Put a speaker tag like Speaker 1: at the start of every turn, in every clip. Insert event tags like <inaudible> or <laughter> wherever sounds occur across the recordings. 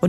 Speaker 1: och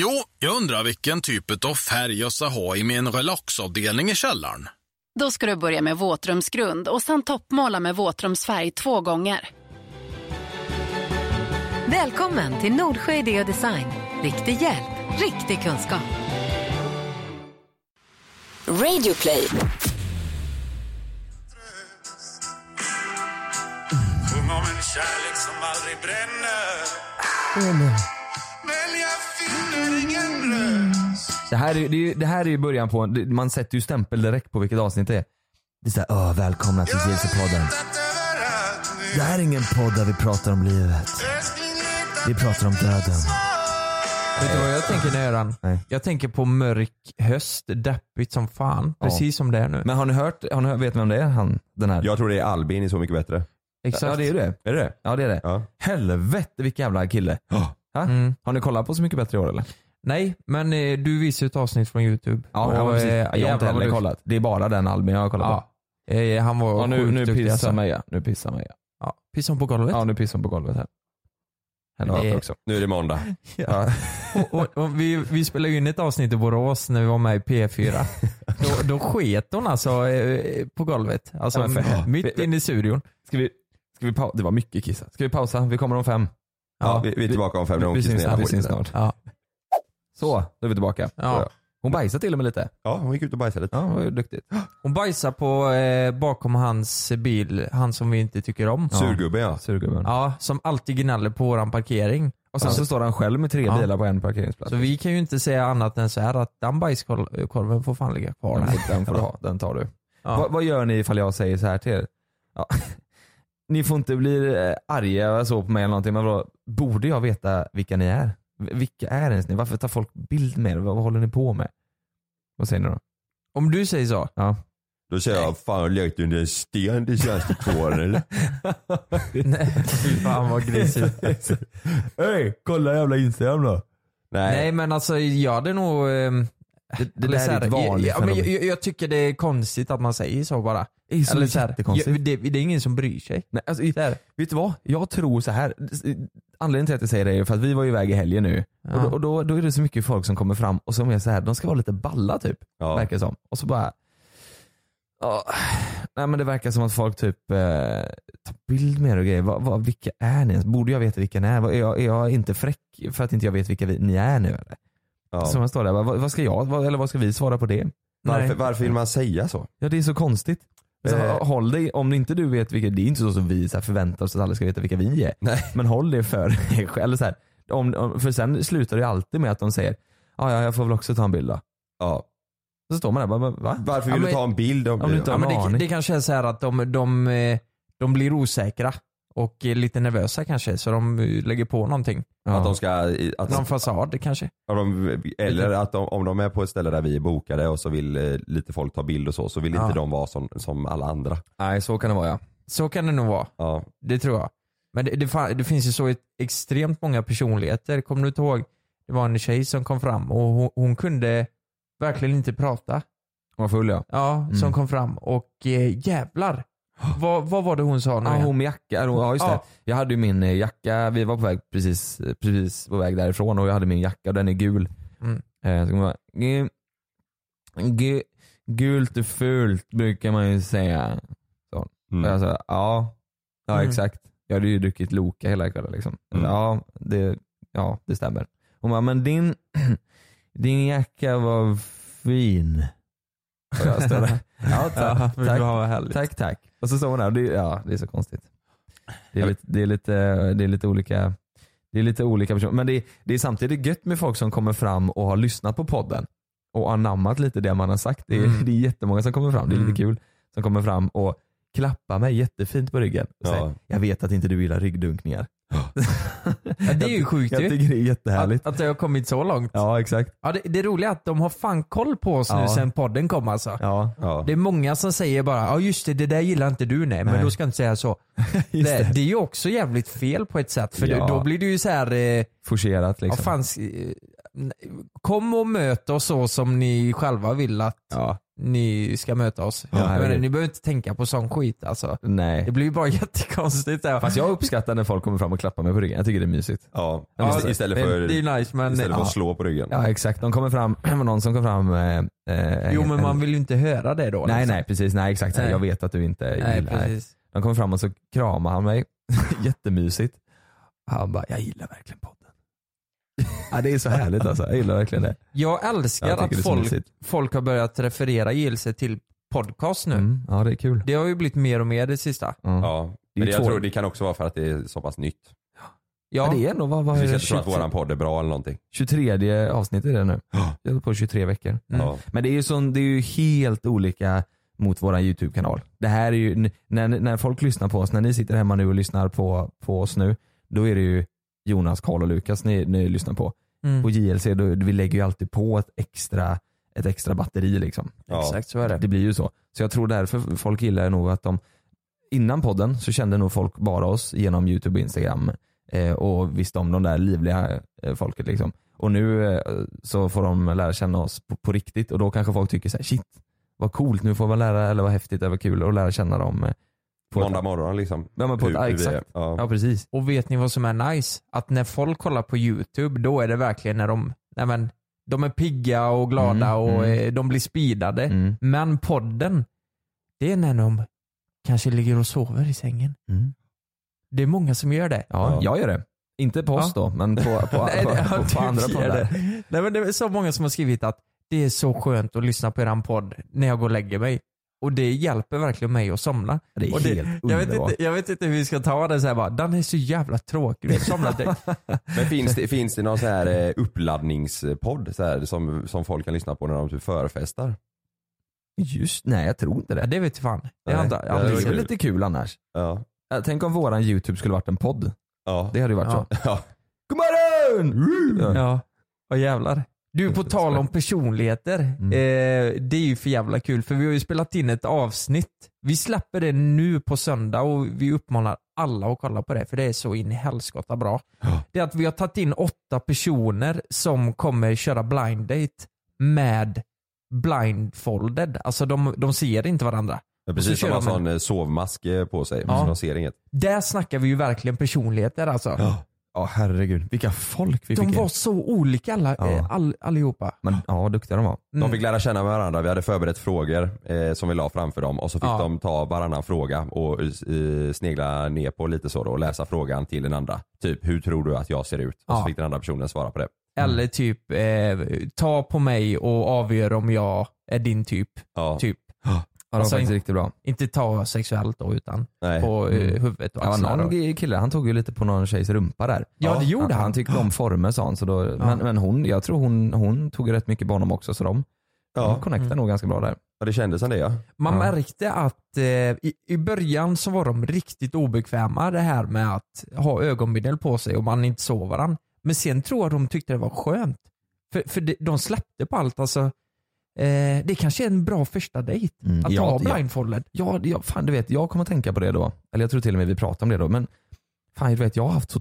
Speaker 2: Jo, jag undrar vilken typ av färg jag ska ha i min relaxavdelning i källaren.
Speaker 3: Då ska du börja med våtrumsgrund och sen toppmåla med våtrumsfärg två gånger.
Speaker 4: Välkommen till Nordsjö Idé och Design. Riktig hjälp, riktig kunskap.
Speaker 5: Radio Play.
Speaker 6: Sjung om en kärlek som aldrig bränner Men jag finner ingen röst
Speaker 7: Det här, är, det, är ju- det här är ju början på, det- man sätter ju stämpel direkt på vilket avsnitt det är. Det är såhär, öh välkomna till vilsepodden.
Speaker 6: överallt nu
Speaker 7: Det här är ingen podd där vi pratar om livet. Vi pratar om döden.
Speaker 8: Vet du vad jag tänker när jag hör den?
Speaker 7: Nej.
Speaker 8: Jag tänker på mörk höst, deppigt som fan.
Speaker 7: Ja.
Speaker 8: Precis som det är nu.
Speaker 7: Men har ni hört, har ni hört vet ni vem det är? Han, den här?
Speaker 9: Jag tror det är Albin i Så Mycket Bättre.
Speaker 8: Exakt.
Speaker 7: Ja det är det.
Speaker 9: Är det det?
Speaker 7: Ja det är det.
Speaker 9: Ja.
Speaker 7: Helvete vilken jävla kille. Ha?
Speaker 8: Mm.
Speaker 7: Har ni kollat på Så Mycket Bättre i år eller?
Speaker 8: Nej, men eh, du visade ett avsnitt från youtube.
Speaker 7: Ja, ja,
Speaker 8: Och,
Speaker 7: precis.
Speaker 8: eh,
Speaker 7: Jag har inte
Speaker 8: jävlar vad
Speaker 7: heller
Speaker 8: du-
Speaker 7: kollat. Det är bara den Albin jag har kollat på.
Speaker 8: Ja. Eh, Han var
Speaker 7: Ja, nu,
Speaker 8: sjukt
Speaker 7: nu
Speaker 8: duktig
Speaker 7: pissar
Speaker 8: alltså.
Speaker 7: Meja. Nu pissar Meja.
Speaker 8: Ja, pissar hon på golvet? Eh,
Speaker 7: Ja nu pissar hon på golvet här. Henne
Speaker 8: Det-
Speaker 7: har jag också.
Speaker 9: Nu är det måndag.
Speaker 7: Ja.
Speaker 8: Och, och, och vi, vi spelade ju in ett avsnitt i Borås när vi var med i P4. Då, då sket hon alltså eh, på golvet. Alltså
Speaker 7: Ja, men för-
Speaker 8: mitt inne i studion.
Speaker 7: Ska vi, ska vi pausa? Det var mycket kissa. Ska vi pausa? Vi kommer om fem.
Speaker 9: Ja, vi, vi är tillbaka om fem när hon
Speaker 7: Vi
Speaker 9: kissar
Speaker 7: syns
Speaker 9: ner
Speaker 7: snart. Vi
Speaker 9: skiten.
Speaker 7: syns snart.
Speaker 8: Ja.
Speaker 7: Så, då är vi tillbaka.
Speaker 8: Ja.
Speaker 7: Hon bajsade till och med lite.
Speaker 9: Ja, hon gick ut och bajsade.
Speaker 7: Ja, det var ju duktigt.
Speaker 8: Hon bajsar på eh, bakom hans bil, han som vi inte tycker om.
Speaker 9: Surgubben ja.
Speaker 7: Surgubben.
Speaker 8: Ja, som alltid gnäller på våran parkering.
Speaker 7: Och sen så står han själv med tre
Speaker 8: Ja.
Speaker 7: bilar på en parkeringsplats.
Speaker 8: Så vi kan ju inte säga annat än så här att den bajskorven får fan ligga kvar
Speaker 7: Den
Speaker 8: där.
Speaker 7: får, den får du ha. Den tar du.
Speaker 8: <laughs> Ja.
Speaker 7: Vad, vad gör ni ifall jag säger så här till er? Ja. <laughs> Ni får inte bli eh, arga eller så på mig eller någonting, men vadå? borde jag veta vilka ni är? V- Vilka är ens ni? Varför tar folk bild med er? Vad, vad håller ni på med? Vad säger ni då?
Speaker 8: Om du säger så.
Speaker 7: Ja.
Speaker 9: Då säger jag, fan jag lekte under en sten de senaste två åren
Speaker 7: <laughs>
Speaker 9: eller?
Speaker 8: Nej, <laughs> fy fan vad grisigt.
Speaker 7: Hej, kolla jävla Instagram då.
Speaker 8: Nej men alltså jag hade nog... ehm,
Speaker 7: Det, det
Speaker 8: eller
Speaker 7: där
Speaker 8: så
Speaker 7: är
Speaker 8: här,
Speaker 7: ett vanligt
Speaker 8: ja, men jag,
Speaker 7: fenomen.
Speaker 8: jag, jag tycker det är konstigt att man säger så bara.
Speaker 7: Det är så
Speaker 8: eller så här,
Speaker 7: jättekonstigt.
Speaker 8: jag, det, det är ingen som bryr sig.
Speaker 7: Nej, alltså,
Speaker 8: Så här,
Speaker 7: Vet du vad? Jag tror så här. Anledningen till att jag säger det är för att vi var ju iväg i helgen nu. Och,
Speaker 8: Ja.
Speaker 7: då, och då, då är det så mycket folk som kommer fram och som är så här. de ska vara lite balla typ.
Speaker 9: Ja.
Speaker 7: Verkar det som. Och så bara... Ja. Nej men det verkar som att folk typ eh, tar bild med er och grejer. Vad- vad- vilka är ni ens? Borde jag veta vilka ni är? Vad- Är jag, är jag inte fräck för att inte jag vet vilka vi, ni är nu eller?
Speaker 9: Ja.
Speaker 7: Så man står där, bara, vad, vad ska jag, vad, eller vad ska vi svara på det?
Speaker 9: Varför,
Speaker 8: Nej.
Speaker 9: varför vill man säga så?
Speaker 7: Ja det är så konstigt. Så,
Speaker 9: Eh.
Speaker 7: Håll dig, om inte du vet vilka, det är inte så som vi så här, förväntar oss att alla ska veta vilka vi är. Men håll det för dig själv. Eller Så här, om, om, för sen slutar det ju alltid med att de säger ja ja jag får väl också ta en bild då.
Speaker 9: Ja.
Speaker 7: Så står man där bara, va?
Speaker 9: Varför vill
Speaker 8: Ja,
Speaker 9: du
Speaker 8: men-
Speaker 9: ta en bild om,
Speaker 7: Om du inte
Speaker 8: ja,
Speaker 7: har-
Speaker 8: men
Speaker 7: aning.
Speaker 8: det, det kanske är så här att de, de, eh, de blir osäkra och är lite nervösa kanske så de eh, lägger på någonting.
Speaker 9: att de ska,
Speaker 8: Någon
Speaker 9: att de,
Speaker 8: fasad kanske.
Speaker 9: att de, eller att de, om de är på ett ställe där vi är bokade och så vill eh, lite folk ta bild och så, så vill
Speaker 8: Ja.
Speaker 9: inte de vara som, som alla andra.
Speaker 7: Nej så kan det vara ja.
Speaker 8: Så kan det nog vara.
Speaker 9: Ja.
Speaker 8: Det tror jag. Men det, det, fa- det finns ju så ett, extremt många personligheter. Kommer du inte ihåg? Det var en tjej som kom fram och hon, hon kunde verkligen inte prata.
Speaker 7: Hon var full ja.
Speaker 8: Ja, som
Speaker 7: Mm.
Speaker 8: kom fram och eh,
Speaker 7: <gasps>
Speaker 8: jävlar. Vad, vad var det hon sa nu
Speaker 7: Ja,
Speaker 8: igen?
Speaker 7: hon med jacka, eller hon- ja just det.
Speaker 8: Ja.
Speaker 7: Jag hade ju min eh, jacka, vi var på väg precis, eh, precis på väg därifrån och jag hade min jacka och den är gul.
Speaker 8: Mm.
Speaker 7: Eh, så kommer jag bara, "Gu- gu- gult är fult brukar man ju säga. Och jag
Speaker 9: Mm.
Speaker 7: sa, ja, ja
Speaker 8: Mm.
Speaker 7: exakt. Jag hade ju druckit Loka hela kvällen liksom.
Speaker 9: Mm.
Speaker 7: Ja, det, ja, det stämmer.
Speaker 10: Hon bara, men din, <clears throat> din jacka var fin. Och jag ställde, <laughs> ja
Speaker 7: Ja,
Speaker 10: tack,
Speaker 7: men
Speaker 10: tack,
Speaker 7: vad härligt.
Speaker 10: tack, tack. Och så står hon där och det, ja, det är så konstigt. Det är lite, det är lite, det är lite olika det är lite olika personer. Men det är, det är samtidigt gött med folk som kommer fram och har lyssnat på podden och anammat lite det man har sagt. Det är,
Speaker 7: Mm.
Speaker 10: det är jättemånga som kommer fram, det är lite kul, som kommer fram och klappar mig jättefint på ryggen och säger
Speaker 9: Ja.
Speaker 10: jag vet att inte du gillar ryggdunkningar. <laughs>
Speaker 7: Ja, det är ju sjukt
Speaker 10: jag
Speaker 7: ju.
Speaker 10: tycker det är jättehärligt.
Speaker 7: Att det har kommit så långt.
Speaker 10: Ja exakt.
Speaker 7: Ja, det, det roliga är att de har fan koll på oss nu
Speaker 10: Ja.
Speaker 7: sen podden kom alltså.
Speaker 10: Ja.
Speaker 7: Det är många som säger bara ja just det, det där gillar inte du nej, men
Speaker 10: Nej.
Speaker 7: då ska jag inte säga så. det,
Speaker 10: <laughs> Just
Speaker 7: det.
Speaker 10: det.
Speaker 7: är ju också jävligt fel på ett sätt för det,
Speaker 10: Ja.
Speaker 7: då blir det ju så här eh,
Speaker 10: Forcerat liksom.
Speaker 7: ja, fan, s- eh, n- kom och möt oss så som ni själva vill att ni ska möta oss.
Speaker 10: Ja,
Speaker 7: jag menar,
Speaker 10: herregud.
Speaker 7: ni behöver inte tänka på sån skit alltså. Det
Speaker 10: Nej.
Speaker 7: blir ju bara <laughs> jättekonstigt. så här.
Speaker 10: Fast jag uppskattar när folk kommer fram och klappar mig på ryggen. Jag tycker det är mysigt.
Speaker 9: Ja,
Speaker 10: Ja,
Speaker 9: ist- istället
Speaker 7: det-
Speaker 9: för,
Speaker 7: det är nice, men-
Speaker 9: istället för
Speaker 7: ja.
Speaker 9: att slå på ryggen.
Speaker 10: Ja exakt. De kommer fram, <clears throat> det var någon som kom fram. Eh, eh,
Speaker 7: Jo
Speaker 10: en-
Speaker 7: men
Speaker 10: en-
Speaker 7: man vill ju inte höra det då.
Speaker 10: Nej
Speaker 7: liksom.
Speaker 10: nej precis, nej exakt. Så här,
Speaker 7: Nej.
Speaker 10: Jag vet att du inte
Speaker 7: Nej,
Speaker 10: gillar det.
Speaker 7: precis.
Speaker 10: Han kom fram och så kramade han mig. <laughs> Jättemysigt. Han bara, jag gillar verkligen podden. ja, det är så härligt alltså. Jag gillar verkligen det.
Speaker 7: Jag älskar
Speaker 10: Jag tycker det
Speaker 7: att
Speaker 10: är så
Speaker 7: folk,
Speaker 10: mysigt.
Speaker 7: folk har börjat referera Gilse till podcast nu.
Speaker 10: Mm. Ja, det är kul.
Speaker 7: Det har ju blivit mer och mer det sista.
Speaker 10: Ja. Ja.
Speaker 9: Ja.
Speaker 10: Mm. Det är
Speaker 9: Men
Speaker 10: ju
Speaker 9: jag
Speaker 10: två-
Speaker 9: tror det kan också vara för att det är så pass nytt.
Speaker 7: Ja,
Speaker 10: det är ändå, vad, vad
Speaker 9: Det
Speaker 10: är
Speaker 9: känns
Speaker 10: det?
Speaker 9: inte som att våran podd är bra eller någonting.
Speaker 10: 23 avsnitt är det nu. Jag håller på i 23 veckor.
Speaker 7: Mm.
Speaker 9: Ja.
Speaker 10: Men det är, ju sån, det är ju helt olika mot våran YouTube-kanal. Det här är ju, n- när, när folk lyssnar på oss, när ni sitter hemma nu och lyssnar på, på oss nu, då är det ju Jonas, Karl och Lukas ni, ni lyssnar på.
Speaker 7: Mm.
Speaker 10: På JLC, då, vi lägger ju alltid på ett extra, ett extra batteri liksom.
Speaker 9: Ja.
Speaker 7: exakt så är det.
Speaker 10: Det blir ju så. Så jag tror därför folk gillar nog att de, innan podden så kände nog folk bara oss genom YouTube och Instagram eh, och visste om de där livliga eh, folket liksom. Och nu eh, så får de lära känna oss på, på riktigt och då kanske folk tycker så här, shit vad coolt, nu får man lära, eller vad häftigt, det var kul att lära känna dem. eh, På
Speaker 9: Måndag
Speaker 10: ett,
Speaker 9: morgon liksom.
Speaker 10: Ja, men på ett- ja,
Speaker 9: vi
Speaker 10: exakt.
Speaker 9: är. Ja.
Speaker 10: ja precis.
Speaker 7: Och vet ni vad som är nice? Att när folk kollar på YouTube, då är det verkligen när de, nej men, de är pigga och glada
Speaker 10: Mm,
Speaker 7: och
Speaker 10: mm.
Speaker 7: eh, de blir speedade.
Speaker 10: Mm.
Speaker 7: Men podden, det är när de kanske ligger och sover i sängen.
Speaker 10: Mm.
Speaker 7: Det är många som gör det.
Speaker 10: Ja,
Speaker 9: Ja.
Speaker 10: jag gör det. Inte på oss
Speaker 7: Ja.
Speaker 10: då, men på, på,
Speaker 9: <laughs>
Speaker 10: på,
Speaker 7: Nej, det-
Speaker 10: på,
Speaker 7: ja,
Speaker 10: på,
Speaker 7: du
Speaker 10: andra
Speaker 7: gör
Speaker 10: poddar.
Speaker 7: det. Nej, men det är så många som har skrivit att det är så skönt att lyssna på eran podd när jag går och lägger mig. Och det hjälper verkligen mig att somna.
Speaker 10: Det är
Speaker 7: och
Speaker 10: helt
Speaker 7: jag, vet
Speaker 10: underbart.
Speaker 7: inte, jag vet inte hur vi ska ta det så här bara, den är så jävla tråkig, du somnar direkt.
Speaker 9: Men finns det, finns det någon så här eh, uppladdningspodd så här, som, som folk kan lyssna på när de typ förfestar?
Speaker 10: <laughs> Just, nej jag tror inte
Speaker 7: Ja,
Speaker 10: det.
Speaker 7: det vet fan. Det
Speaker 9: Nej,
Speaker 7: har inte,
Speaker 9: det
Speaker 7: jag har
Speaker 10: Det
Speaker 9: det
Speaker 7: aldrig
Speaker 9: var
Speaker 10: är
Speaker 7: sett.
Speaker 10: väl
Speaker 9: kul.
Speaker 10: lite kul annars.
Speaker 9: Ja.
Speaker 10: Ja, Tänk om våran YouTube skulle varit en podd.
Speaker 9: Ja.
Speaker 10: Det hade ju varit
Speaker 7: Ja.
Speaker 10: så. God morgon! Ja.
Speaker 7: Ja, vad jävlar. Du, på tal om personligheter. Eh, det är ju för jävla kul för vi har ju spelat in ett avsnitt. Vi släpper det nu på söndag och vi uppmanar alla att kolla på det för det är så in i helskotta bra. Det är att vi har tagit in åtta personer som kommer köra blind date med blindfolded. Alltså de, de ser inte varandra.
Speaker 9: Ja,
Speaker 7: Och så
Speaker 9: precis,
Speaker 7: kör
Speaker 9: de har
Speaker 7: de en-
Speaker 9: sån eh, sovmask eh, på sig.
Speaker 7: Ja.
Speaker 9: Så de ser inget.
Speaker 7: Där snackar vi ju verkligen personligheter alltså.
Speaker 10: Ja herregud, vilka folk vi
Speaker 7: De
Speaker 10: fick
Speaker 7: var
Speaker 10: in.
Speaker 7: så olika alla,
Speaker 10: Ja.
Speaker 7: eh, all, allihopa. Mm.
Speaker 10: Men, ja, duktiga de var.
Speaker 9: De fick lära känna varandra, vi hade förberett frågor eh, som vi la framför dem och så fick
Speaker 7: Ja.
Speaker 9: de ta varannan fråga och eh, snegla ner på lite så då och läsa frågan till den andra. Typ, hur tror du att jag ser ut? Och
Speaker 7: Ja.
Speaker 9: så fick den andra personen svara på det.
Speaker 7: Eller
Speaker 10: Mm.
Speaker 7: typ eh, ta på mig och avgör om jag är din typ.
Speaker 9: Ja.
Speaker 7: typ.
Speaker 10: Ja, de var
Speaker 7: Alltså,
Speaker 10: faktiskt riktigt bra.
Speaker 7: Inte ta sexuellt då utan
Speaker 9: Nej.
Speaker 7: på eh,
Speaker 10: Mm.
Speaker 7: huvudet och
Speaker 10: Ja,
Speaker 7: axlarna.
Speaker 10: någon g- kille, han tog ju lite på någon tjejs rumpa där.
Speaker 7: Ja, det gjorde
Speaker 10: han.
Speaker 7: han.
Speaker 10: Han tyckte om former sa han. Så då, men, men hon, jag tror hon, hon tog rätt mycket på honom också så de, de
Speaker 9: Ja.
Speaker 10: connectade
Speaker 7: Mm.
Speaker 10: nog ganska bra där.
Speaker 9: ja, det kändes som det ja.
Speaker 7: Man
Speaker 10: Ja.
Speaker 7: märkte att eh, i, i början så var de riktigt obekväma det här med att ha ögonbindel på sig och man inte såg varandra. Men sen tror jag de tyckte det var skönt. För, för de, de släppte på allt alltså. Eh, det kanske är en bra första dejt.
Speaker 10: Mm.
Speaker 7: Att
Speaker 10: Ja,
Speaker 7: ha
Speaker 10: ja.
Speaker 7: blindfolded.
Speaker 10: Ja, ja, fan du vet, jag kommer att tänka på det då. Eller jag tror till och med vi pratar om det då. Men fan du vet, jag har haft så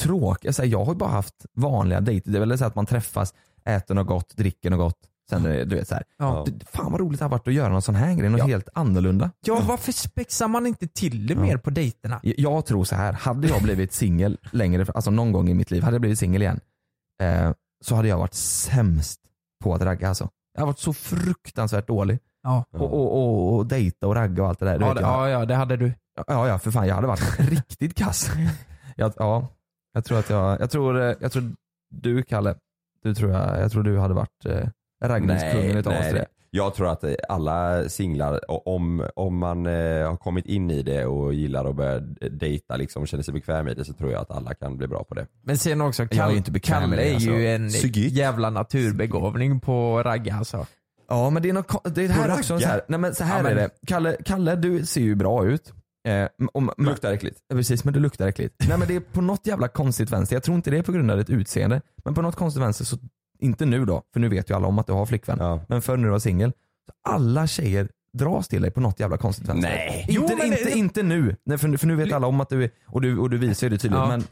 Speaker 10: tråkigt. Alltså, jag har ju bara haft vanliga dejter. Det är väl så att man träffas, äter något gott, dricker något gott. Sen är det, du vet så här.
Speaker 7: Ja.
Speaker 10: Du, fan vad roligt det har varit att göra någon sån här grej. Något
Speaker 7: Ja.
Speaker 10: helt annorlunda.
Speaker 7: Ja, varför spexar man inte till det
Speaker 10: Ja.
Speaker 7: mer på dejterna?
Speaker 10: Jag- Jag tror så här, hade jag blivit singel längre, alltså någon gång i mitt liv, hade jag blivit singel igen. Eh, så hade jag varit sämst på att ragga alltså. Jag har varit så fruktansvärt dålig.
Speaker 7: Ja.
Speaker 10: Och, och, och, och dejta och ragga och allt det där. Du
Speaker 7: Ja,
Speaker 10: vet,
Speaker 7: det,
Speaker 10: jag-
Speaker 7: ja, ja, det hade du.
Speaker 10: Ja, ja för
Speaker 7: <laughs>
Speaker 10: fan jag hade varit riktigt kass. Jag, ja, jag tror att jag, jag tror, eh, jag tror Du Kalle, du tror jag, jag tror du hade varit eh, raggningskungen utav oss tre.
Speaker 9: Jag tror att eh, alla singlar, o- om, om man eh, har kommit in i det och gillar att börja dejta liksom, och känner sig bekväm i det så tror jag att alla kan bli bra på det.
Speaker 7: Men sen också,
Speaker 9: Jag är
Speaker 7: Kalle,
Speaker 9: inte bekväm med
Speaker 7: Kalle
Speaker 9: det,
Speaker 7: är
Speaker 9: alltså.
Speaker 7: ju en
Speaker 9: Psykiskt.
Speaker 7: jävla naturbegåvning på ragga alltså.
Speaker 10: Ja men det är något ko- det är här
Speaker 7: På
Speaker 10: också
Speaker 7: ragga?
Speaker 10: så här, nej men så här
Speaker 7: Ja, men-
Speaker 10: är det. Kalle, Kalle du ser ju bra ut. Eh, om,
Speaker 9: Luktar äckligt.
Speaker 10: Ja, precis, men du luktar
Speaker 9: <laughs>
Speaker 10: äckligt. Nej men det är på något jävla konstigt vänster, jag tror inte det är på grund av ditt utseende, men på något konstigt vänster så, inte nu då, för nu vet ju alla om att du har flickvän, men förr när du var singel, så alla tjejer dras till dig på något jävla konstigt vänster.
Speaker 9: Nej.
Speaker 10: Inte,
Speaker 9: Jo, men det-
Speaker 10: inte, inte nu, Nej, för, för nu vet alla om att du är, och du, och du visar ju det tydligt,
Speaker 7: Ja.
Speaker 10: men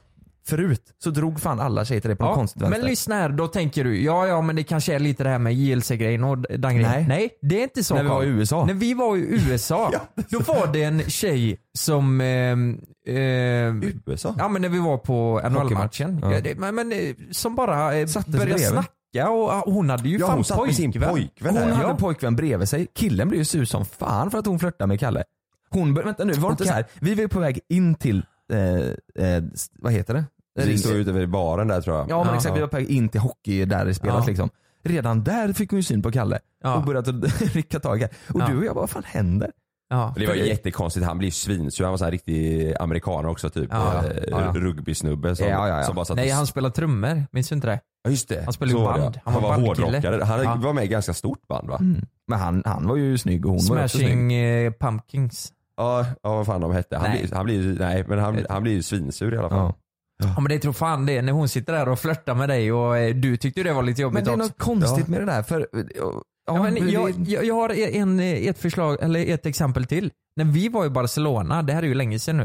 Speaker 10: förut så drog fan alla tjejer till dig på något konstigt vänster.
Speaker 7: men lyssna här, då tänker du, ja ja men det kanske är lite det här med JLC-grejen och den grejen.
Speaker 10: Nej.
Speaker 7: Nej, det är inte så
Speaker 10: När vi var
Speaker 7: Carl.
Speaker 10: i USA.
Speaker 7: När vi var i
Speaker 10: <laughs>
Speaker 7: USA, då var det en tjej som... ehm, ehm,
Speaker 9: USA?
Speaker 7: Ja men när vi var på NHL-matchen.
Speaker 10: Ja.
Speaker 7: Ja. det- men, men, eh, som bara eh,
Speaker 10: Satte sig
Speaker 7: började
Speaker 10: bredvid.
Speaker 7: snacka och ah, hon hade ju
Speaker 9: Ja,
Speaker 7: fan
Speaker 9: hon satt med sin pojkvän
Speaker 10: Hon
Speaker 9: där.
Speaker 10: hade
Speaker 9: Ja.
Speaker 10: pojkvän bredvid sig, killen blev ju sur som fan för att hon flörtade med Kalle. Hon bör, vänta nu, var det inte
Speaker 7: Okej.
Speaker 10: så här? vi var ju på väg in till, eh, eh, s- vad heter det?
Speaker 9: Vi stod ute vid baren där tror jag.
Speaker 10: Ja men exakt, vi var på väg in till hockey där det spelas
Speaker 7: Ja.
Speaker 10: liksom. Redan där fick hon ju syn på Kalle
Speaker 7: Ja.
Speaker 10: och började <laughs> rycka tag i Kalle. Och
Speaker 7: Ja.
Speaker 10: du och jag bara, vad fan händer?
Speaker 7: Ja.
Speaker 9: Det var jättekonstigt, han blev ju svinsur. Han var så här riktig amerikaner också typ.
Speaker 7: Ja, ja.
Speaker 9: Eh,
Speaker 10: Ja, ja.
Speaker 9: Rugbysnubbe som,
Speaker 10: Ja, ja, ja.
Speaker 9: som bara satt
Speaker 7: Nej
Speaker 9: och-
Speaker 7: han spelar trummor, minns du inte det?
Speaker 9: Ja, just det.
Speaker 7: han spelade
Speaker 9: Så
Speaker 7: ju
Speaker 9: var det,
Speaker 7: band.
Speaker 9: ja.
Speaker 7: Han
Speaker 9: Han,
Speaker 7: var
Speaker 9: var,
Speaker 7: bandkille.
Speaker 9: hårdrockare. Han
Speaker 7: Ja.
Speaker 9: var med i ganska stort band va?
Speaker 10: Mm. Men han, han var ju snygg och hon var ju också snygg.
Speaker 7: Smashing eh, Pumpkins.
Speaker 9: Ja, ja, vad fan de hette. Han
Speaker 7: Nej.
Speaker 9: blir, han blir, ju- nej, men han, han blir ju svinsur i alla fall.
Speaker 10: Ja.
Speaker 7: Ja men det tror fan det, när hon sitter där och flörtar med dig och eh, du tyckte ju det var lite jobbigt
Speaker 10: Men det är
Speaker 7: också.
Speaker 10: något konstigt med det där för, eh, ja,
Speaker 7: Ja, men
Speaker 10: vi-
Speaker 7: jag, jag, jag har e- en, eh, ett förslag, eller ett exempel till. När vi var i Barcelona, det här är ju länge sedan nu.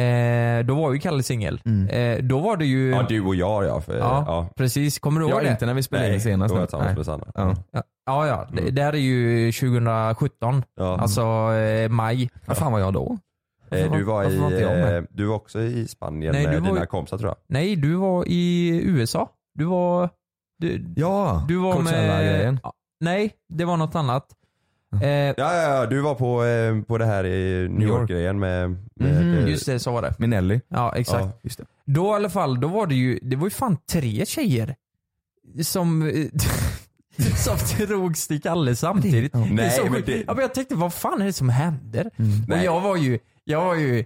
Speaker 7: Eh, då var ju Kalle singel.
Speaker 10: Mm.
Speaker 7: Eh, då var det ju...
Speaker 9: Ja, du och jag ja. För,
Speaker 7: Ja,
Speaker 9: ja.
Speaker 7: precis. Kommer du ihåg
Speaker 10: ja,
Speaker 7: det?
Speaker 10: inte när vi spelade in senast.
Speaker 9: då var
Speaker 10: nu.
Speaker 9: jag tillsammans
Speaker 10: Nej.
Speaker 9: med Sanna.
Speaker 10: Ja. Mm.
Speaker 7: Ja, Ja, ja. Det, det här är ju 2017.
Speaker 9: Ja.
Speaker 7: Alltså eh, maj.
Speaker 10: Vad fan var jag då?
Speaker 9: Eh,
Speaker 10: Varför
Speaker 9: Du var,
Speaker 10: varför
Speaker 9: i,
Speaker 10: var inte jag med?
Speaker 9: eh, du var också i Spanien
Speaker 7: Nej, du
Speaker 9: med
Speaker 7: var
Speaker 9: dina
Speaker 7: ju-
Speaker 9: kompisar tror jag.
Speaker 7: Nej, du var i USA. Du var... Du,
Speaker 10: Ja,
Speaker 7: du var med...
Speaker 10: Coachella-grejen.
Speaker 7: Ja, Nej, det var något annat. Eh,
Speaker 9: Ja, ja, ja du var på, eh, på det här i New
Speaker 10: New York.
Speaker 9: York-grejen med, med
Speaker 10: Mhm.
Speaker 9: eh,
Speaker 7: mm, Just det, så var det.
Speaker 10: Med Nelly.
Speaker 7: Ja, exakt.
Speaker 9: Ja,
Speaker 10: Just det.
Speaker 7: Då i alla fall, då var det ju, det var ju fan tre tjejer som <laughs> eh, som drogs till Kalle samtidigt.
Speaker 10: Ja.
Speaker 7: Det är så
Speaker 9: Nej, men
Speaker 7: sjukt.
Speaker 9: det- Mm.
Speaker 7: ja, men jag tänkte vad fan är det som händer? Och
Speaker 9: Nej.
Speaker 7: jag var ju, jag var ju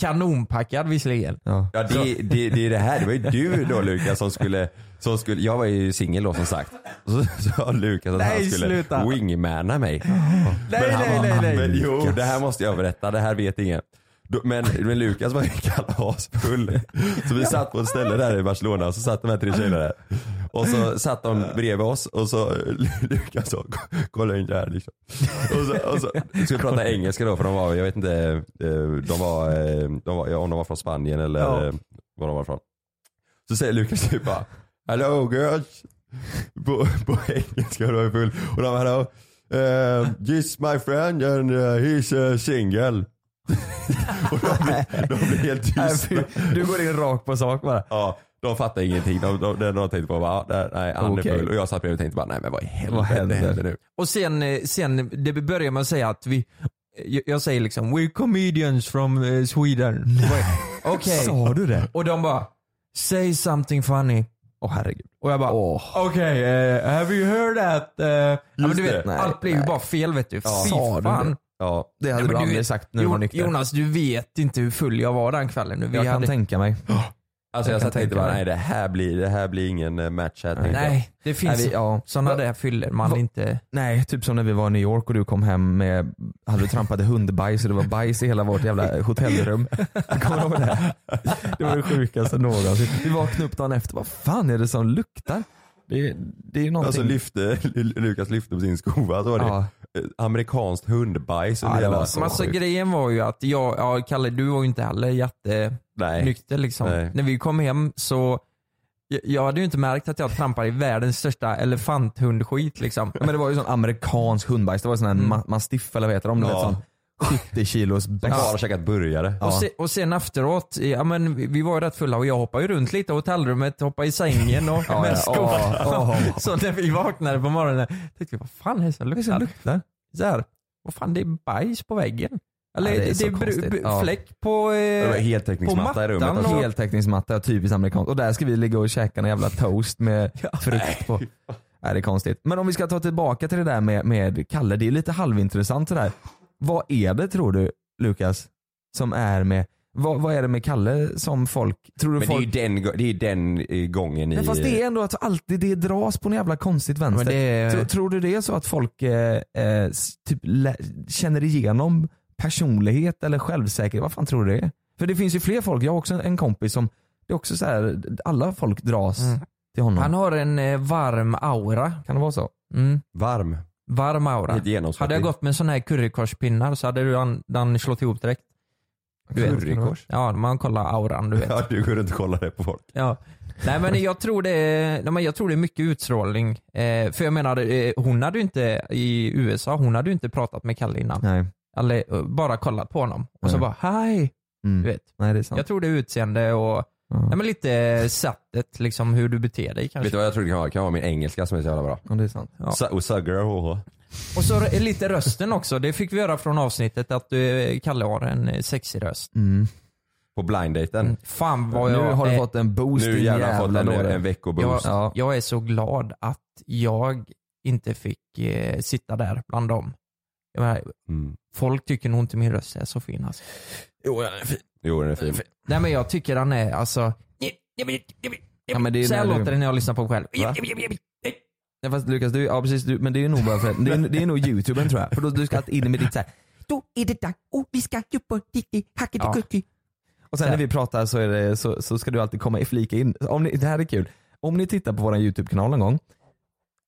Speaker 7: kanonpackad visserligen.
Speaker 10: Ja.
Speaker 9: Ja det, det, det är det här, det var ju du då Lukas som skulle, som skulle jag var ju singel då som sagt. Så sa Lukas att
Speaker 7: Nej,
Speaker 9: han skulle
Speaker 7: sluta.
Speaker 9: wingmana mig.
Speaker 7: Nej,
Speaker 9: han
Speaker 7: nej,
Speaker 9: var-
Speaker 7: nej, nej.
Speaker 9: Men, jo, det här måste jag berätta, det här vet ingen. Då- Men, men Lukas var ju kalasfull. Så vi satt på ett ställe där i Barcelona och så satt de här tre tjejerna där. Och så satt de bredvid oss och så Lukas sa kolla in det här liksom. Och så, och så ska vi prata engelska då för de var, jag vet inte, eh, de var, eh, de var, ja, om de var från Spanien eller
Speaker 7: Ja.
Speaker 9: eh, var de var från. Så säger Lukas typ bara Hello girls. På, på engelska och de är full. Och de bara hello. Uh, this my friend and uh, he's uh, single. <laughs> och de blir, de blir helt tysta.
Speaker 10: Du går in rakt på sak bara.
Speaker 9: Ja, de fattar ingenting. De, de, de, de tänkte på bara, ah, där, nej han
Speaker 10: Okej.
Speaker 9: är full. Och jag satt bredvid och tänkte bara, nej men vad i
Speaker 10: Vad
Speaker 9: helvete
Speaker 10: händer?
Speaker 9: händer nu?
Speaker 7: Och sen, eh, sen det börjar med att säga att vi, eh, jag, jag säger liksom we're comedians from
Speaker 10: <laughs>
Speaker 7: eh, Sweden. Okej.
Speaker 10: Sa du det?
Speaker 7: Och de bara say something funny.
Speaker 10: Åh herregud.
Speaker 7: Och jag bara
Speaker 10: Åh.
Speaker 7: Okej, eh, have you heard that? eh, ja, men du
Speaker 9: det.
Speaker 7: vet,
Speaker 10: Nej,
Speaker 7: allt blev ju
Speaker 10: nej.
Speaker 7: bara fel vet du.
Speaker 10: Ja.
Speaker 7: Fy
Speaker 10: Sa du
Speaker 7: fan.
Speaker 10: det?
Speaker 9: Ja,
Speaker 10: Det hade
Speaker 7: Men
Speaker 10: du
Speaker 7: du
Speaker 10: aldrig
Speaker 7: vet-
Speaker 10: sagt när du
Speaker 7: Jo-
Speaker 10: var nykter.
Speaker 7: Jonas, du vet inte hur full jag var den kvällen. Nu. Vi
Speaker 10: jag kan
Speaker 7: hade...
Speaker 10: tänka mig.
Speaker 9: alltså jag,
Speaker 10: kan
Speaker 9: satt tänkte
Speaker 10: tänka
Speaker 9: bara,
Speaker 10: mig.
Speaker 9: nej det här blir, det här blir ingen eh, match här. tänkte jag.
Speaker 7: Nej, det finns
Speaker 10: Nej, vi- ja.
Speaker 7: sådana
Speaker 10: Va-
Speaker 7: där fyller man
Speaker 10: va-
Speaker 7: inte.
Speaker 10: Nej, typ som när vi var i New York och du kom hem med, hade du trampat i hundbajs och det var bajs i hela vårt jävla
Speaker 7: <laughs>
Speaker 10: hotellrum. Kommer du ihåg det? Det var det sjukaste någonsin. Vi vaknade upp dagen efter, vad fan är det som luktar? Det, det är ju någonting.
Speaker 9: Alltså lyfte, Lukas lyfte på sin skova så var det
Speaker 10: Ja.
Speaker 9: eh, amerikanskt hundbajs under
Speaker 10: Ja, det
Speaker 9: hela...
Speaker 10: var så
Speaker 7: Men alltså
Speaker 10: sjukt.
Speaker 7: grejen var ju att jag, ja Kalle du var ju inte heller jättenykter
Speaker 9: Nej.
Speaker 7: liksom.
Speaker 9: Nej.
Speaker 7: När vi kom hem så, jag, jag hade ju inte märkt att jag trampade i världens största elefanthundskit liksom. Mm.
Speaker 10: Ja, Men det var ju sån amerikansk hundbajs, det var sån här ma- mastiff eller vad heter de? Du vet,
Speaker 9: Ja.
Speaker 10: sån 70 kilos bäst.
Speaker 9: Bara käkat burgare.
Speaker 7: Och, se, och sen efteråt, ja men vi- vi var ju rätt fulla och jag hoppade ju runt lite i hotellrummet, hoppade i sängen och
Speaker 10: <laughs> Ja,
Speaker 7: med
Speaker 10: ja.
Speaker 7: skor.
Speaker 10: Ja, ja.
Speaker 7: Så när vi vaknade på morgonen tänkte vi, vad fan är det som luktar?
Speaker 10: luktar.
Speaker 7: Så här, vad fan det är bajs på väggen. Eller
Speaker 10: Ja,
Speaker 7: det är,
Speaker 10: så
Speaker 7: br-
Speaker 10: konstigt.
Speaker 7: br-
Speaker 10: Ja.
Speaker 7: fläck på, eh,
Speaker 10: Heltäckningsmatta
Speaker 7: på
Speaker 10: i rummet.
Speaker 7: mattan
Speaker 10: Alltså.
Speaker 7: och-
Speaker 10: Heltäckningsmatta, typiskt amerikanskt. Och där ska vi ligga och käka en jävla toast med
Speaker 9: <laughs>
Speaker 10: frukt på. Nej, det är konstigt. Men om vi ska ta tillbaka till det där med, med Kalle, det är lite halvintressant det där. Vad är det tror du Lukas, som är med, vad, vad är det med Kalle som folk, tror du
Speaker 9: Men det är
Speaker 10: folk
Speaker 9: ju den, go- det är ju den eh, gången i...
Speaker 10: men fast det är ändå att alltid det dras på en jävla konstigt vänster.
Speaker 7: Men det är-
Speaker 10: Tror, tror du det är så att folk eh, eh, s- typ lä- känner igenom personlighet eller självsäkerhet? Vad fan tror du det är? För det finns ju fler folk, jag har också en- en kompis som, det är också så här, alla folk dras
Speaker 7: Mm.
Speaker 10: till honom.
Speaker 7: Han har en eh, varm aura.
Speaker 10: Kan det vara så?
Speaker 7: Mm.
Speaker 9: Varm.
Speaker 7: Varm aura.
Speaker 9: Lite genomsvettig.
Speaker 7: Hade jag gått med sådana här currykorspinnar så hade du an, den slått ihop direkt. Du vet.
Speaker 9: Currykors?
Speaker 7: Ja, man kollar auran du
Speaker 9: <laughs>
Speaker 7: vet.
Speaker 9: Ja, du går runt och kollar det på folk.
Speaker 7: Ja. Nej men jag tror det är, nej, men jag tror det är mycket utstrålning. Eh, för jag menar, eh, hon hade ju inte, i USA, hon hade ju inte pratat med Kalle innan.
Speaker 10: Nej.
Speaker 7: Eller eh, bara kollat på honom. Och så
Speaker 10: Nej.
Speaker 7: bara hej.
Speaker 10: Mm.
Speaker 7: Du vet.
Speaker 10: Nej det är sant.
Speaker 7: Jag tror det är utseende och nej, men lite sättet liksom hur du beter dig kanske.
Speaker 9: Vet du vad jag tror det kan vara? Det kan vara min engelska som är så jävla bra.
Speaker 10: Ja, det är sant.
Speaker 7: Ja.
Speaker 9: Su- Och suggar och hå.
Speaker 7: Och så r- lite rösten också. Det fick vi höra från avsnittet att eh, Kalle har en eh, sexig röst.
Speaker 10: Mm.
Speaker 9: På
Speaker 7: Mm.
Speaker 9: blinddaten.
Speaker 7: Fan vad jag eh,
Speaker 10: nu har du
Speaker 7: är-
Speaker 10: fått en boost
Speaker 9: Nu
Speaker 10: din
Speaker 9: jävlar har jag fått en,
Speaker 10: jävla dåre.
Speaker 9: en
Speaker 7: jag,
Speaker 9: veckoboost.
Speaker 7: ja. jag är så glad att jag inte fick eh, sitta där bland dem. Jag menar,
Speaker 9: Mm.
Speaker 7: Folk tycker nog inte min röst är så fin alltså.
Speaker 9: Jo, den är fin. Jo, den är fin.
Speaker 7: Nej men jag tycker han är alltså... Ja,
Speaker 10: men det är
Speaker 7: så här
Speaker 10: när du-
Speaker 7: låter det när jag lyssnar på mig själv.
Speaker 10: Va? Ja, fast Lukas, du, ja, precis, du, men det är nog bara för, det är, det är nog youtuben tror jag. För då du ska alltid in med ditt så här.
Speaker 7: Då är det dags
Speaker 10: oh,
Speaker 7: och vi ska jobba lite hackedekucki.
Speaker 10: Och sen när vi pratar så, är det, så, så ska du alltid komma i flika in. Om ni, det här är kul. Om ni tittar på vår YouTube-kanal någon gång,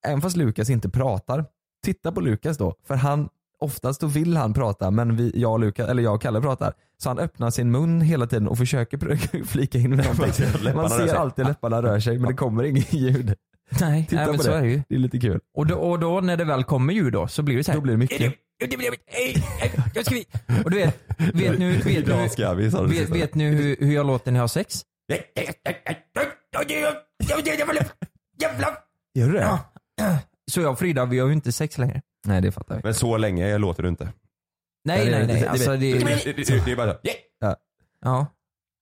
Speaker 10: även fast Lukas inte pratar, titta på Lukas då. För han, oftast då vill han prata men vi, jag, och Lukas, eller jag och Kalle pratar. Så han öppnar sin mun hela tiden och försöker pr- <laughs> flika in med någonting.
Speaker 9: Läpparna
Speaker 10: Man
Speaker 9: rör
Speaker 10: ser
Speaker 9: sig.
Speaker 10: alltid läpparna rör sig men det kommer inget ljud.
Speaker 7: Nej,
Speaker 10: Titta
Speaker 7: nej men
Speaker 10: på
Speaker 7: så
Speaker 10: det.
Speaker 7: är det ju.
Speaker 10: Det är lite kul.
Speaker 7: Och då, och då när det väl kommer ljud då så blir det så här.
Speaker 10: Då blir det mycket.
Speaker 7: Jag ska vi... Och du vet,
Speaker 10: <laughs>
Speaker 7: vet nu, vet
Speaker 9: Idag
Speaker 7: nu,
Speaker 9: ska vi, sa du
Speaker 7: vet,
Speaker 9: sist.
Speaker 7: vet nu hur, hur jag låter när jag har sex?
Speaker 10: Gör du det?
Speaker 7: Så jag och Frida, vi har ju inte sex längre.
Speaker 10: Nej det fattar vi.
Speaker 9: Men så länge jag låter du inte.
Speaker 7: Nej, nej, nej. Alltså, det,
Speaker 9: Det, det, det är bara så. Yeah.
Speaker 7: ja.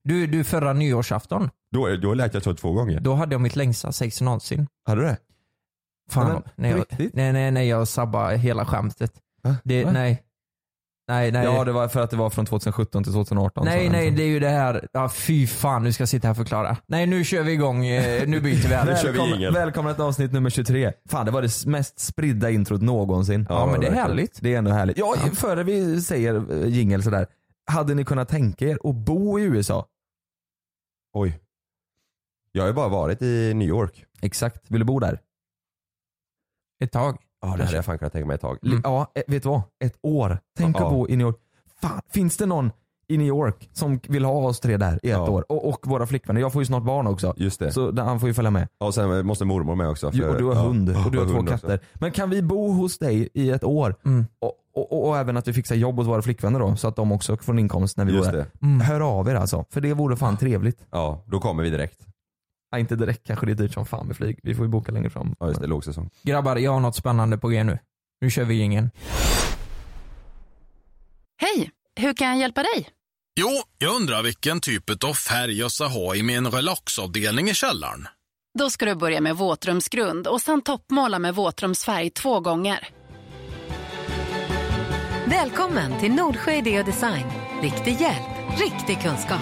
Speaker 7: du, du, förra nyårsafton,
Speaker 9: Då, då lät jag så två gånger.
Speaker 7: då hade jag mitt längsta sex någonsin.
Speaker 9: Hade du det?
Speaker 7: Fan,
Speaker 10: Nej, men,
Speaker 7: nej,
Speaker 10: på
Speaker 7: jag,
Speaker 10: riktigt?
Speaker 7: nej, nej, nej, jag sabbade hela skämtet.
Speaker 10: Va?
Speaker 7: Det,
Speaker 10: Va?
Speaker 7: nej. Nej, nej.
Speaker 10: Ja det var för att det var från 2017 till liksom. 2018.
Speaker 7: Nej,
Speaker 10: så-
Speaker 7: nej, det är ju det här. Ja, fy fan, nu ska jag sitta här och förklara. Nej, nu kör vi igång. eh, Nu byter vi här.
Speaker 9: kör vi
Speaker 10: Välkomna,
Speaker 9: jingel.
Speaker 10: välkomna till avsnitt nummer 23. Fan det var det mest spridda introt någonsin.
Speaker 9: Ja, men det är
Speaker 10: verkligen.
Speaker 7: härligt.
Speaker 10: Det är ändå härligt. Ja, före vi säger eh, jingel sådär. Hade ni kunnat tänka er att bo i USA?
Speaker 9: Oj. Jag har ju bara varit i New York.
Speaker 10: Exakt. Vill du bo där?
Speaker 7: Ett tag.
Speaker 9: Ja, det hade jag fan kunnat tänka mig ett tag.
Speaker 10: Li- Ja, eh, vet du vad? Ett år. Tänk
Speaker 9: Mm. Ja.
Speaker 10: att bo i New York. Fan, finns det någon i New York som vill ha oss tre där i ett
Speaker 9: Ja.
Speaker 10: år? Och, och våra flickvänner. Jag får ju snart barn också.
Speaker 9: Just det.
Speaker 10: Så han får ju följa med.
Speaker 9: Ja, Och sen måste mormor med också.
Speaker 10: Jo,
Speaker 9: för-
Speaker 10: och du har
Speaker 9: ja.
Speaker 10: hund och du
Speaker 9: Ja,
Speaker 10: har två
Speaker 9: hund också.
Speaker 10: katter. Men kan vi bo hos dig i ett år?
Speaker 7: Mm.
Speaker 10: Och, och, och även att vi fixar jobb åt våra flickvänner då så att de också får en inkomst när vi
Speaker 9: Just
Speaker 10: bor där.
Speaker 9: det.
Speaker 10: Hör av er alltså, för det vore fan trevligt.
Speaker 9: Ja, då kommer vi direkt.
Speaker 10: Ja, inte direkt kanske, det är dyrt som fan med flyg. Vi får ju boka längre fram.
Speaker 9: Ja, just det. Lågsäsong.
Speaker 7: Grabbar, jag har något spännande på g nu. Nu kör vi ingen.
Speaker 3: Hej! Hur kan jag hjälpa dig?
Speaker 11: Jo, jag undrar vilken typ av färg jag ska ha i min relaxavdelning i källaren.
Speaker 3: Då ska du börja med våtrumsgrund och sen toppmåla med våtrumsfärg två gånger.
Speaker 4: Välkommen till Nordsjö Idé och Design. Riktig hjälp, riktig kunskap.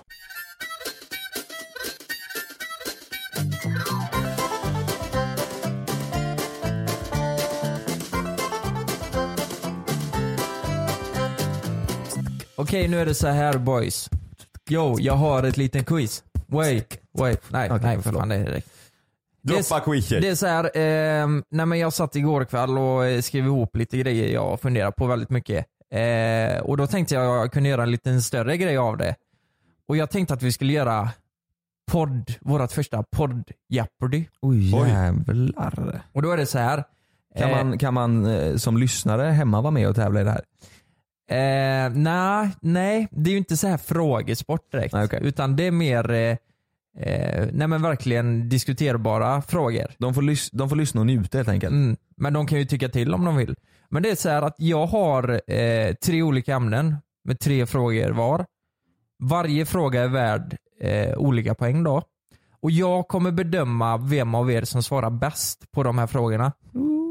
Speaker 7: Okej, nu är det så här boys. Yo, jag har ett litet quiz. Wait, wait. Nej, nej för fan det är direkt. Det är,
Speaker 9: Droppa quichet.
Speaker 7: det är så här, ehm, nej men jag satt igår kväll och eh, skrev ihop lite grejer jag funderar på väldigt mycket. Eh, och då tänkte jag att jag kunde göra en liten större grej av det. Och jag tänkte att vi skulle göra podd, vårt första podd Jeopardy.
Speaker 10: Oj jävlar.
Speaker 7: Och då är det så här.
Speaker 10: Kan man, kan man eh, som lyssnare hemma vara med och tävla i det här?
Speaker 7: Eh, nej, nej, det är ju inte så här frågesport direkt. Utan det är mer eh, eh, nej men verkligen diskuterbara frågor.
Speaker 10: De får, lys- de får lyssna och njuta helt enkelt.
Speaker 7: Mm, men de kan ju tycka till om de vill. Men det är så här att jag har eh, tre olika ämnen med tre frågor var. Varje fråga är värd eh, olika poäng då. Och jag kommer bedöma vem av er som svarar bäst på de här frågorna.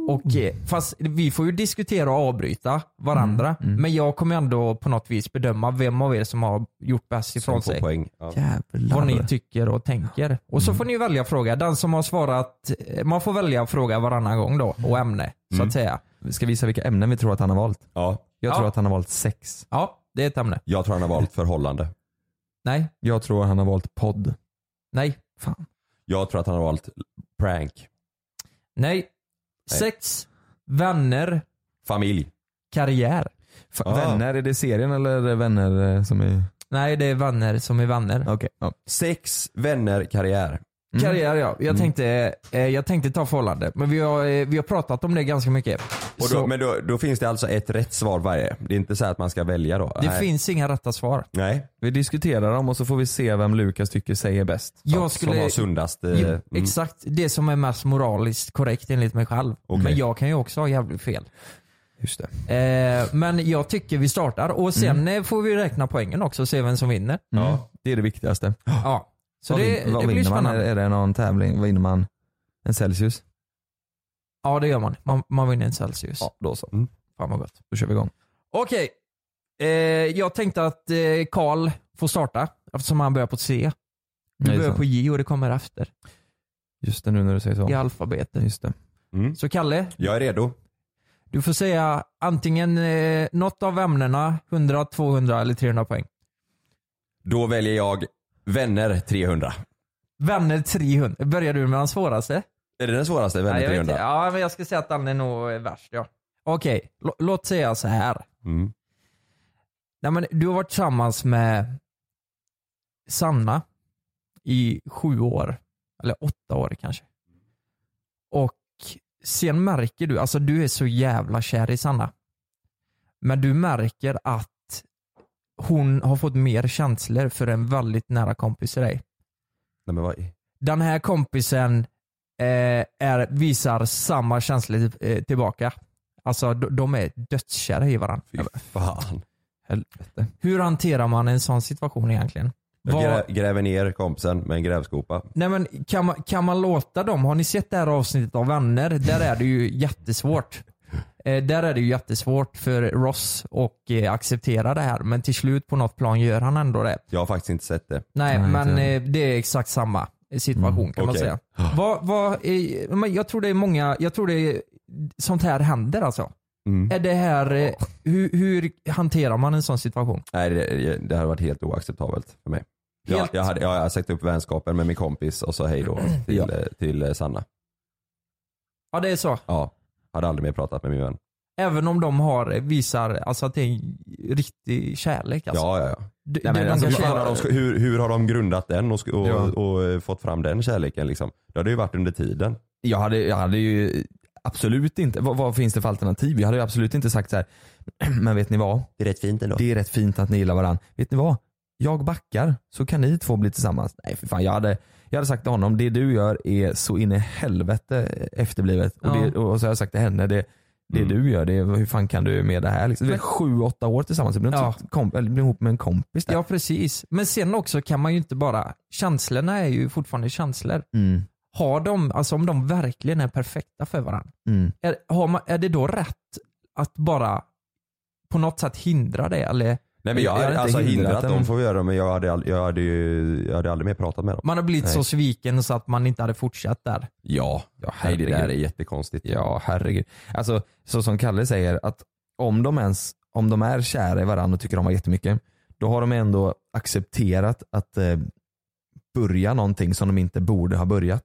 Speaker 7: Och, eh, fast vi får ju diskutera och avbryta varandra. Men jag kommer ändå på något vis bedöma vem av er som har gjort bäst
Speaker 10: Typ
Speaker 7: ifrån
Speaker 9: får
Speaker 7: sig.
Speaker 9: poäng. Ja.
Speaker 10: Jävlar. Mm.
Speaker 7: Vad ni tycker och tänker. Och så får ni välja fråga. Den som har svarat, man får välja fråga varannan gång då och ämne så att säga.
Speaker 10: Vi Mm. ska visa vilka ämnen vi tror att han har valt.
Speaker 9: Ja.
Speaker 10: Jag
Speaker 7: Ja.
Speaker 10: tror att han har valt sex.
Speaker 7: Ja, det är ett ämne.
Speaker 9: Jag tror han har valt förhållande.
Speaker 7: Nej,
Speaker 10: Jag tror han har valt podd.
Speaker 7: nej,
Speaker 9: Jag tror att han har valt prank.
Speaker 7: nej. Sex, vänner,
Speaker 9: Familj.
Speaker 7: karriär.
Speaker 10: F-
Speaker 9: Ah.
Speaker 10: Vänner, är det serien eller är det vänner eh, som är...
Speaker 7: Nej, det är vänner som är vänner.
Speaker 10: Okej. ja.
Speaker 9: Sex, vänner, karriär.
Speaker 10: Mm.
Speaker 7: Karriär ja. Jag tänkte, eh, jag tänkte ta förhållande. Men vi har, eh, vi har pratat om det ganska mycket.
Speaker 9: Och
Speaker 7: Så
Speaker 9: då, men då, då finns det alltså ett rätt svar varje. Det är inte så här att man ska välja då.
Speaker 7: det
Speaker 9: Nej.
Speaker 7: finns inga rätta svar.
Speaker 9: Nej.
Speaker 10: Vi diskuterar dem och så får vi se vem Lukas tycker säger bäst.
Speaker 7: Jag
Speaker 9: Som
Speaker 7: skulle,
Speaker 9: var sundast. eh,
Speaker 7: Jo,
Speaker 9: mm.
Speaker 7: Exakt det som är mest moraliskt korrekt enligt mig själv.
Speaker 9: Okej.
Speaker 7: Men jag kan ju också ha jävligt fel.
Speaker 10: Just
Speaker 7: Eh, men jag tycker vi startar och sen eh, får vi räkna poängen också och se vem som vinner.
Speaker 10: Mm. Ja, det är det viktigaste.
Speaker 7: Ja. Så
Speaker 10: vad
Speaker 7: det,
Speaker 10: vin- vad
Speaker 7: det blir
Speaker 10: vinner man? Är,
Speaker 7: spännande.
Speaker 10: är det någon tävling? Vad vinner man? En Celsius?
Speaker 7: Ja det gör man. Man, man vinner en Celsius.
Speaker 10: Ja, då så.
Speaker 9: Mm.
Speaker 7: Fan vad gott.
Speaker 10: Då kör vi igång.
Speaker 7: Okej. Eh, jag tänkte att eh, Karl får starta eftersom han börjar på C.
Speaker 10: Nej,
Speaker 7: Du
Speaker 10: det är
Speaker 7: börjar
Speaker 10: sant.
Speaker 7: på J och det kommer efter
Speaker 10: Just det, nu när du säger så.
Speaker 7: i alfabetet.
Speaker 10: Just det.
Speaker 9: Mm.
Speaker 7: Så Kalle,
Speaker 9: Jag är redo.
Speaker 7: du får säga antingen eh, något av ämnena, 100, 200 eller 300 poäng.
Speaker 9: Då väljer jag vänner 300.
Speaker 7: Vänner 300. Börjar du med den svåraste?
Speaker 9: Är det den svåraste? Vänner
Speaker 7: Nej, jag vet
Speaker 9: 300?
Speaker 7: inte. Ja, men jag skulle säga att den är nog eh, värst. Ja. Okej, lå- låt säga så här.
Speaker 9: Mm.
Speaker 7: Nej, men du har varit tillsammans med Sanna i sju år. Eller åtta år kanske. Och sen märker du, alltså du är så jävla kär i Sanna. Men du märker att hon har fått mer känslor för en väldigt nära kompis till dig
Speaker 9: Nej, men vad... i-
Speaker 7: den här kompisen eh, är, visar samma känslor eh, tillbaka. Alltså de, de är dödskära i varandra.
Speaker 9: Fy fan.
Speaker 10: Helvete.
Speaker 7: Hur hanterar man en sån situation egentligen?
Speaker 9: Jag
Speaker 7: <laughs> Vad-
Speaker 9: grä, gräver ner kompisen med en grävskopa.
Speaker 7: Nej, men kan, man, kan man låta dem, har ni sett det här avsnittet av Vänner? Där är det ju jättesvårt. Eh, där är det ju jättesvårt för Ross att eh, acceptera det här men till slut på något plan gör han ändå det.
Speaker 9: Jag har faktiskt inte sett det.
Speaker 7: Nej,
Speaker 10: Nej,
Speaker 7: men
Speaker 10: inte.
Speaker 7: eh, det är exakt samma situation kan man
Speaker 9: okej.
Speaker 7: säga. Vad, vad är, men jag tror det är många, jag tror det är, sånt här händer alltså.
Speaker 9: Mm.
Speaker 7: Är det här, eh, hur, hur hanterar man en sån situation?
Speaker 9: Nej, det, det hade varit helt oacceptabelt för mig. Jag,
Speaker 7: Helt-
Speaker 9: jag, hade, jag har sagt upp vänskapen med min kompis och så hej
Speaker 7: <clears throat>
Speaker 9: då till,
Speaker 10: Ja.
Speaker 9: eh, till eh, Sanna.
Speaker 7: Ja det är så.
Speaker 9: Ja, hade aldrig mer pratat med min vän.
Speaker 7: Även om de har, visar alltså att det är en riktig kärlek alltså.
Speaker 9: Ja, ja, ja.
Speaker 7: De,
Speaker 10: Nej, men
Speaker 7: de,
Speaker 10: alltså,
Speaker 9: Hur,
Speaker 7: de
Speaker 10: vi
Speaker 7: kanske
Speaker 9: fan
Speaker 10: känner-
Speaker 9: har de, sk- hur, hur har de grundat den och, sk- och,
Speaker 10: Ja.
Speaker 9: och, eh, fått fram den kärleken? Liksom? Det hade ju varit under tiden.
Speaker 10: Jag hade, jag hade ju absolut inte, vad, vad finns det för alternativ? Jag hade ju absolut inte sagt så här. <clears throat> men vet ni vad?
Speaker 9: Det är rätt fint ändå.
Speaker 10: Det är rätt fint att ni gillar varandra. Vet ni vad? Jag backar så kan ni två bli tillsammans. Nej för fan, jag hade, jag hade sagt till honom, det du gör är så in i helvete efterblivet. Och, det,
Speaker 7: Ja.
Speaker 10: och så har jag sagt till henne, det, det
Speaker 9: Mm.
Speaker 10: du gör, det, hur fan kan du med det här? Liksom, vi är sju, åtta år tillsammans, du blir,
Speaker 7: Ja.
Speaker 10: ja. kom, eller blir ihop med en kompis där.
Speaker 7: Ja precis. Men sen också kan man ju inte bara, känslorna är ju fortfarande känslor.
Speaker 10: Mm,
Speaker 7: Har de, alltså om de verkligen är perfekta för varandra.
Speaker 10: mm.
Speaker 7: Är, har man, är det då rätt att bara på något sätt hindra det? Eller
Speaker 9: Nej men jag,
Speaker 10: Jag hade
Speaker 9: hade
Speaker 10: inte
Speaker 9: alltså
Speaker 10: hindrat
Speaker 9: hindrat
Speaker 10: dem.
Speaker 9: dem från att göra det men jag hade, all- jag, hade ju, jag hade aldrig mer pratat med dem.
Speaker 7: man har blivit
Speaker 9: Nej.
Speaker 7: så sviken så att man inte hade fortsatt där?
Speaker 9: Ja, ja nej, det där är
Speaker 10: herregud.
Speaker 9: jättekonstigt.
Speaker 10: Ja herregud. Alltså så som Kalle säger, att om de ens, om de är kära i varandra och tycker om varandra jättemycket, då har de ändå accepterat att eh, börja någonting som de inte borde ha börjat.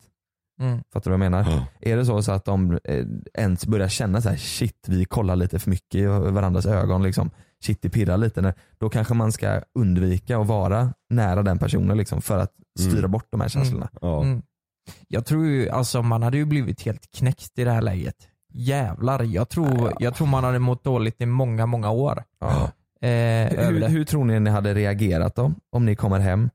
Speaker 7: Mm.
Speaker 10: Fattar du vad jag menar?
Speaker 9: Ja.
Speaker 10: Är det så, så att de eh, ens börjar känna så här, shit vi kollar lite för mycket i varandras ögon liksom.
Speaker 9: shit det pirrar lite. När, då kanske man ska undvika att vara nära den personen liksom, för att styra bort de här känslorna.
Speaker 7: Mm. Jag tror ju, alltså man hade ju blivit helt knäckt i det här läget. Jävlar, jag tror, jag tror man hade mått dåligt i många, många år. Eh,
Speaker 9: hur, hur, hur tror ni ni hade reagerat då? Om ni kommer hem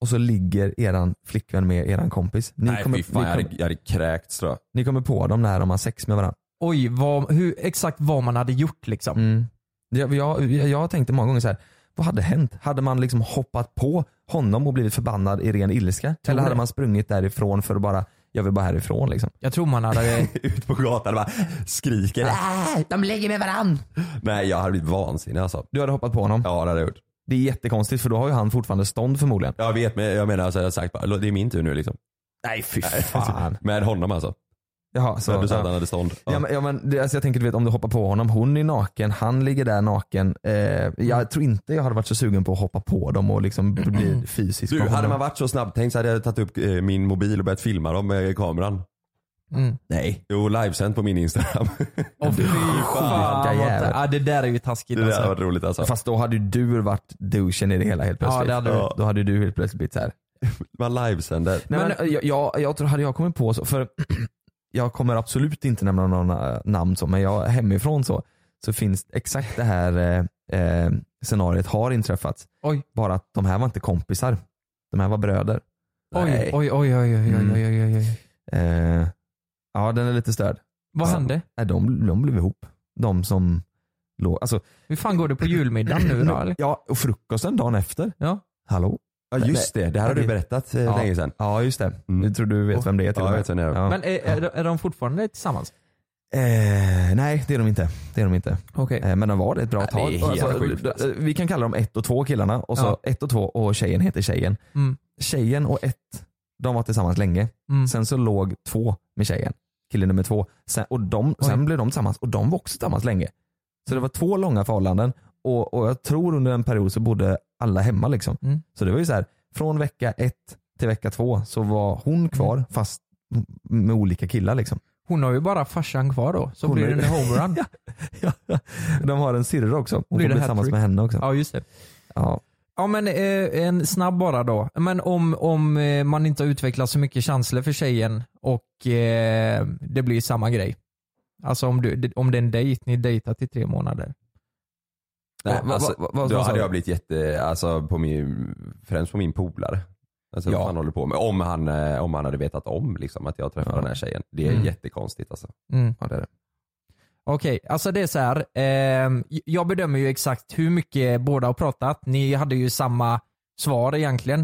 Speaker 9: och så ligger eran flickvän med eran kompis. Ni,
Speaker 12: Nej, fy fan, jag hade- jag hade kräkts tror jag.
Speaker 9: ni kommer på dem när de har sex med varandra.
Speaker 7: Oj, vad, hur, exakt vad man hade gjort liksom.
Speaker 9: Mm. Jag, jag, jag jag tänkte många gånger så här. vad hade hänt? Hade man liksom hoppat på honom och blivit förbannad i ren ilska?
Speaker 7: Tror
Speaker 9: Eller hade
Speaker 7: det.
Speaker 9: man sprungit därifrån för att bara, jag vill bara härifrån liksom?
Speaker 7: Jag tror
Speaker 9: <laughs>
Speaker 7: man hade...
Speaker 12: Ut på gatan och bara skriker.
Speaker 7: Äh, de ligger med varann.
Speaker 12: Ah. Nej jag hade blivit vansinnig alltså.
Speaker 9: Du hade hoppat på honom?
Speaker 12: Ja det hade jag gjort.
Speaker 9: Det är jättekonstigt för då har ju han fortfarande stånd förmodligen.
Speaker 12: Jag vet men jag menar så hade jag sagt bara, det är min tur nu liksom.
Speaker 9: Nej fy
Speaker 12: fan. Med honom alltså.
Speaker 9: Jaha, så,
Speaker 12: men du sa att
Speaker 9: ja.
Speaker 12: han hade stånd.
Speaker 9: Ja. men, ja, men det, alltså jag tänker du vet om du hoppar på honom, hon är naken, han ligger där naken. Eh,
Speaker 7: Mm.
Speaker 9: jag tror inte jag hade varit så sugen på att hoppa på dem och liksom bli fysisk.
Speaker 12: Du,
Speaker 9: med
Speaker 12: hade
Speaker 9: Typ honom.
Speaker 12: man varit så snabbtänkt så hade jag tagit upp eh, min mobil och börjat filma dem med kameran.
Speaker 7: Mm.
Speaker 9: Nej.
Speaker 12: Jo, livesänt på min
Speaker 9: <laughs>
Speaker 12: Instagram.
Speaker 7: Åh fy fan.
Speaker 9: vilka
Speaker 7: vad-
Speaker 9: jävlar.
Speaker 7: Ja, det där är ju taskigt
Speaker 12: Det där
Speaker 7: alltså.
Speaker 12: var roligt alltså.
Speaker 9: Fast då hade ju du varit douchen i det hela helt
Speaker 7: Ja,
Speaker 9: plötsligt.
Speaker 7: det hade du.
Speaker 9: Ja. Då hade ju du helt plötsligt blivit såhär.
Speaker 12: Man livesänder.
Speaker 9: Nej, men, eh, jag, jag, jag tror, hade jag kommit på så, för <clears throat> jag kommer absolut inte nämna några namn så, men jag, hemifrån så, så finns exakt det här eh, eh, scenariet har inträffat.
Speaker 7: Oj.
Speaker 9: Bara att de här var inte kompisar. De här var bröder.
Speaker 7: Oj,
Speaker 9: Nej.
Speaker 7: oj, oj, oj, oj, oj,
Speaker 9: Mm.
Speaker 7: oj, oj, oj.
Speaker 9: Eh, ja, den är lite störd.
Speaker 7: Vad
Speaker 9: Så-
Speaker 7: hände?
Speaker 9: Nej, de, de blev ihop. De som låg, alltså,
Speaker 7: Hur fan går det på julmiddagen
Speaker 9: <clears throat>
Speaker 7: nu då? Eller?
Speaker 9: ja, och frukosten dagen efter.
Speaker 7: Ja.
Speaker 9: Hallå?
Speaker 12: Ja just det, det här har du berättat eh,
Speaker 9: Ja.
Speaker 12: länge sedan.
Speaker 9: Ja just det.
Speaker 12: Mm.
Speaker 9: Nu tror du vet vem det är till
Speaker 12: Ja,
Speaker 9: och
Speaker 12: jag
Speaker 9: med.
Speaker 12: vet vem det är.
Speaker 9: Ja.
Speaker 7: Men är, är, de- är de fortfarande tillsammans?
Speaker 9: Eh, nej det är de inte. Det är de inte.
Speaker 7: Okej.
Speaker 9: Eh, men de var det ett bra
Speaker 12: Ja, det
Speaker 9: tag.
Speaker 12: är helt
Speaker 9: Alltså,
Speaker 12: sjukt.
Speaker 9: d- d- vi kan kalla dem ett och två killarna och så
Speaker 7: Ja.
Speaker 9: ett och två och tjejen heter tjejen.
Speaker 7: Mm.
Speaker 9: Tjejen och ett, de var tillsammans länge.
Speaker 7: Mm.
Speaker 9: Sen så låg två med tjejen, kille nummer två. Sen, och de,
Speaker 7: Oj.
Speaker 9: sen blev de tillsammans och de var också tillsammans länge. Så det var två långa förhållanden och, och jag tror under en period så bodde alla hemma liksom.
Speaker 7: Mm.
Speaker 9: Så det var ju så här, från vecka ett till vecka två så var hon kvar
Speaker 7: Mm.
Speaker 9: fast med olika killar liksom.
Speaker 7: Hon har ju bara farsan kvar då, så
Speaker 9: Hon
Speaker 7: blir
Speaker 9: har ju-
Speaker 7: det en
Speaker 9: <laughs>
Speaker 7: homerun. ja.
Speaker 9: De har en syrra också. Hon
Speaker 7: Blir
Speaker 9: får
Speaker 7: det
Speaker 9: bli tillsammans
Speaker 7: hattrick?
Speaker 9: med henne också.
Speaker 7: ja, Alltså, just det.
Speaker 9: Ja.
Speaker 7: Ja men eh, en snabb bara då. Men om, om eh, man inte har utvecklat så mycket känslor för tjejen och eh, det blir samma grej. Alltså om, du, om det är en dejt, ni dejtat i tre månader. Eh,
Speaker 12: Nej,
Speaker 9: Va- va-
Speaker 12: alltså,
Speaker 9: va- vad-
Speaker 12: då
Speaker 9: vad sa
Speaker 12: hade
Speaker 9: du?
Speaker 12: jag blivit jätte, alltså på min, främst på min polare. Alltså
Speaker 9: Ja.
Speaker 12: vad han håller på med. Om han, eh, om han hade vetat om liksom, att jag träffade
Speaker 9: Ja.
Speaker 12: den här tjejen. Det är
Speaker 7: Mm.
Speaker 12: jättekonstigt alltså.
Speaker 7: Mm.
Speaker 9: Ja, det är det.
Speaker 7: Okej, alltså det är så här. ehm, jag bedömer ju exakt hur mycket båda har pratat. Ni hade ju samma svar egentligen.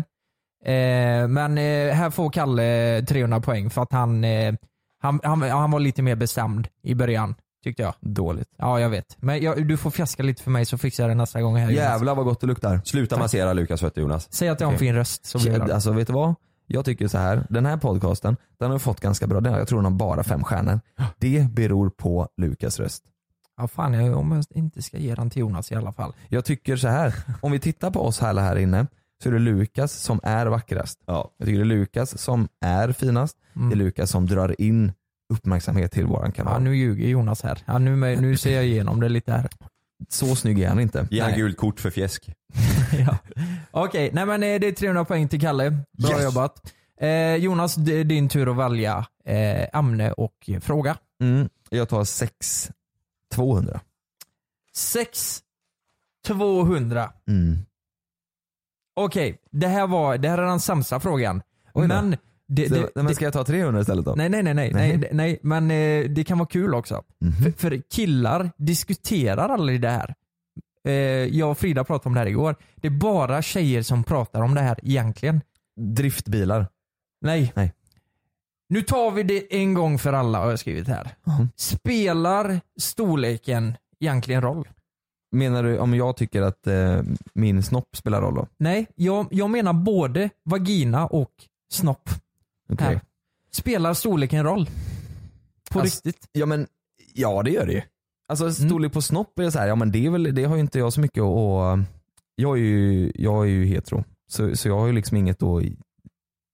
Speaker 7: Eh, men eh, här får Kalle 300 poäng för att han, eh, han, han, han var lite mer bestämd i början tyckte jag.
Speaker 9: Dåligt.
Speaker 7: Ja, jag vet. Men jag, du får fjäska lite för mig så fixar jag det nästa gång här. Jonas.
Speaker 9: Jävlar vad gott det luktar.
Speaker 12: Sluta massera Lukas fötter Jonas.
Speaker 7: Säg att jag har en
Speaker 9: Okej.
Speaker 7: fin röst så blir jag
Speaker 9: Jä-
Speaker 7: glad.
Speaker 9: Alltså vet du vad? Jag tycker så här. den här podcasten, den har fått ganska bra, den har- jag tror den har bara fem stjärnor. Det beror på Lukas röst.
Speaker 7: Ja, fan, jag, om jag inte ska ge den till Jonas i alla fall.
Speaker 9: Jag tycker så här. om vi tittar på oss alla här inne, så är det Lukas som är vackrast.
Speaker 12: Ja.
Speaker 9: Jag tycker det är Lukas som är finast.
Speaker 7: Mm.
Speaker 9: Det är Lukas som drar in uppmärksamhet till våran kanal.
Speaker 7: Ja, nu ljuger Jonas här. Ja, nu, nu ser jag igenom det lite här.
Speaker 9: Så snygg är han inte.
Speaker 12: Ge han
Speaker 9: Nej.
Speaker 12: gult kort för fjäsk.
Speaker 7: <laughs> ja. Okej, nej men eh, det är 300 poäng till Kalle. Bra
Speaker 12: Yes.
Speaker 7: jobbat. Eh, Jonas, det är din tur att välja eh, ämne och eh, fråga.
Speaker 9: Mm, jag tar 6 200.
Speaker 7: 6 200.
Speaker 9: Mm.
Speaker 7: Okej, det här var det här är den sämsta frågan.
Speaker 9: Oj då.
Speaker 7: Men det,
Speaker 9: Så,
Speaker 7: det,
Speaker 9: nej, men ska jag ta 300 istället då?
Speaker 7: Nej, nej, nej, nej,
Speaker 9: Nej.
Speaker 7: nej, nej, nej. men eh, det kan vara kul också.
Speaker 9: Mhm.
Speaker 7: För, för killar diskuterar aldrig det här. Eh, jag och Frida pratade om det här igår. Det är bara tjejer som pratar om det här egentligen.
Speaker 9: Driftbilar.
Speaker 7: Nej.
Speaker 9: Nej.
Speaker 7: Nu tar vi det en gång för alla har jag skrivit här.
Speaker 9: Mhm.
Speaker 7: Spelar storleken egentligen roll?
Speaker 9: Menar du om jag tycker att eh, min snopp spelar roll då?
Speaker 7: Nej, jag, jag menar både vagina och snopp.
Speaker 9: Okej.
Speaker 7: Här. Spelar storleken roll? På
Speaker 9: Alltså,
Speaker 7: riktigt?
Speaker 9: Ja men, ja det gör det ju.
Speaker 7: Mm.
Speaker 9: Alltså storlek på snopp är så här, ja men det, är väl, det har ju inte jag så mycket att- att... Jag är ju, jag är ju hetero. Så, så jag har ju liksom inget att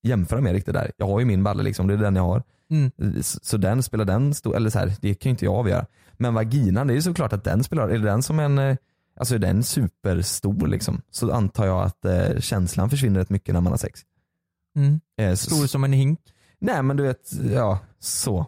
Speaker 9: jämföra med riktigt där. Jag har ju min balle liksom, det är den jag har.
Speaker 7: Mm.
Speaker 9: Så, så den spelar den stor, eller så här, det kan ju inte jag avgöra. Men vaginan, det är ju såklart att den spelar, är det den som en, eh, alltså den är superstor liksom. Så antar jag att eh, känslan försvinner rätt mycket när man har sex.
Speaker 7: Mm.
Speaker 9: Eh, så-
Speaker 7: Stor som en hink.
Speaker 9: Nej men du vet, ja så.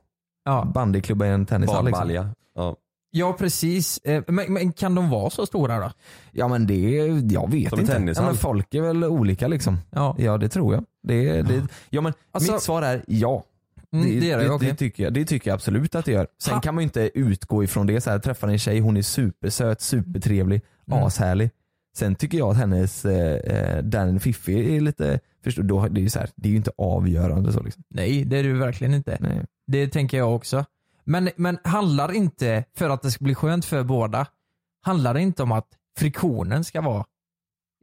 Speaker 9: Bandyklubba i en tennishall liksom.
Speaker 13: Badbalja. Ja.
Speaker 7: Ja precis. Eh, Men, men kan de vara så stora då?
Speaker 9: Ja men det, jag vet
Speaker 13: Som en
Speaker 9: inte. Ja,
Speaker 13: tennishall.
Speaker 9: men folk är väl olika liksom.
Speaker 7: Ja,
Speaker 9: det tror jag. Det, det, ja, men
Speaker 7: Alltså-
Speaker 9: mitt svar är ja.
Speaker 7: Mm, det gör det,
Speaker 9: det,
Speaker 7: okej.
Speaker 9: tycker jag, det tycker jag absolut att det gör. Sen
Speaker 7: Ha.
Speaker 9: kan man ju inte utgå ifrån det. Så här, träffar en tjej, hon är supersöt, supertrevlig,
Speaker 7: Mm.
Speaker 9: ashärlig. Sen tycker jag att hennes, eh, eh, den fiffi är lite, förstår, då, det, är ju så här, det är ju inte avgörande så liksom.
Speaker 7: Nej, det är du verkligen inte.
Speaker 9: Nej.
Speaker 7: Det tänker jag också. Men, men handlar inte, för att det ska bli skönt för båda, handlar det inte om att friktionen ska vara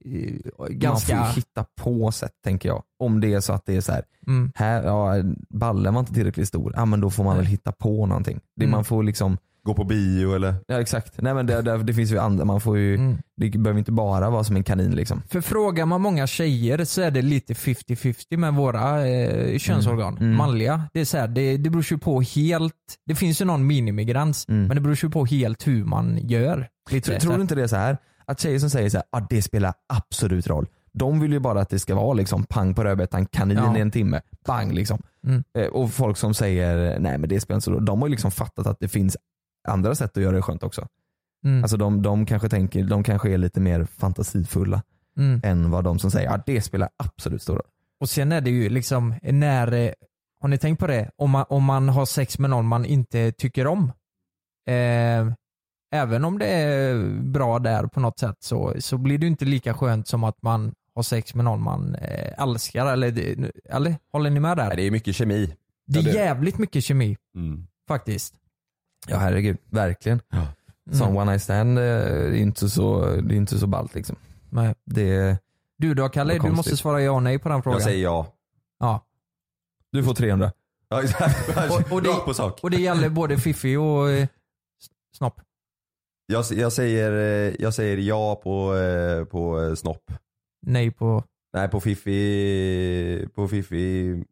Speaker 7: eh, ganska...
Speaker 9: Man får ju hitta på sätt tänker jag. Om det är så att det är så här,
Speaker 7: Mm.
Speaker 9: här ja, ballen var inte tillräckligt stor, ja, men då får man väl hitta på någonting. Det,
Speaker 7: Mm.
Speaker 9: Man får liksom
Speaker 13: Gå på bio eller?
Speaker 9: Ja exakt. Nej men det, det, det finns ju andra, man får ju,
Speaker 7: Mm.
Speaker 9: det behöver inte bara vara som en kanin liksom.
Speaker 7: För frågar man många tjejer så är det lite 50-50 med våra eh, könsorgan.
Speaker 9: Mm. Mm.
Speaker 7: Manliga. Det, är så här, det, det beror ju på helt, det finns ju någon minimigräns, men det beror ju på helt hur man gör. Lite
Speaker 9: Mm. Tror,
Speaker 7: så
Speaker 9: tror
Speaker 7: här.
Speaker 9: du inte det är så här att tjejer som säger så här, ah, det spelar absolut roll. De vill ju bara att det ska vara liksom pang på rödbetan, kanin
Speaker 7: Ja.
Speaker 9: i en timme, bang liksom.
Speaker 7: Mm.
Speaker 9: Eh, och folk som säger nej men det spelar inte så roll. De har ju liksom fattat att det finns andra sätt att göra det skönt också.
Speaker 7: Mm.
Speaker 9: Alltså de, de kanske tänker, de kanske är lite mer fantasifulla
Speaker 7: Mm.
Speaker 9: än vad de som säger att ah, det spelar absolut stor roll.
Speaker 7: Och sen är det ju liksom när, eh, har ni tänkt på det? Om man, om man har sex med någon man inte tycker om. Eh, även om det är bra där på något sätt så, så blir det ju inte lika skönt som att man har sex med någon man eh, älskar. Eller, det- eller håller ni med
Speaker 13: Nej,
Speaker 7: där?
Speaker 13: det är mycket kemi. Ja,
Speaker 7: Det är
Speaker 13: det-
Speaker 7: jävligt mycket kemi
Speaker 13: Mm.
Speaker 7: faktiskt.
Speaker 9: Ja herregud, verkligen.
Speaker 13: Ja.
Speaker 9: Som
Speaker 7: Mm.
Speaker 9: one night stand eh, är inte så, det är inte så ballt liksom.
Speaker 7: Nej.
Speaker 9: Det,
Speaker 7: Du då Kalle,
Speaker 9: Vad
Speaker 7: du måste
Speaker 9: konstigt.
Speaker 7: svara ja och nej på den frågan.
Speaker 13: Jag säger ja.
Speaker 7: ja.
Speaker 9: du får 300.
Speaker 13: ja exakt.
Speaker 7: <laughs> Och- och det-
Speaker 13: Rakt på sak.
Speaker 7: Och det gäller både Fiffi och eh, s- Snopp.
Speaker 13: Jag, jag, säger, eh, jag säger ja på, eh, på eh, snopp.
Speaker 7: Nej på...
Speaker 13: Nej på fiffi, på fiffi.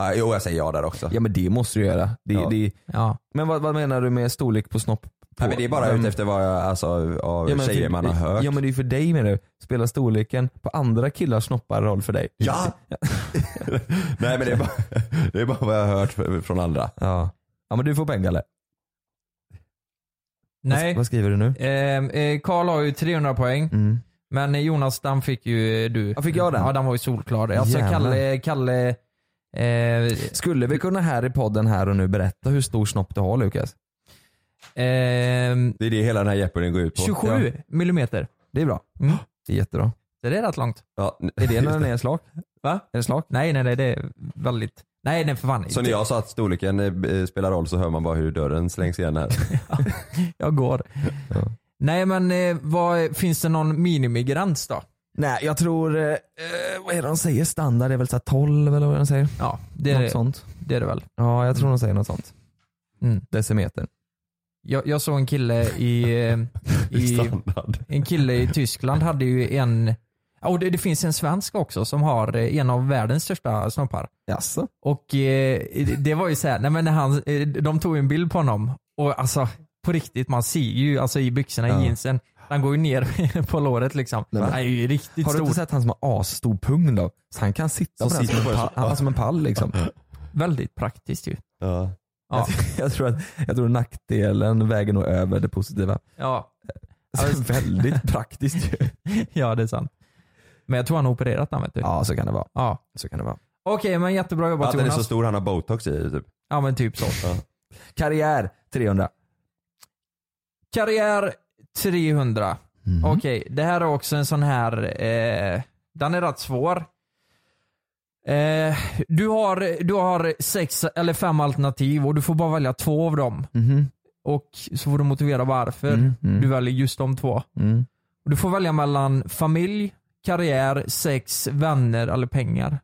Speaker 13: Ah, jo jag säger ja där också.
Speaker 9: Ja men det måste du göra. Det,
Speaker 13: Ja.
Speaker 9: det,
Speaker 7: Ja.
Speaker 9: men vad, vad menar du med storlek på snopp? På,
Speaker 13: Nej, men det är bara
Speaker 9: vem-
Speaker 13: ute efter vad jag, alltså, av
Speaker 9: men
Speaker 13: tjejer
Speaker 9: för-
Speaker 13: man har hört.
Speaker 9: Ja men det är ju för dig menar du. Spelar storleken på andra killars snoppar roll för dig?
Speaker 13: Ja! <laughs> Nej men det är, bara, det är bara vad jag har hört f- från andra.
Speaker 9: Ja, ja men du får pengar eller?
Speaker 7: Nej.
Speaker 9: Vad, vad skriver du nu?
Speaker 7: Ehm, eh, Karl har ju 300 poäng.
Speaker 9: Mm.
Speaker 7: Men eh, Jonas, den fick ju eh, du.
Speaker 9: Ja, fick jag den?
Speaker 7: Ja, den var ju solklar. Alltså
Speaker 9: Jävlar.
Speaker 7: Kalle, Kalle... Eh,
Speaker 9: Skulle vi kunna här i podden här och nu berätta hur stor snopp du har Lukas?
Speaker 7: ehm,
Speaker 13: Det är det hela den här Jeopardy går ut på.
Speaker 7: 27 millimeter.
Speaker 9: Det är bra.
Speaker 7: Mm.
Speaker 9: Det är jättebra.
Speaker 7: Så det är rätt långt.
Speaker 13: Ja, n-
Speaker 9: Är det när den är slak?
Speaker 7: Va?
Speaker 9: Är det slak?
Speaker 7: Nej, nej, nej. Det är väldigt... Nej, nej för fan.
Speaker 13: så när jag sa att storleken eh, spelar roll så hör man bara hur dörren slängs igen här.
Speaker 7: Jag går.
Speaker 9: Ja.
Speaker 7: Nej, men eh, vad, finns det någon minimigräns då?
Speaker 9: <laughs> Nej jag tror, eh, eh, vad är det de säger? Standard är väl så här 12 eller vad de säger?
Speaker 7: Ja, det,
Speaker 9: Något
Speaker 7: är-
Speaker 9: sånt.
Speaker 7: det är det väl.
Speaker 9: Ja jag tror de säger något sånt.
Speaker 7: Mm.
Speaker 9: Decimeter.
Speaker 7: Jag, jag såg en kille
Speaker 9: <laughs>
Speaker 7: i... eh, i
Speaker 13: Standard.
Speaker 7: En kille i Tyskland hade ju en, ja, och det, det finns en svensk också som har eh, en av världens största snoppar.
Speaker 9: Jaså?
Speaker 7: Och eh, det- det var ju så här, nej men när han, eh, de tog ju en bild på honom och alltså på riktigt man ser ju alltså i byxorna,
Speaker 9: Ja.
Speaker 7: i jeansen, han går ju ner <laughs> på låret liksom.
Speaker 9: Nej, men-
Speaker 7: han är ju riktigt
Speaker 9: Har du
Speaker 7: stor.
Speaker 9: inte sett han som har asstor pung då? Så han kan
Speaker 13: Som
Speaker 9: sitta på den
Speaker 13: sitter
Speaker 9: som en,
Speaker 13: på-
Speaker 9: pall, han var som en pall liksom.
Speaker 7: Väldigt praktiskt ju.
Speaker 13: Ja.
Speaker 7: Ja.
Speaker 9: <laughs> Jag tror att jag tror nackdelen väger nog över det positiva.
Speaker 7: Ja.
Speaker 9: Så <laughs> väldigt praktiskt <laughs> ju.
Speaker 7: ja, det är sant. Men jag tror han har opererat den vet du.
Speaker 9: Ja så kan det vara.
Speaker 7: Ja.
Speaker 9: Så kan det vara.
Speaker 7: Okej, men jättebra jobbat
Speaker 13: Att den är
Speaker 7: Jonas.
Speaker 13: så stor han har botox i typ.
Speaker 7: Ja men typ så.
Speaker 9: Karriär 300.
Speaker 7: Karriär 300.
Speaker 9: Mm.
Speaker 7: Okej, det här är också en sån här, eh, den är rätt svår. Eh, du, har, du har sex eller fem alternativ och du får bara välja två av dem.
Speaker 9: Mhm.
Speaker 7: Och så får du motivera varför
Speaker 9: Mm, mm.
Speaker 7: du väljer just de två.
Speaker 9: Mm.
Speaker 7: Och du får välja mellan familj, karriär, sex, vänner eller pengar.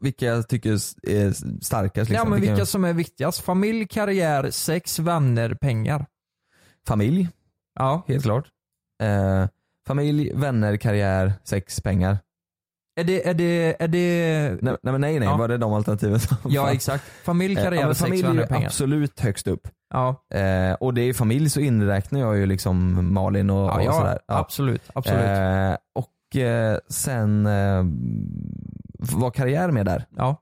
Speaker 9: Vilka jag tycker s- är starkast liksom.
Speaker 7: ja men vilka
Speaker 9: Vilka-
Speaker 7: som är viktigast. Familj, karriär, sex, vänner, pengar.
Speaker 9: Familj,
Speaker 7: Ja,
Speaker 9: helt klart. Eh, familj, vänner, karriär, sex, pengar.
Speaker 7: Är det, är det, är det...
Speaker 9: Nej, nej, men nej, nej.
Speaker 7: Ja.
Speaker 9: var det de alternativen som
Speaker 7: Ja,
Speaker 9: fanns?
Speaker 7: exakt. Familj,
Speaker 9: Eh,
Speaker 7: karriär,
Speaker 9: ja, men
Speaker 7: sex och
Speaker 9: familj är
Speaker 7: andra
Speaker 9: ju
Speaker 7: pengar.
Speaker 9: absolut högst upp.
Speaker 7: Ja.
Speaker 9: Eh, och det är ju familj så inräknar jag ju liksom Malin och,
Speaker 7: Ja,
Speaker 9: och
Speaker 7: ja,
Speaker 9: sådär.
Speaker 7: absolut, absolut.
Speaker 9: Eh, och eh, sen eh, var karriär med där?
Speaker 7: Ja.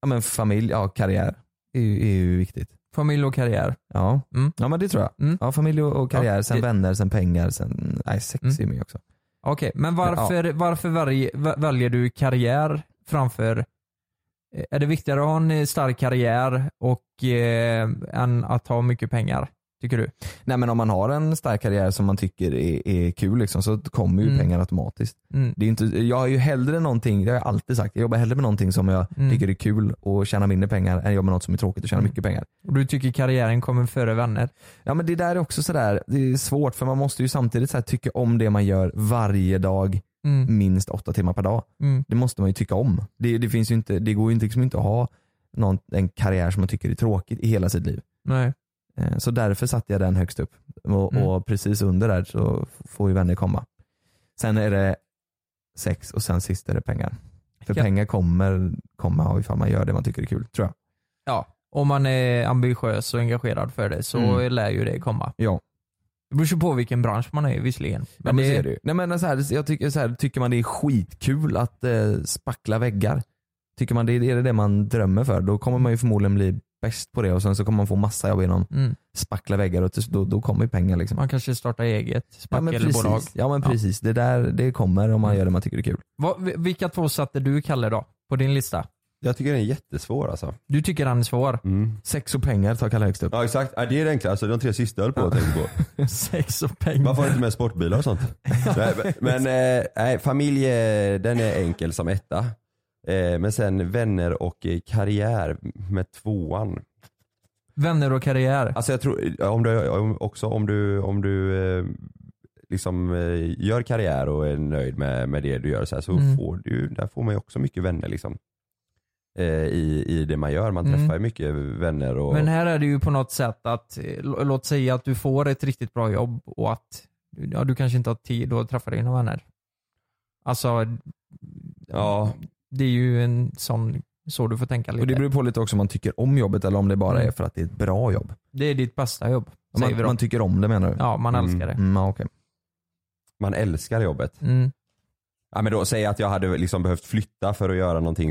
Speaker 9: Ja men familj, ja karriär är ju, är ju viktigt.
Speaker 7: Familj och karriär.
Speaker 9: Ja,
Speaker 7: Mm.
Speaker 9: ja men det tror jag. Ja, familj och och karriär, sen
Speaker 7: det- Mm.
Speaker 9: vänner, sen pengar, sen nej, sex är med också.
Speaker 7: Okej, men varför, varför välj- vä- väljer du karriär framför... eh, Är det viktigare att ha en stark karriär och, eh, än att ha mycket pengar? Tycker du?
Speaker 9: Nej men om man har en stark karriär som man tycker är, är kul liksom, så kommer ju
Speaker 7: Mm.
Speaker 9: pengar automatiskt.
Speaker 7: Mm.
Speaker 9: Det är ju inte, jag har ju hellre någonting, det har jag alltid sagt, jag jobbar hellre med någonting som jag
Speaker 7: Mm.
Speaker 9: tycker är kul och tjänar mindre pengar än jag jobbar med något som är tråkigt och tjänar mycket pengar.
Speaker 7: Och du tycker karriären kommer före vänner?
Speaker 9: Ja men det där är också sådär, det är svårt för man måste ju samtidigt så här, tycka om det man gör varje dag
Speaker 7: Mm.
Speaker 9: minst åtta timmar per dag.
Speaker 7: Mm.
Speaker 9: Det måste man ju tycka om. Det, det, finns ju inte, det går ju inte, liksom inte att ha någon, en karriär som man tycker är tråkigt i hela sitt liv.
Speaker 7: Nej.
Speaker 9: Eh, Så därför satte jag den högst upp. Och,
Speaker 7: Mm.
Speaker 9: och precis under där så f- får ju vänner komma. Sen är det sex och sen sist är det pengar. För
Speaker 7: Ja.
Speaker 9: pengar kommer komma ifall man gör det man tycker är kul, tror jag.
Speaker 7: Ja, om man är ambitiös och engagerad för det så
Speaker 9: Mm.
Speaker 7: lär ju det komma.
Speaker 9: Ja.
Speaker 7: Det beror ju på vilken bransch man är i visserligen.
Speaker 9: Men, ja, men så är det ju. Nej, men så här, jag tycker, så här, tycker man det är skitkul att eh, spackla väggar, tycker man det är det det man drömmer för, då kommer man ju förmodligen bli bäst på det och sen så kommer man få massa jobb inom
Speaker 7: Mm.
Speaker 9: spackla väggar och till- då, då kommer ju pengar. Liksom.
Speaker 7: Man kanske startar eget
Speaker 9: Ja men
Speaker 7: spackelbolag.
Speaker 9: precis, ja, Mm. men precis. Det, där, det kommer om man gör det man tycker är kul.
Speaker 7: Vad- vi- vilka två satte du Kalle då? På din lista?
Speaker 14: Jag tycker den är jättesvår alltså.
Speaker 7: Du tycker den är svår?
Speaker 9: Sex och pengar tar Kalle högst upp.
Speaker 14: Ja exakt, ja, det är det enklaste. Alltså, de tre sista jag höll på att tänka på.
Speaker 7: <laughs> Sex och pengar.
Speaker 14: Varför har du inte med sportbilar
Speaker 7: <laughs>
Speaker 14: och sånt? nej, men eh, nej, familj, eh, den är enkel som etta. Eh, men sen vänner och eh, karriär med tvåan.
Speaker 7: Vänner och karriär.
Speaker 14: Alltså jag tror, eh, om du, om, också om du, om du eh, liksom eh, gör karriär och är nöjd med, med det du gör så, här, så
Speaker 7: Mm.
Speaker 14: får du, där får man ju också mycket vänner liksom. Eh, I, I det man gör, man
Speaker 7: Mm.
Speaker 14: träffar ju mycket vänner och
Speaker 7: Men här är det ju på något sätt att, eh, lå- låt säga att du får ett riktigt bra jobb och att ja, du kanske inte har tid att träffa dina vänner. Alltså,
Speaker 14: ja.
Speaker 7: det är ju en sån, så du får tänka lite.
Speaker 9: Och det beror på lite också om man tycker om jobbet eller om det bara
Speaker 7: Mm.
Speaker 9: är för att det är ett bra jobb.
Speaker 7: Det är ditt bästa jobb, säger
Speaker 9: Man,
Speaker 7: vi då.
Speaker 9: man tycker om det menar du?
Speaker 7: Ja, man älskar det.
Speaker 9: Mm, ja, okej.
Speaker 14: man älskar jobbet.
Speaker 7: Mm.
Speaker 14: Ja, men då, säg att jag hade liksom behövt flytta för att göra någonting.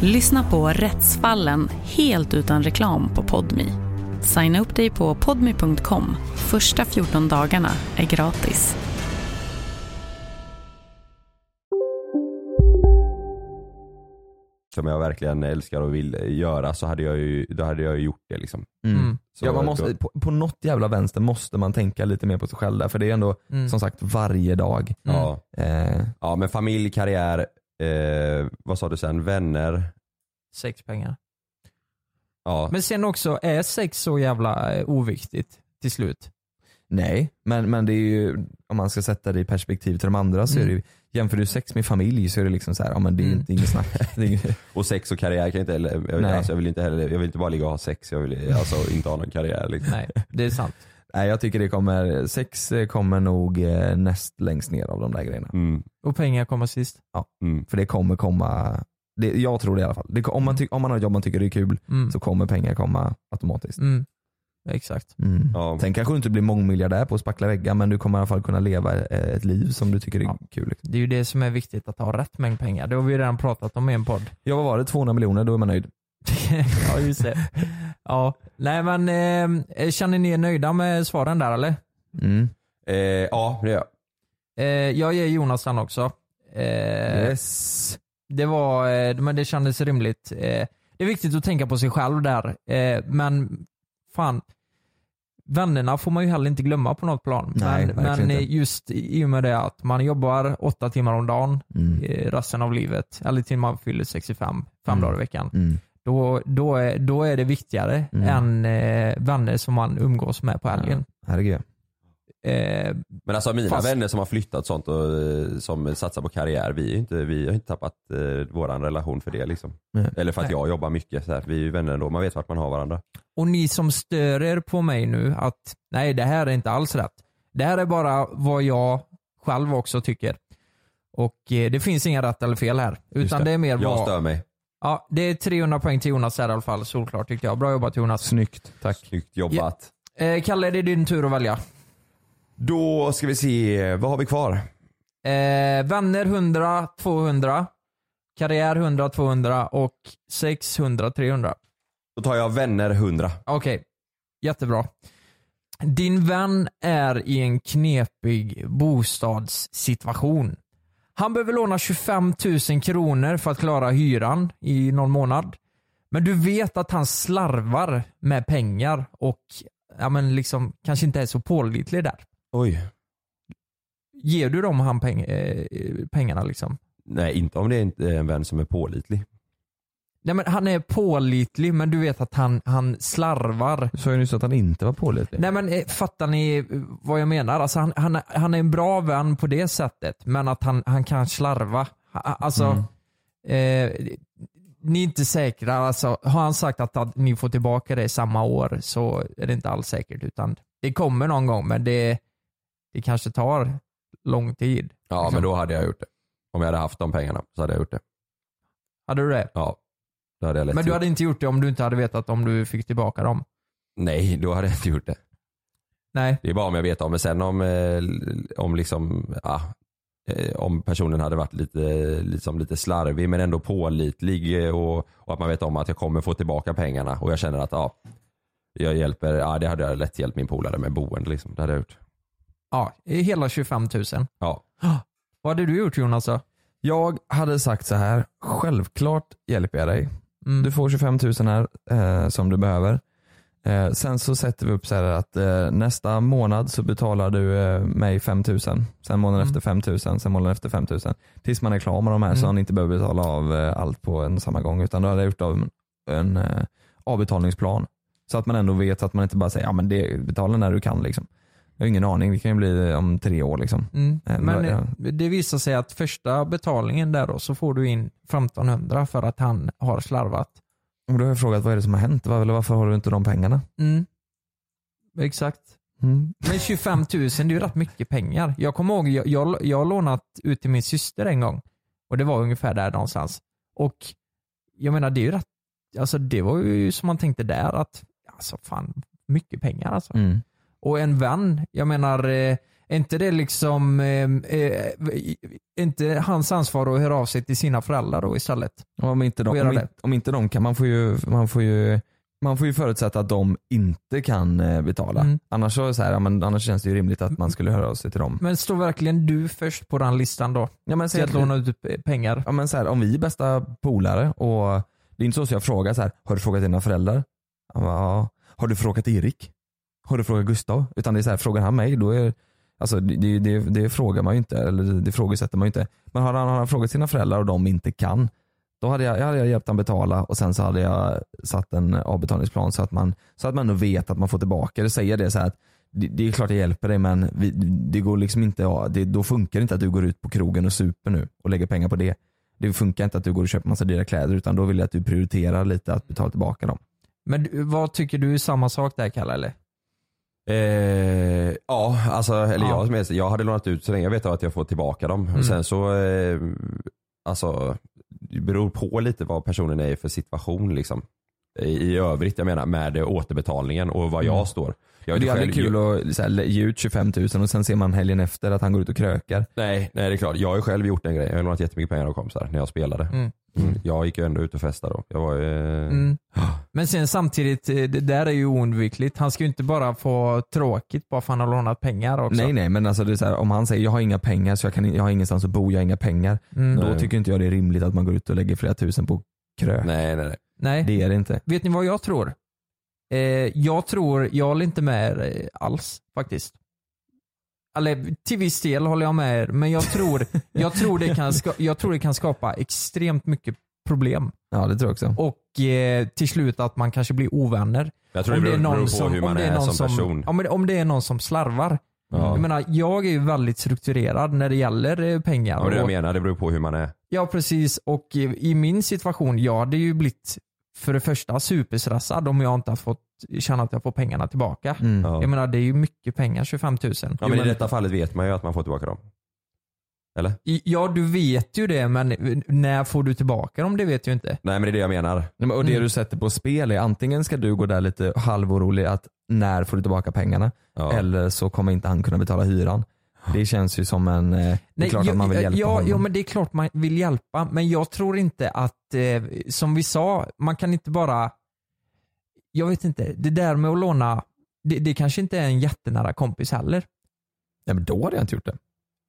Speaker 15: Lyssna på Rättsfallen helt utan reklam på Podmi. Signa upp dig på podmi.com. Första 14 dagarna är gratis.
Speaker 14: som jag verkligen älskar och vill göra så hade jag ju, då hade jag ju gjort det liksom.
Speaker 9: Mm.
Speaker 14: Så
Speaker 9: ja, man måste,
Speaker 14: då-
Speaker 9: på, på något jävla vänster måste man tänka lite mer på sig själv där, för det är ändå
Speaker 14: Mm.
Speaker 9: som sagt varje Eh. dag.
Speaker 7: Mm.
Speaker 14: ja. ja men familj, karriär, eh, vad sa du sen, vänner,
Speaker 7: Sex pengar.
Speaker 14: ja.
Speaker 7: Men sen också, är sex så jävla eh, oviktigt till slut?
Speaker 9: Nej, men, men det är ju, om man ska sätta det i perspektiv till de andra så
Speaker 7: Mm.
Speaker 9: är det ju
Speaker 10: jämför du sex med familj så är det liksom så här, ja men det är inte inget snack. Det är inget-
Speaker 9: Och sex och karriär kan jag inte heller, jag vill,
Speaker 10: Nej.
Speaker 9: alltså, jag vill inte heller, jag vill inte bara ligga och ha sex, jag vill alltså inte ha någon karriär liksom.
Speaker 7: <laughs> Nej, det är sant.
Speaker 10: Nej jag tycker det kommer, sex eh, kommer nog eh, näst längst ner av de där grejerna.
Speaker 9: Mm,
Speaker 7: Och pengar kommer sist.
Speaker 10: Ja, för det kommer komma, det, jag tror det i alla fall. Det, om, man ty, om man har ett jobb man tycker det är kul
Speaker 7: Mm.
Speaker 10: så kommer pengar komma automatiskt.
Speaker 7: Mm. Exakt.
Speaker 10: Mm. Sen kanske du inte blir mångmiljardär på att spackla väggar men du kommer i alla fall kunna leva eh, ett liv som du tycker är kul. Liksom.
Speaker 7: Det är ju det som är viktigt, att ha rätt mängd pengar. Det har vi ju redan pratat om i en podd. <laughs>
Speaker 10: Ja vad var det, 200 miljoner, då är man nöjd.
Speaker 7: ja,
Speaker 10: <laughs>
Speaker 7: just det. Ja. Nej men, eh, känner ni er nöjda med svaren där eller?
Speaker 10: Mm.
Speaker 9: ja, det gör jag.
Speaker 7: Eh, jag ger Jonas den också. Eh,
Speaker 10: Yes.
Speaker 7: Det var, eh, men det kändes rimligt. Eh, det är viktigt att tänka på sig själv där. Eh, men fan, vännerna får man ju heller inte glömma på något plan.
Speaker 10: Nej,
Speaker 7: men
Speaker 10: verkligen
Speaker 7: men eh,
Speaker 10: inte.
Speaker 7: just i och med det att man jobbar åtta timmar om dagen
Speaker 10: Mm.
Speaker 7: eh, resten av livet, eller till man fyller 65, fem dagar i veckan.
Speaker 10: Mm.
Speaker 7: Då, då, är, då är det viktigare än eh, vänner som man umgås med på helgen.
Speaker 10: Herregud.
Speaker 7: Eh,
Speaker 9: Men alltså mina
Speaker 7: Fast-
Speaker 9: vänner som har flyttat och sånt och eh, som satsar på karriär, vi, är ju inte, vi har inte tappat eh, våran relation för det liksom.
Speaker 10: Nej.
Speaker 9: Eller för att
Speaker 7: Nej.
Speaker 9: jag jobbar mycket, så här. vi är ju vänner ändå, man vet vart man har varandra.
Speaker 7: Och ni som stör er på mig nu att nej, det här är inte alls rätt. Det här är bara vad jag själv också tycker. Och eh, det finns inga rätt eller fel här.
Speaker 9: Just
Speaker 7: Utan det. är mer
Speaker 9: Jag
Speaker 7: vad...
Speaker 9: stör mig.
Speaker 7: Ja, det är 300 poäng till Jonas här i alla fall. Solklart tyckte jag. Bra jobbat Jonas.
Speaker 10: Snyggt. Tack.
Speaker 9: Snyggt jobbat.
Speaker 7: Eh, Kalle, det är din tur att välja.
Speaker 9: Då ska vi se, vad har vi kvar?
Speaker 7: Eh, vänner 100, 200. Karriär 100, 200 och 600, 300.
Speaker 9: Då tar jag vänner 100.
Speaker 7: Okej, jättebra. Din vän är i en knepig bostadssituation. Han behöver låna 25 000 kronor för att klara hyran i någon månad. Men du vet att han slarvar med pengar och ja, men liksom, kanske inte är så pålitlig där.
Speaker 9: Oj.
Speaker 7: Ger du dem han peng eh, pengarna liksom?
Speaker 9: Nej, inte om det är inte en vän som är pålitlig.
Speaker 7: Nej, men han är pålitlig men du vet att han, han slarvar.
Speaker 10: Du sa ju nyss att han inte var pålitlig.
Speaker 7: Nej men eh, fattar ni eh, vad jag menar? Alltså, han, han, han är en bra vän på det sättet men att han, han kan slarva. Ha- ha- Alltså,
Speaker 10: Mm.
Speaker 7: eh, ni är inte säkra. Alltså, har han sagt att, att ni får tillbaka det samma år så är det inte alls säkert. Utan det kommer någon gång men det, det kanske tar lång tid.
Speaker 9: Ja, men då hade jag gjort det. Om jag hade haft de pengarna så hade jag gjort det.
Speaker 7: Hade du det?
Speaker 9: Ja. Då hade jag lätt
Speaker 7: Men du
Speaker 10: typ-
Speaker 9: gjort
Speaker 7: hade inte gjort det om du inte hade vetat om du fick tillbaka dem?
Speaker 9: Nej, då hade jag inte gjort det.
Speaker 7: Nej.
Speaker 9: Det är bara om jag vet om. Men sen om, eh, om liksom, ah, eh, om personen hade varit lite, liksom lite slarvig men ändå pålitlig eh, och, och att man vet om att jag kommer få tillbaka pengarna och jag känner att ah, jag hjälper, ah, det hade jag lätt hjälpt min polare med boende liksom. Det hade jag gjort.
Speaker 7: Ja, hela 25 000.
Speaker 9: Ja.
Speaker 7: <gasps> Vad hade du gjort Jonas då?
Speaker 10: Jag hade sagt så här, självklart hjälper jag dig.
Speaker 7: Mm.
Speaker 10: Du får 25 000 här eh, som du behöver. Eh, sen så sätter vi upp så här att eh, nästa månad så betalar du eh, mig 5 000. Sen månaden efter 5 000, sen månaden efter 5 000. Tills man är klar med de här så
Speaker 7: Mm.
Speaker 10: han inte behöver betala av eh, allt på en samma gång. Utan då hade jag gjort av en, en eh, avbetalningsplan. Så att man ändå vet att man inte bara säger ja men det, betala när du kan liksom. Jag har ingen aning, det kan ju bli om tre år liksom.
Speaker 7: Mm.
Speaker 10: Eh,
Speaker 7: Men
Speaker 10: ja.
Speaker 7: eh, det visar sig att första betalningen där då så får du in 1500 för att han har slarvat.
Speaker 10: Och då har jag frågat vad är det som har hänt? Var- Eller varför har du inte de pengarna?
Speaker 7: Mm. Exakt.
Speaker 10: Mm.
Speaker 7: Men 25 000 det är ju rätt mycket pengar. Jag kommer ihåg, jag, jag, jag har lånat ut till min syster en gång och det var ungefär där någonstans. Och jag menar det är ju rätt, alltså det var ju som man tänkte där att alltså fan mycket pengar alltså.
Speaker 10: Mm.
Speaker 7: och en vän. Jag menar, eh, är inte det liksom eh, eh, är inte hans ansvar att höra av sig till sina föräldrar då istället?
Speaker 10: Och Om inte,
Speaker 7: Och
Speaker 10: de,
Speaker 7: göra
Speaker 10: om,
Speaker 7: det.
Speaker 10: inte, om inte de kan, man får, ju, man, får ju, man får ju förutsätta att de inte kan eh, betala.
Speaker 7: Mm.
Speaker 10: Annars, så är det så här, ja, men, annars känns det ju rimligt att man skulle höra av sig till dem.
Speaker 7: Men står verkligen du först på den listan då?
Speaker 10: Ja, men
Speaker 7: till
Speaker 10: säg
Speaker 7: att
Speaker 10: att-
Speaker 7: låna ut eh, pengar?
Speaker 10: Ja, men så här, om vi är bästa polare och det är inte så att jag frågar så här, har du frågat dina föräldrar? Han bara, ja. Har du frågat Erik? Har du frågat Gustav? Utan det är så här, frågar han mig då är Alltså det, det, det, det frågar man ju inte, eller det frågesätter man ju inte. Men har han, har han frågat sina föräldrar och de inte kan, då hade jag, jag hade hjälpt han betala och sen så hade jag satt en avbetalningsplan så att man, så att man ändå vet att man får tillbaka det. Säger det så här att
Speaker 9: det, det är klart jag hjälper dig men vi, det går liksom inte, ja, det, då funkar det inte att du går ut på krogen och super nu och lägger pengar på det. Det funkar inte att du går och köper massa dyra kläder utan då vill jag att du prioriterar lite att betala tillbaka dem.
Speaker 7: Men du, vad tycker du är samma sak där Kalle eller?
Speaker 16: Eh, ja, alltså, eller
Speaker 7: Ja.
Speaker 16: jag som helst, jag hade lånat ut så länge jag vet att jag får tillbaka dem.
Speaker 7: Mm.
Speaker 16: Sen så, eh, alltså, det beror på lite vad personen är i för situation liksom. I, I övrigt, jag menar med eh, återbetalningen och var jag
Speaker 9: Mm.
Speaker 16: står.
Speaker 9: Det
Speaker 16: Jag
Speaker 9: är
Speaker 16: inte
Speaker 9: aldrig
Speaker 16: själv-
Speaker 9: kul att så här, ge ut 25 000 och sen ser man helgen efter att han går ut och krökar.
Speaker 16: Nej, nej det är klart. Jag har ju själv gjort en grej. Jag har lånat jättemycket pengar av kompisar när jag spelade.
Speaker 7: Mm.
Speaker 16: Mm. Jag gick ju ändå ut och festade då. Jag var ju... eh,
Speaker 7: Mm. Men sen samtidigt, eh, det där är ju oundvikligt. Han ska ju inte bara få tråkigt bara för att han har lånat pengar också.
Speaker 9: Nej nej men alltså det är så här, om han säger jag har inga pengar så jag, kan, in- jag har ingenstans att bo, jag har inga pengar.
Speaker 7: Mm.
Speaker 9: Då
Speaker 7: Nej.
Speaker 9: tycker inte jag det är rimligt att man går ut och lägger flera tusen på krök.
Speaker 16: Nej nej nej.
Speaker 7: Nej.
Speaker 9: Det är det inte.
Speaker 7: Vet ni vad jag tror? Eh, jag tror, jag håller inte med er eh, alls faktiskt. Eller till viss del håller jag med er, men jag
Speaker 9: <laughs>
Speaker 7: tror, jag tror, det, kan ska, jag tror det kan skapa extremt mycket problem.
Speaker 9: Ja det tror jag också.
Speaker 7: Och eh, till slut att man kanske blir ovänner.
Speaker 16: Jag tror det beror- beror på hur man
Speaker 7: om det
Speaker 16: är
Speaker 7: någon
Speaker 16: som person.
Speaker 7: Ja, men om det är någon som slarvar.
Speaker 16: Ja.
Speaker 7: Jag menar, jag är ju väldigt strukturerad när det gäller eh, pengar.
Speaker 16: Ja, men det
Speaker 7: och-
Speaker 16: jag menar, det beror på hur man är.
Speaker 7: Ja precis och i i min situation, jag hade ju blivit för det första superstressad om jag inte har fått känna att jag får pengarna tillbaka.
Speaker 9: Mm.
Speaker 16: Ja.
Speaker 7: Jag menar det är ju mycket pengar, 25 000.
Speaker 16: Ja, men i detta fallet vet man ju att man får tillbaka dem. Eller?
Speaker 7: I- ja du vet ju det men när får du tillbaka dem det vet jag ju inte.
Speaker 16: Nej men det är det jag menar.
Speaker 9: Nej, men- Och det
Speaker 7: Mm.
Speaker 9: du sätter på spel är antingen ska du gå där lite halvorolig att när får du tillbaka pengarna? Eller så kommer inte han kunna betala hyran. Det känns ju som en, eh, det är klart
Speaker 7: jag,
Speaker 9: att man vill hjälpa
Speaker 7: ja,
Speaker 9: honom.
Speaker 7: ja men det är klart man vill hjälpa men jag tror inte att, eh, som vi sa, man kan inte bara, jag vet inte, det där med att låna, det, det kanske inte är en jättenära kompis heller.
Speaker 9: Ja, men då hade jag inte gjort det.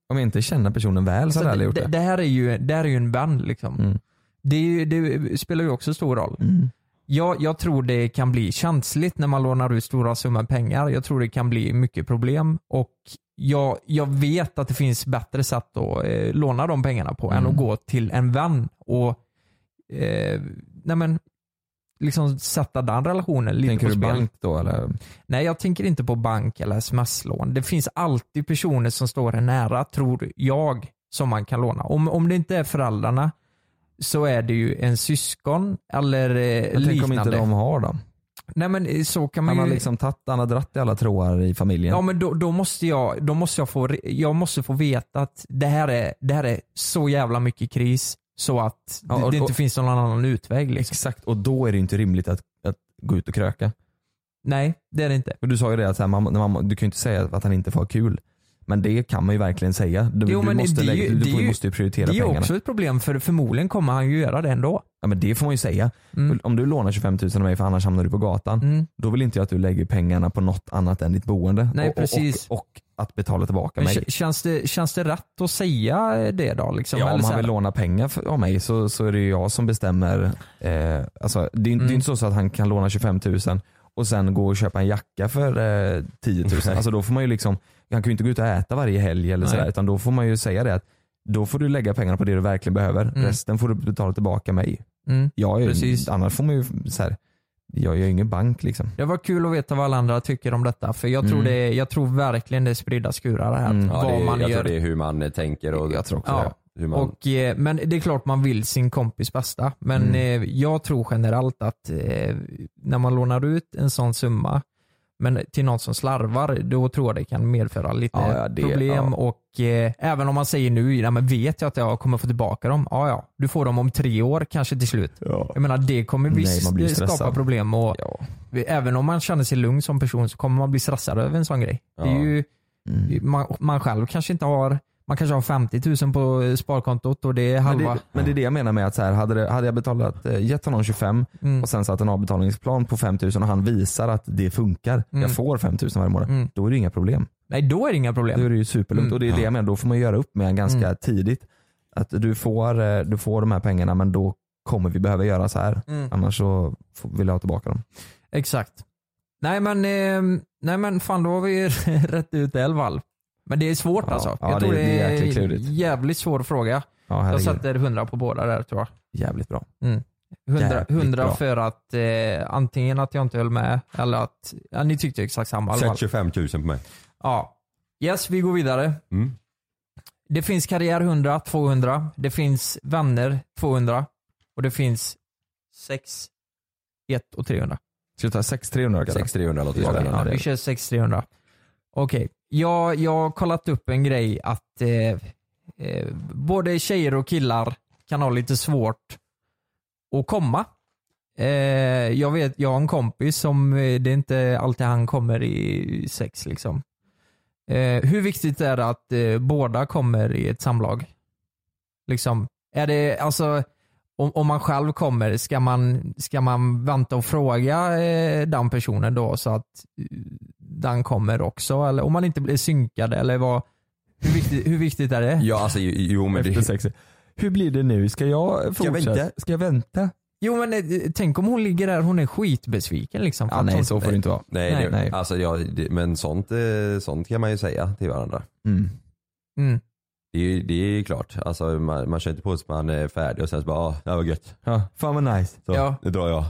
Speaker 9: Om jag inte känner personen väl så
Speaker 7: Så
Speaker 9: hade jag aldrig gjort
Speaker 7: Alltså, det,
Speaker 9: det.
Speaker 7: det här är ju, det här är ju en vän liksom.
Speaker 9: Mm.
Speaker 7: Det, är ju- det spelar ju också stor roll.
Speaker 9: Mm.
Speaker 7: Jag, jag tror det kan bli känsligt när man lånar ut stora summor pengar. Jag tror det kan bli mycket problem och jag, jag vet att det finns bättre sätt att eh, låna de pengarna på
Speaker 9: Mm.
Speaker 7: än att gå till en vän och eh, nej men, liksom sätta den relationen lite
Speaker 9: Tänker
Speaker 7: på
Speaker 9: du
Speaker 7: spel.
Speaker 9: bank då eller?
Speaker 7: Nej, jag tänker inte på bank eller sms-lån. Det finns alltid personer som står en nära, tror jag, som man kan låna. Om, om det inte är föräldrarna så är det ju en syskon eller eh,
Speaker 9: Jag
Speaker 7: liknande.
Speaker 9: tänker om inte de har dem.
Speaker 7: Nej men eh, så kan man
Speaker 9: Han har
Speaker 7: ju...
Speaker 9: liksom tagit, han har dratt i alla trådar i familjen.
Speaker 7: Ja men då, då måste, jag, då måste jag, få, re- jag måste få veta att det här, är, det här är så jävla mycket kris så att
Speaker 9: Ja,
Speaker 7: det,
Speaker 9: och-
Speaker 7: det inte
Speaker 9: och-
Speaker 7: finns någon annan utväg. Liksom.
Speaker 9: Exakt, och då är det ju inte rimligt att, att gå ut och kröka.
Speaker 7: Nej, det är det inte.
Speaker 9: Och du sa ju det att så här, mamma, när mamma, du kan ju inte säga att han inte får ha kul. Men det kan man ju verkligen säga. Du,
Speaker 7: Jo,
Speaker 9: du,
Speaker 7: men
Speaker 9: måste,
Speaker 7: det är
Speaker 9: lägga,
Speaker 7: ju-
Speaker 9: du,
Speaker 7: det är
Speaker 9: får,
Speaker 7: ju-
Speaker 9: måste ju prioritera
Speaker 7: det är ju
Speaker 9: pengarna.
Speaker 7: också ett problem för förmodligen kommer han ju göra det ändå.
Speaker 9: Ja men det får man ju säga.
Speaker 7: Mm.
Speaker 9: Om du lånar 25 000 av mig för annars hamnar du på gatan. Då vill inte jag att du lägger pengarna på något annat än ditt boende.
Speaker 7: Nej,
Speaker 9: och,
Speaker 7: precis.
Speaker 9: Och, och, och att betala tillbaka
Speaker 7: Men
Speaker 9: mig.
Speaker 7: k- känns, det, känns det rätt att säga det då? Liksom?
Speaker 9: Ja,
Speaker 7: Eller
Speaker 9: om
Speaker 7: så
Speaker 9: han
Speaker 7: här-
Speaker 9: vill låna pengar för- av mig så, så är det ju jag som bestämmer. Eh, alltså, det, är,
Speaker 16: Mm.
Speaker 9: det är inte så, så att han kan låna 25 000 och sen gå och köpa en jacka för eh, 10 000.
Speaker 16: <laughs> Nej.
Speaker 9: Alltså, då får man ju liksom, han kan ju inte gå ut och äta varje helg eller
Speaker 16: Nej.
Speaker 9: sådär, utan då får man ju säga det att då får du lägga pengarna på det du verkligen behöver.
Speaker 16: Mm.
Speaker 9: Resten får du betala tillbaka mig.
Speaker 7: Mm.
Speaker 9: Jag är,
Speaker 7: Precis.
Speaker 9: ju- annars får man ju, så här, jag är ju ingen bank liksom.
Speaker 7: Det var kul att veta vad alla andra tycker om detta för jag tror,
Speaker 9: Mm.
Speaker 7: det, jag tror verkligen det är spridda skurar här.
Speaker 16: Ja,
Speaker 7: vad
Speaker 16: det,
Speaker 7: man
Speaker 16: jag
Speaker 7: gör.
Speaker 16: tror det är hur man eh, tänker och jag tror
Speaker 7: också Ja.
Speaker 16: Hur man,
Speaker 7: Och, eh, men det är klart man vill sin kompis bästa. Men
Speaker 9: Mm.
Speaker 7: eh, jag tror generellt att eh, när man lånar ut en sån summa men till någon som slarvar, då tror jag det kan medföra lite
Speaker 9: Ja, ja, det-
Speaker 7: problem.
Speaker 9: ja.
Speaker 7: Och eh, Även om man säger nu, ja, men vet jag att jag kommer få tillbaka dem? Ja, ja. Du får dem om tre år kanske till slut. Jag menar det kommer
Speaker 9: Nej,
Speaker 7: visst
Speaker 9: man blir
Speaker 7: skapa
Speaker 9: stressad.
Speaker 7: problem. Och Även om man känner sig lugn som person så kommer man bli stressad över en sån grej. Det
Speaker 9: Ja. Mm.
Speaker 7: är ju, man, man själv kanske inte har man kanske har 50 000 på eh, sparkontot och det är
Speaker 9: Men
Speaker 7: halva.
Speaker 9: det, men det är det jag menar med att så här, hade, det, hade jag betalat, eh, gett honom 25
Speaker 7: Mm.
Speaker 9: och sen satt en avbetalningsplan på 5000 och han visar att det funkar,
Speaker 7: Mm.
Speaker 9: jag får 5000 varje månad,
Speaker 7: Mm.
Speaker 9: då är det inga problem.
Speaker 7: Nej, då är det inga problem.
Speaker 9: Då är det ju superlugnt
Speaker 7: Mm.
Speaker 9: och det är det jag menar, då får man göra upp med honom ganska
Speaker 7: Mm.
Speaker 9: tidigt. Att du får, eh, du får de här pengarna men då kommer vi behöva göra så här.
Speaker 7: Mm.
Speaker 9: Annars så får- vill jag ha tillbaka dem.
Speaker 7: Exakt. Nej men, eh, nej men fan då har vi <laughs> rätt ut det i alla fall. Men det är svårt alltså.
Speaker 9: ja,
Speaker 7: jag
Speaker 9: det-
Speaker 7: tror det,
Speaker 9: det är
Speaker 7: är
Speaker 9: jäkligt
Speaker 7: en
Speaker 9: klurigt.
Speaker 7: jävligt svår fråga.
Speaker 9: Ja,
Speaker 7: jag
Speaker 9: herregud.
Speaker 7: sätter 100 på båda där tror jag.
Speaker 9: Jävligt bra.
Speaker 7: Mm. Hundra,
Speaker 10: Jävligt
Speaker 7: hundra
Speaker 10: bra.
Speaker 7: för att eh, antingen att jag inte höll med eller att ja, ni tyckte exakt samma. i alla fall.
Speaker 9: Sätt 25 000 på mig.
Speaker 7: Ja. Yes, vi går vidare.
Speaker 9: Mm.
Speaker 7: Det finns karriär 100, 200. Det finns vänner 200. Och det finns 6, 1 och 300.
Speaker 10: Ska vi ta 6300 kanske?
Speaker 9: 6300 låter
Speaker 7: Okej, ja, vi kör 6300. Okej, jag, jag har kollat upp en grej att eh, eh, både tjejer och killar kan ha lite svårt att komma. Eh, jag vet, jag har en kompis som, eh, det är inte alltid han kommer i sex liksom. Eh, hur viktigt är det att eh, båda kommer i ett samlag? Liksom, är det, alltså, om, om man själv kommer, ska man, ska man vänta och fråga eh, den personen då så att eh, den kommer också? Eller om man inte blir synkad eller vad, hur viktigt, hur viktigt är det?
Speaker 9: Ja alltså jo men det...
Speaker 10: Efter sex. Hur blir det nu? Ska jag fortsätta?
Speaker 7: jag vänta?
Speaker 10: Ska jag vänta?
Speaker 7: Jo men eh, tänk om hon ligger där, hon är skitbesviken liksom.
Speaker 10: Ja, nej, så får det inte vara.
Speaker 9: Nej,
Speaker 7: Nej,
Speaker 9: det,
Speaker 7: nej.
Speaker 9: Alltså, ja, det, men sånt, eh, sånt kan man ju säga till varandra.
Speaker 7: Mm.
Speaker 9: Det, är ju- det är ju klart, alltså, man, man kör inte på sig att man är färdig och sen så bara ah, det här var gött.
Speaker 10: Ja, fan vad nice.
Speaker 9: Så,
Speaker 7: Ja.
Speaker 9: Nu drar jag.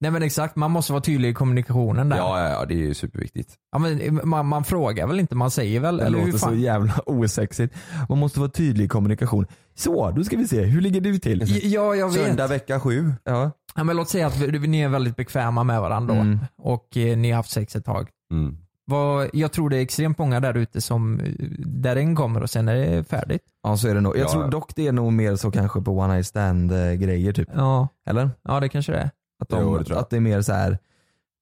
Speaker 7: Nej men exakt, man måste vara tydlig i kommunikationen där. Ja.
Speaker 9: Ja, ja, ja det är ju superviktigt.
Speaker 7: men, eh, man, man frågar väl inte, man säger väl?
Speaker 10: Det
Speaker 7: eller hur
Speaker 10: låter så
Speaker 7: fan?
Speaker 10: jävla <laughs> osexigt. Man måste vara tydlig i kommunikation. Så, då ska vi se. Hur ligger du till?
Speaker 7: Ja, jag vet.
Speaker 9: Söndag vecka sju.
Speaker 10: Ja.
Speaker 7: Ja, men låt säga att vi- ni är väldigt bekväma med varandra då,
Speaker 10: Mm.
Speaker 7: och eh, ni har haft sex ett tag.
Speaker 9: Mm.
Speaker 7: Vad, jag tror det är extremt många där ute som, eh, där en kommer och sen är det färdigt.
Speaker 10: Ja så är det nog. Jag
Speaker 7: Ja,
Speaker 10: tror
Speaker 7: ja.
Speaker 10: dock det är nog mer så kanske på one night stand eh, grejer typ.
Speaker 7: Ja,
Speaker 10: Eller?
Speaker 7: ja det kanske det är.
Speaker 10: Att, de,
Speaker 9: Jo, det tror jag.
Speaker 10: att det är mer så här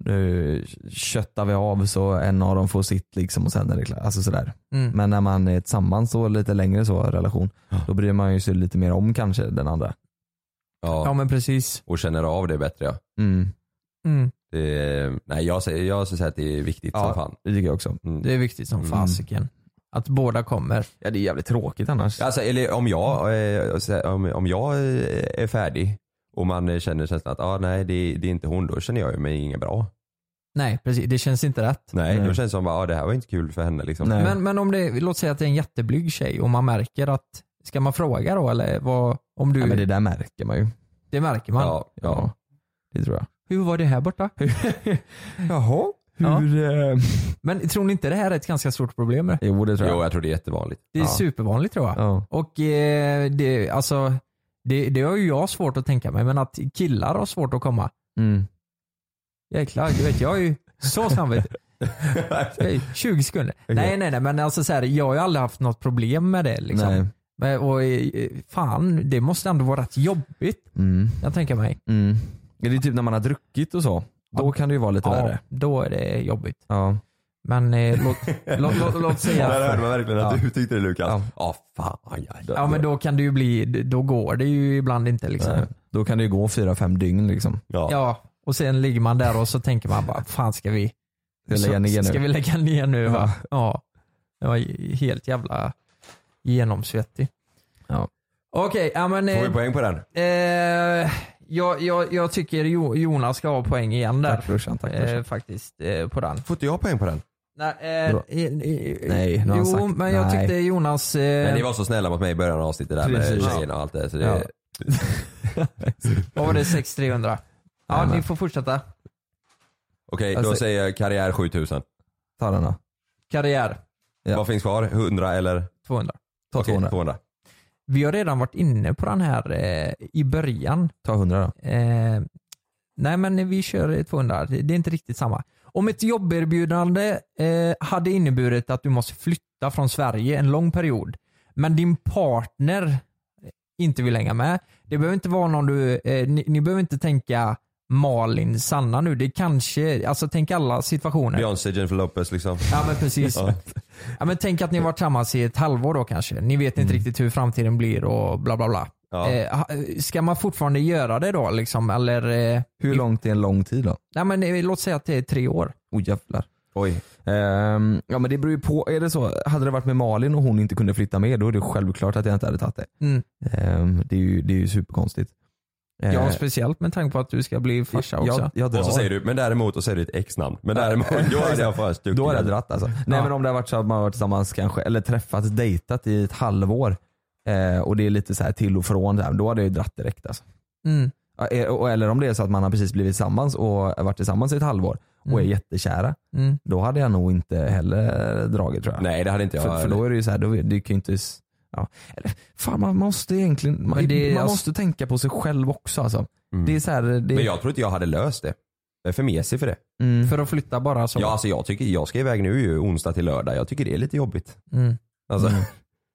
Speaker 10: nu köttar vi av så en av dem får sitt liksom och sen är det klart. Alltså sådär.
Speaker 7: Mm.
Speaker 10: Men när man är tillsammans så lite längre så relation, då bryr man ju sig lite mer om kanske den andra.
Speaker 9: Ja.
Speaker 7: Ja men precis.
Speaker 9: Och känner av det bättre ja.
Speaker 10: Mm.
Speaker 7: Mm.
Speaker 9: Det, nej jag säger, jag säger att det är viktigt
Speaker 10: Ja.
Speaker 9: som fan.
Speaker 10: Det tycker jag också.
Speaker 9: Mm.
Speaker 7: Det är viktigt som
Speaker 9: Mm.
Speaker 7: fasiken. Att båda kommer.
Speaker 10: Ja det är jävligt tråkigt annars.
Speaker 9: Alltså, eller om jag, eh, så här, om, om jag eh, är färdig och man eh, känner känslan att ah, nej det, det är inte hon, då känner jag ju mig inget bra.
Speaker 7: Nej precis, det känns inte rätt.
Speaker 9: Nej,
Speaker 10: Nej.
Speaker 9: då känns det som att ah, det här var inte kul för henne liksom.
Speaker 7: Men, men om det, låt säga att det är en jätteblyg tjej och man märker att, ska man fråga då eller vad, om du,
Speaker 10: Ja, men det
Speaker 7: det,
Speaker 10: där märker man ju.
Speaker 7: märker man.
Speaker 9: Ja, ja.
Speaker 10: Ja. Det tror jag.
Speaker 7: Hur var det här borta?
Speaker 10: <laughs> Jaha?
Speaker 7: Ja.
Speaker 10: Hur... eh,
Speaker 7: Men tror ni inte det här är ett ganska stort problem? Det
Speaker 10: Jo det tror jag.
Speaker 9: Jo jag tror det är jättevanligt.
Speaker 7: är
Speaker 10: Ja.
Speaker 7: supervanligt tror jag.
Speaker 9: <laughs>
Speaker 10: Ja.
Speaker 7: Och eh, det, alltså, det, det har ju jag svårt att tänka mig, men att killar har svårt att komma.
Speaker 10: Mm.
Speaker 7: Jäklar, du vet jag är ju så samvete. Jag är
Speaker 10: <laughs>
Speaker 7: 20 sekunder. Nej nej nej, men alltså så här, jag har ju aldrig haft något problem med det.
Speaker 10: Nej.
Speaker 7: Liksom. Men, och, eh, fan, det måste ändå vara rätt jobbigt.
Speaker 10: Mm.
Speaker 7: Jag tänker mig.
Speaker 10: Mm. Det är typ när man har druckit och så. Då kan det ju vara lite
Speaker 7: Ja,
Speaker 10: värre.
Speaker 7: då är det jobbigt.
Speaker 10: Ja.
Speaker 7: Men eh,
Speaker 10: <laughs>
Speaker 7: låt, låt, låt, låt
Speaker 9: Där
Speaker 7: säga...
Speaker 9: hörde man verkligen att
Speaker 10: Ja.
Speaker 9: du tyckte det Lukas. Ja,
Speaker 10: Ja.
Speaker 9: fan. Ja,
Speaker 7: Ja men då kan det ju bli, då går det ju ibland inte liksom.
Speaker 10: Nej. Då kan det ju gå fyra, fem dygn liksom.
Speaker 9: ja.
Speaker 7: Ja, och sen ligger man där och så tänker man bara, fan ska vi,
Speaker 10: Ska jag lägga ner nu?
Speaker 7: ska vi lägga ner nu va?
Speaker 10: Ja.
Speaker 7: Ja. Jag var helt jävla genomsvettig.
Speaker 10: Ja.
Speaker 7: Okej, ja men
Speaker 9: Får vi
Speaker 7: eh,
Speaker 9: poäng på den?
Speaker 7: eh, jag, jag, jag tycker Jo- Jonas ska ha poäng igen där.
Speaker 10: Tack brorsan, tack
Speaker 7: Eh,
Speaker 10: brorsan.
Speaker 7: faktiskt eh, på den.
Speaker 9: Får inte jag poäng på den?
Speaker 7: Nej, eh,
Speaker 10: Bra.
Speaker 7: eh, eh,
Speaker 10: Nej, nu har han
Speaker 7: jo,
Speaker 10: sagt-
Speaker 7: men jag
Speaker 10: nej.
Speaker 7: tyckte Jonas... eh,
Speaker 9: Men ni var så snälla mot mig i början av avsnittet där
Speaker 10: Precis.
Speaker 9: med tjejerna och allt det där, så det
Speaker 10: Ja.
Speaker 7: eh,
Speaker 10: <laughs>
Speaker 7: Vad var det? 6300? Ja,
Speaker 10: Jajamän.
Speaker 7: ni får fortsätta.
Speaker 9: Okej, då
Speaker 10: Alltså-
Speaker 9: säger jag karriär 7000.
Speaker 10: Ta den då.
Speaker 7: Karriär,
Speaker 10: Ja.
Speaker 9: Vad finns kvar? 100 eller?
Speaker 7: 200.
Speaker 10: Ta
Speaker 9: Okej,
Speaker 10: 200.
Speaker 9: 200.
Speaker 7: Vi har redan varit inne på den här eh, i början.
Speaker 10: Ta 100 då.
Speaker 7: Eh, nej men vi kör 200, det det är inte riktigt samma. Om ett jobberbjudande eh, hade inneburit att du måste flytta från Sverige en lång period, men din partner inte vill hänga med. Det behöver inte vara någon du, eh, ni, ni behöver inte tänka Malin, Sanna nu. Det kanske, alltså tänk alla situationer.
Speaker 9: Beyoncé, Jennifer Lopez liksom.
Speaker 7: Ja men precis.
Speaker 9: Ja.
Speaker 7: Ja, men tänk att ni har varit tillsammans i ett halvår då kanske. Ni vet inte riktigt hur framtiden blir och bla bla bla.
Speaker 9: Ja.
Speaker 7: Eh, ha- ska man fortfarande göra det då liksom? Eller? Eh,
Speaker 10: Hur långt är en lång tid då?
Speaker 7: Nej men eh, låt säga att det är tre år.
Speaker 10: Oj jävlar.
Speaker 9: Oj.
Speaker 10: Ehm, ja men det beror ju på. Är det så, hade det varit med Malin och hon inte kunde flytta med då är det självklart att jag inte hade tagit det.
Speaker 7: Mm.
Speaker 10: Ehm, det, är ju, det är ju superkonstigt. Ehm,
Speaker 7: Ja, speciellt med tanke på att du ska bli farsa också.
Speaker 10: jag, jag drar.
Speaker 9: Och så säger du, men däremot, och säger du ditt exnamn. Men däremot, <laughs> då hade
Speaker 10: <laughs>
Speaker 9: jag fan stuckit.
Speaker 10: Då hade jag dratt alltså. Nej
Speaker 7: Ja.
Speaker 10: men om det har varit så att man har varit tillsammans kanske, eller träffats, dejtat i ett halvår eh, och det är lite så här till och från, så här, då hade jag ju dratt direkt alltså.
Speaker 7: Mm.
Speaker 10: Ja, e- och- Eller om det är så att man har precis blivit tillsammans och har varit tillsammans i ett halvår och
Speaker 7: Mm.
Speaker 10: är jättekära.
Speaker 7: Mm.
Speaker 10: Då hade jag nog inte heller dragit tror jag.
Speaker 9: Nej det hade inte jag
Speaker 10: För, för då är det ju så här, då, är- det kan ju inte... s- Ja. Eller, fan man måste egentligen, man,
Speaker 9: Men det-
Speaker 10: man
Speaker 9: alltså-
Speaker 10: måste tänka på sig själv också alltså.
Speaker 9: Mm.
Speaker 10: Det är så här, det, mm.
Speaker 9: Men jag tror inte jag hade löst det. Jag är för mesig för det.
Speaker 7: För att flytta bara så.
Speaker 9: Ja, alltså jag, tycker, jag ska iväg nu ju onsdag till lördag. Jag tycker det är lite jobbigt.
Speaker 7: Mm.
Speaker 9: Alltså,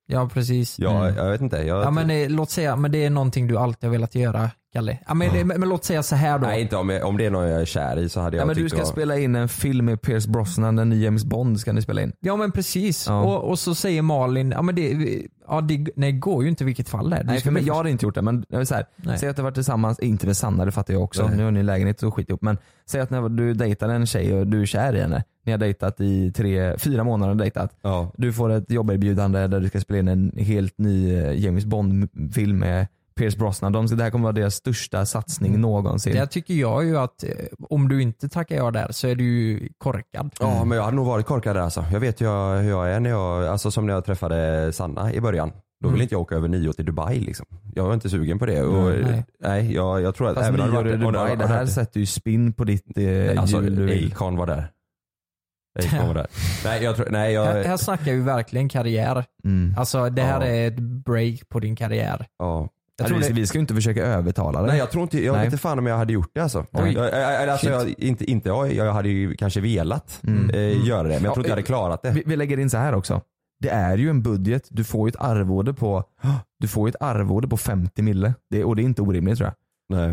Speaker 7: Ja precis.
Speaker 9: jag,
Speaker 7: Mm.
Speaker 9: jag vet inte. Jag,
Speaker 7: Ja men eh, låt säga, men det är någonting du alltid har velat göra, Kalle. Ja, men, det, men, men låt säga så här då.
Speaker 9: nej, inte om, jag, om det är någon jag är kär i så hade
Speaker 10: Nej,
Speaker 9: jag
Speaker 10: men du
Speaker 9: tyckt
Speaker 10: ska
Speaker 9: det var-
Speaker 10: spela in en film med Pierce Brosnan, den nya James Bond ska ni spela in.
Speaker 7: Ja men precis.
Speaker 10: Ja.
Speaker 7: Och, och så säger Malin, ja men det, ja, det nej, går ju inte i vilket fall det är. Du
Speaker 10: Nej,
Speaker 7: ska
Speaker 10: för mig,
Speaker 7: väl-
Speaker 10: jag hade inte gjort det men jag vill så här,
Speaker 7: Nej.
Speaker 10: säg att du har varit tillsammans, inte med Sanna det fattar jag också,
Speaker 7: Nej.
Speaker 10: nu har ni lägenhet och skit ihop men säg att när du dejtar en tjej och du är kär i henne, ni har dejtat i tre, fyra månader och dejtat. Du får ett jobberbjudande där du ska spela in en helt ny eh, James Bond-film med Pierce Brosnan. De, det här kommer vara deras största satsning någonsin.
Speaker 7: Där Mm. tycker jag ju att eh, om du inte tackar ja där så är du ju korkad.
Speaker 9: Ja
Speaker 10: Mm.
Speaker 9: men jag hade nog varit korkad där alltså. Jag vet ju jag- hur jag är när jag, alltså som när jag träffade Sanna i början. Då ville
Speaker 7: Mm.
Speaker 9: inte jag åka över nio till Dubai liksom. Jag var inte sugen på det. Och,
Speaker 10: Nej, nej.
Speaker 9: nej. jag, jag tror att
Speaker 10: Fast
Speaker 9: även
Speaker 10: nu
Speaker 9: om det
Speaker 10: gör
Speaker 9: varit-
Speaker 10: du
Speaker 9: om
Speaker 10: Dubai,
Speaker 9: varit-
Speaker 10: det här sätter ju spinn på ditt eh,
Speaker 9: Alltså
Speaker 10: jul du vill.
Speaker 9: Acon var där. Acon
Speaker 10: <laughs>
Speaker 9: var där. Nej jag tror, nej
Speaker 7: Här,
Speaker 9: jag,
Speaker 7: här snackar vi verkligen karriär.
Speaker 10: Mm.
Speaker 7: Alltså det här
Speaker 9: Ja.
Speaker 7: är ett break på din karriär.
Speaker 9: ja.
Speaker 10: Jag tror vi, vi ska ju inte försöka övertala dig.
Speaker 9: Nej jag tror inte, jag
Speaker 10: Nej.
Speaker 9: vet inte fan om jag hade gjort det alltså.
Speaker 10: Oj.
Speaker 9: Jag, jag, jag, alltså
Speaker 10: Shit.
Speaker 9: jag, inte, inte jag, jag hade ju kanske velat
Speaker 10: Mm.
Speaker 9: eh, göra det men jag tror inte jag hade klarat det.
Speaker 10: Vi, vi lägger in så här också. Det är ju en budget, du får ju ett arvode på, <gasps> du får ju ett arvode på 50 mille. Det, och det är inte orimligt tror jag.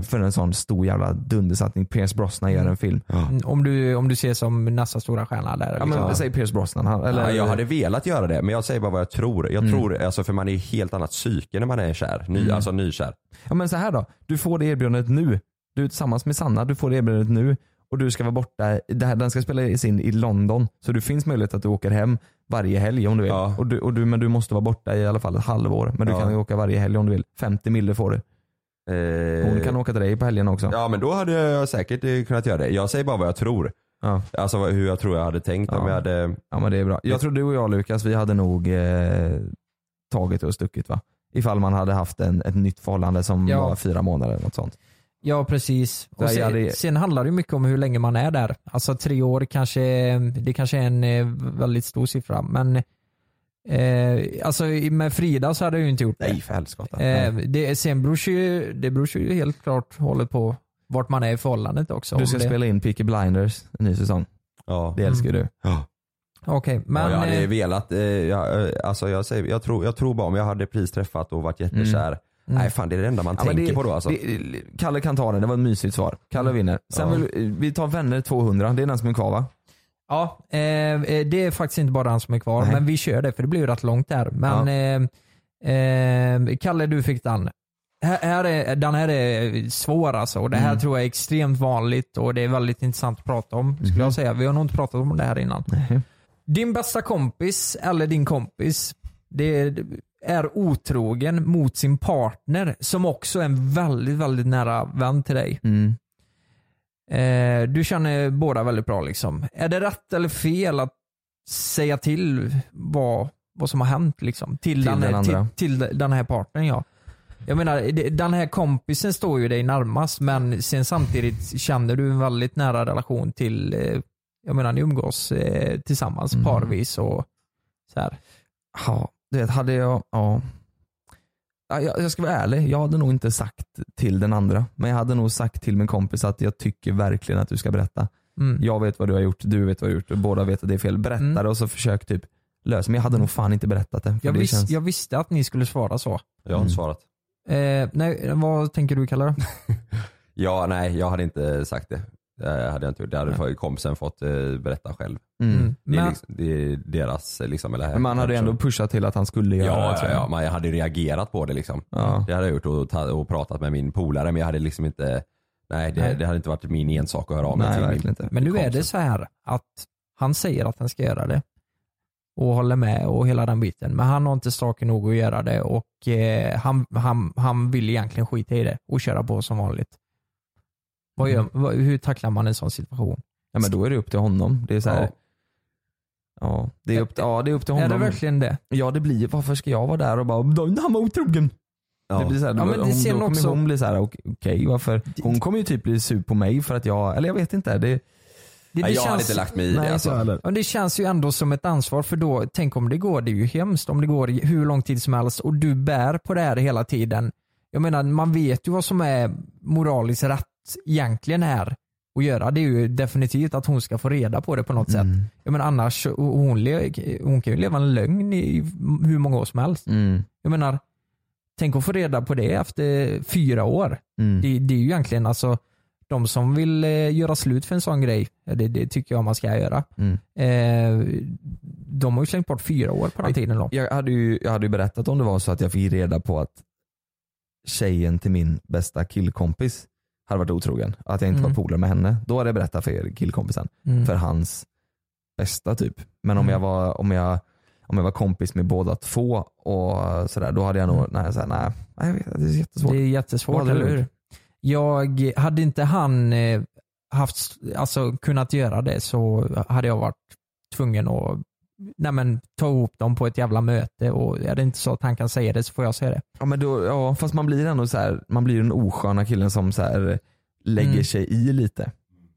Speaker 10: För en sån stor jävla dundersatsning. Pierce Brosnan gör en film.
Speaker 7: Mm, Om du, om du ser som nästa stora stjärna där. liksom.
Speaker 10: Ja, men, Säg Pierce Brosnan. Han, eller,
Speaker 9: ja, jag hade velat göra det men jag säger bara vad jag tror. Jag tror, alltså, för man är i helt annat psyke när man är kär. Ny,
Speaker 10: Mm.
Speaker 9: Alltså nykär.
Speaker 10: ja, men så här då. Du får det erbjudandet nu. Du är tillsammans med Sanna, du får det erbjudandet nu. Och du ska vara borta, det här, den ska spelas in i London. Så det finns möjlighet att du åker hem varje helg om du vill. Och du, och du, men du måste vara borta i alla fall ett halvår. Men du
Speaker 9: Ja.
Speaker 10: kan ju åka varje helg om du vill. 50 mille får du.
Speaker 9: Eh,
Speaker 10: Hon kan åka till dig på helgen också.
Speaker 9: Ja men då hade jag säkert eh, kunnat göra det. Jag säger bara vad jag tror.
Speaker 10: Ja.
Speaker 9: Alltså vad- hur jag tror jag hade tänkt om
Speaker 10: Ja.
Speaker 9: jag hade...
Speaker 10: Ja men det är bra.
Speaker 9: Eh.
Speaker 10: Jag tror du och jag Lukas, vi hade nog eh, tagit och stuckit va? Ifall man hade haft en, ett nytt förhållande som
Speaker 7: Ja.
Speaker 10: var fyra månader eller något sånt.
Speaker 7: Ja precis.
Speaker 10: Där
Speaker 7: Och sen,
Speaker 10: jag hade-
Speaker 7: sen handlar det ju mycket om hur länge man är där. Alltså tre år kanske, det kanske är en eh, väldigt stor siffra men eh, alltså i- med Frida så hade jag ju inte gjort det.
Speaker 10: Nej för helskotta.
Speaker 7: Eh,
Speaker 10: Nej.
Speaker 7: det, sen beror ju, det beror ju helt klart hållet på vart man är i förhållandet också.
Speaker 10: Du
Speaker 7: Om
Speaker 10: ska
Speaker 7: det-
Speaker 10: spela in Peaky Blinders, en ny säsong.
Speaker 9: Ja.
Speaker 10: Det älskar ju du.
Speaker 9: Ja.
Speaker 7: Mm. Okej,
Speaker 9: ja,
Speaker 7: men...
Speaker 9: jag hade
Speaker 7: eh,
Speaker 9: velat, eh, jag, eh, alltså jag, säger, jag, tror, jag tror bara om jag hade precis träffat och varit jättekär. Nej fan det är det enda man
Speaker 10: Mm. Ja, men
Speaker 9: tänker
Speaker 10: det-
Speaker 9: på då alltså.
Speaker 10: det- Kalle kan ta den, det var ett mysigt svar. Kalle vinner. Sen
Speaker 9: Ja.
Speaker 10: vill, vi tar vänner 200, det är den som är kvar va?
Speaker 7: Ja, eh, eh, det är faktiskt inte bara han som är kvar,
Speaker 10: Nej.
Speaker 7: men vi kör det för det blir ju rätt långt där. Men eh, eh, Kalle, du fick den. Här, här är, den här är svår alltså och det här
Speaker 10: Mm.
Speaker 7: tror jag är extremt vanligt och det är väldigt intressant att prata om
Speaker 10: Mhm.
Speaker 7: skulle jag säga. Vi har nog inte pratat om det här innan. Din bästa kompis eller din kompis det är, är otrogen mot sin partner som också är en väldigt, väldigt nära vän till dig.
Speaker 10: Mm.
Speaker 7: Eh, du känner båda väldigt bra liksom. Är det rätt eller fel att säga till vad, vad som har hänt liksom? Till,
Speaker 10: Till den andra.
Speaker 7: Till, till den här partnern ja. Jag menar, det- den här kompisen står ju dig närmast men sen samtidigt känner du en väldigt nära relation till, eh, jag menar ni umgås eh, tillsammans
Speaker 10: Mm.
Speaker 7: parvis och så här.
Speaker 10: Ja, du vet hade jag, ja. Ja, Jag, jag ska vara ärlig, jag hade nog inte sagt till den andra. Men jag hade nog sagt till min kompis att jag tycker verkligen att du ska berätta.
Speaker 7: Mm.
Speaker 10: Jag vet vad du har gjort, du vet vad du har gjort och båda vet att det är fel. Berätta det och så försök typ lösa Men jag hade nog fan inte berättat det. För
Speaker 7: Jag,
Speaker 10: det
Speaker 7: vis,
Speaker 10: känns...
Speaker 7: jag visste att ni skulle svara så.
Speaker 9: Jag har
Speaker 10: Mm.
Speaker 9: inte svarat.
Speaker 7: Eh, nej, vad tänker du Kalle? då?
Speaker 9: Ja nej jag hade inte sagt det. Det hade jag inte gjort. Det hade för- kompisen fått eh, berätta själv.
Speaker 10: Mm.
Speaker 9: Det, är
Speaker 7: Men-
Speaker 9: liksom, det är deras eh, liksom, eller
Speaker 10: Men man hade ju ändå pushat till att han skulle
Speaker 9: Ja,
Speaker 10: göra det.
Speaker 9: ja,
Speaker 10: tror
Speaker 9: ja,
Speaker 10: jag.
Speaker 9: ja, man hade ju reagerat på det liksom.
Speaker 10: Ja.
Speaker 9: Det hade jag gjort och, ta- och pratat med min polare men jag hade liksom inte, nej det,
Speaker 7: Nej.
Speaker 9: det hade inte varit min ensak att höra av mig
Speaker 10: Nej
Speaker 9: till. min-
Speaker 10: verkligen inte.
Speaker 7: Men nu är det så här att han säger att han ska göra det och håller med och hela den biten. Men han har inte saker nog att göra det och eh, han, han, han vill egentligen skita i det och köra på som vanligt. Vad gör, vad, hur tacklar man en sån situation?
Speaker 10: Mm. Ja, men då är det upp till honom. Det är så här,
Speaker 7: Ja.
Speaker 10: ja. det är upp, ja, det är upp till
Speaker 7: Är
Speaker 10: honom.
Speaker 7: det verkligen det?
Speaker 10: Ja det blir varför ska jag vara där och bara "Då- han var otrogen. Det blir så här,
Speaker 7: Ja, men det
Speaker 10: hon,
Speaker 7: ser
Speaker 10: då
Speaker 7: man
Speaker 10: kommer
Speaker 7: också-
Speaker 10: hon bli så här, okej varför? Hon kommer ju typ bli sur på mig för att jag, eller jag vet inte. Det,
Speaker 7: det känns- Mm, Nej,
Speaker 9: alltså.
Speaker 7: inte jag heller. Men det känns ju ändå som ett ansvar för då, tänk om det går, det är ju hemskt om det går i hur lång tid som helst och du bär på det här hela tiden. Jag menar, man vet ju vad som är moraliskt rätt egentligen här att göra. Det är ju definitivt att hon ska få reda på det på något
Speaker 10: Mm.
Speaker 7: sätt. Jag menar annars, och hon, le, hon kan ju leva en lögn i hur många år som helst. Jag menar, tänk att få reda på det efter fyra år.
Speaker 10: Mm.
Speaker 7: Det, det är ju egentligen alltså de som vill eh, göra slut för en sån grej, ja, det, det tycker jag man ska göra.
Speaker 10: Mm.
Speaker 7: Eh, de har ju slängt bort fyra år på den tiden då.
Speaker 10: Jag hade, ju, jag hade ju berättat om det var så att jag fick reda på att tjejen till min bästa killkompis hade varit otrogen. Att jag inte
Speaker 7: Mm.
Speaker 10: var polare med henne. Då hade jag berättat för killkompisen.
Speaker 7: Mm.
Speaker 10: För hans bästa typ. Men om,
Speaker 7: Mm.
Speaker 10: jag var, om, jag, om jag var kompis med båda två och sådär, då hade jag nog, nej, såhär, nej, nej, jag vet, det är jättesvårt.
Speaker 7: Mm. Det är jättesvårt,
Speaker 10: Vad hade
Speaker 7: eller
Speaker 10: du
Speaker 7: hur?
Speaker 10: gjort?
Speaker 7: Jag, hade inte han eh, haft, alltså, kunnat göra det så hade jag varit tvungen att nej, men, ta ihop dem på ett jävla möte och är det inte så att han kan säga det så får jag säga det.
Speaker 10: Ja, men då, ja fast man blir ändå så här, man blir den osköna killen som så här, lägger
Speaker 7: Mm.
Speaker 10: sig i lite.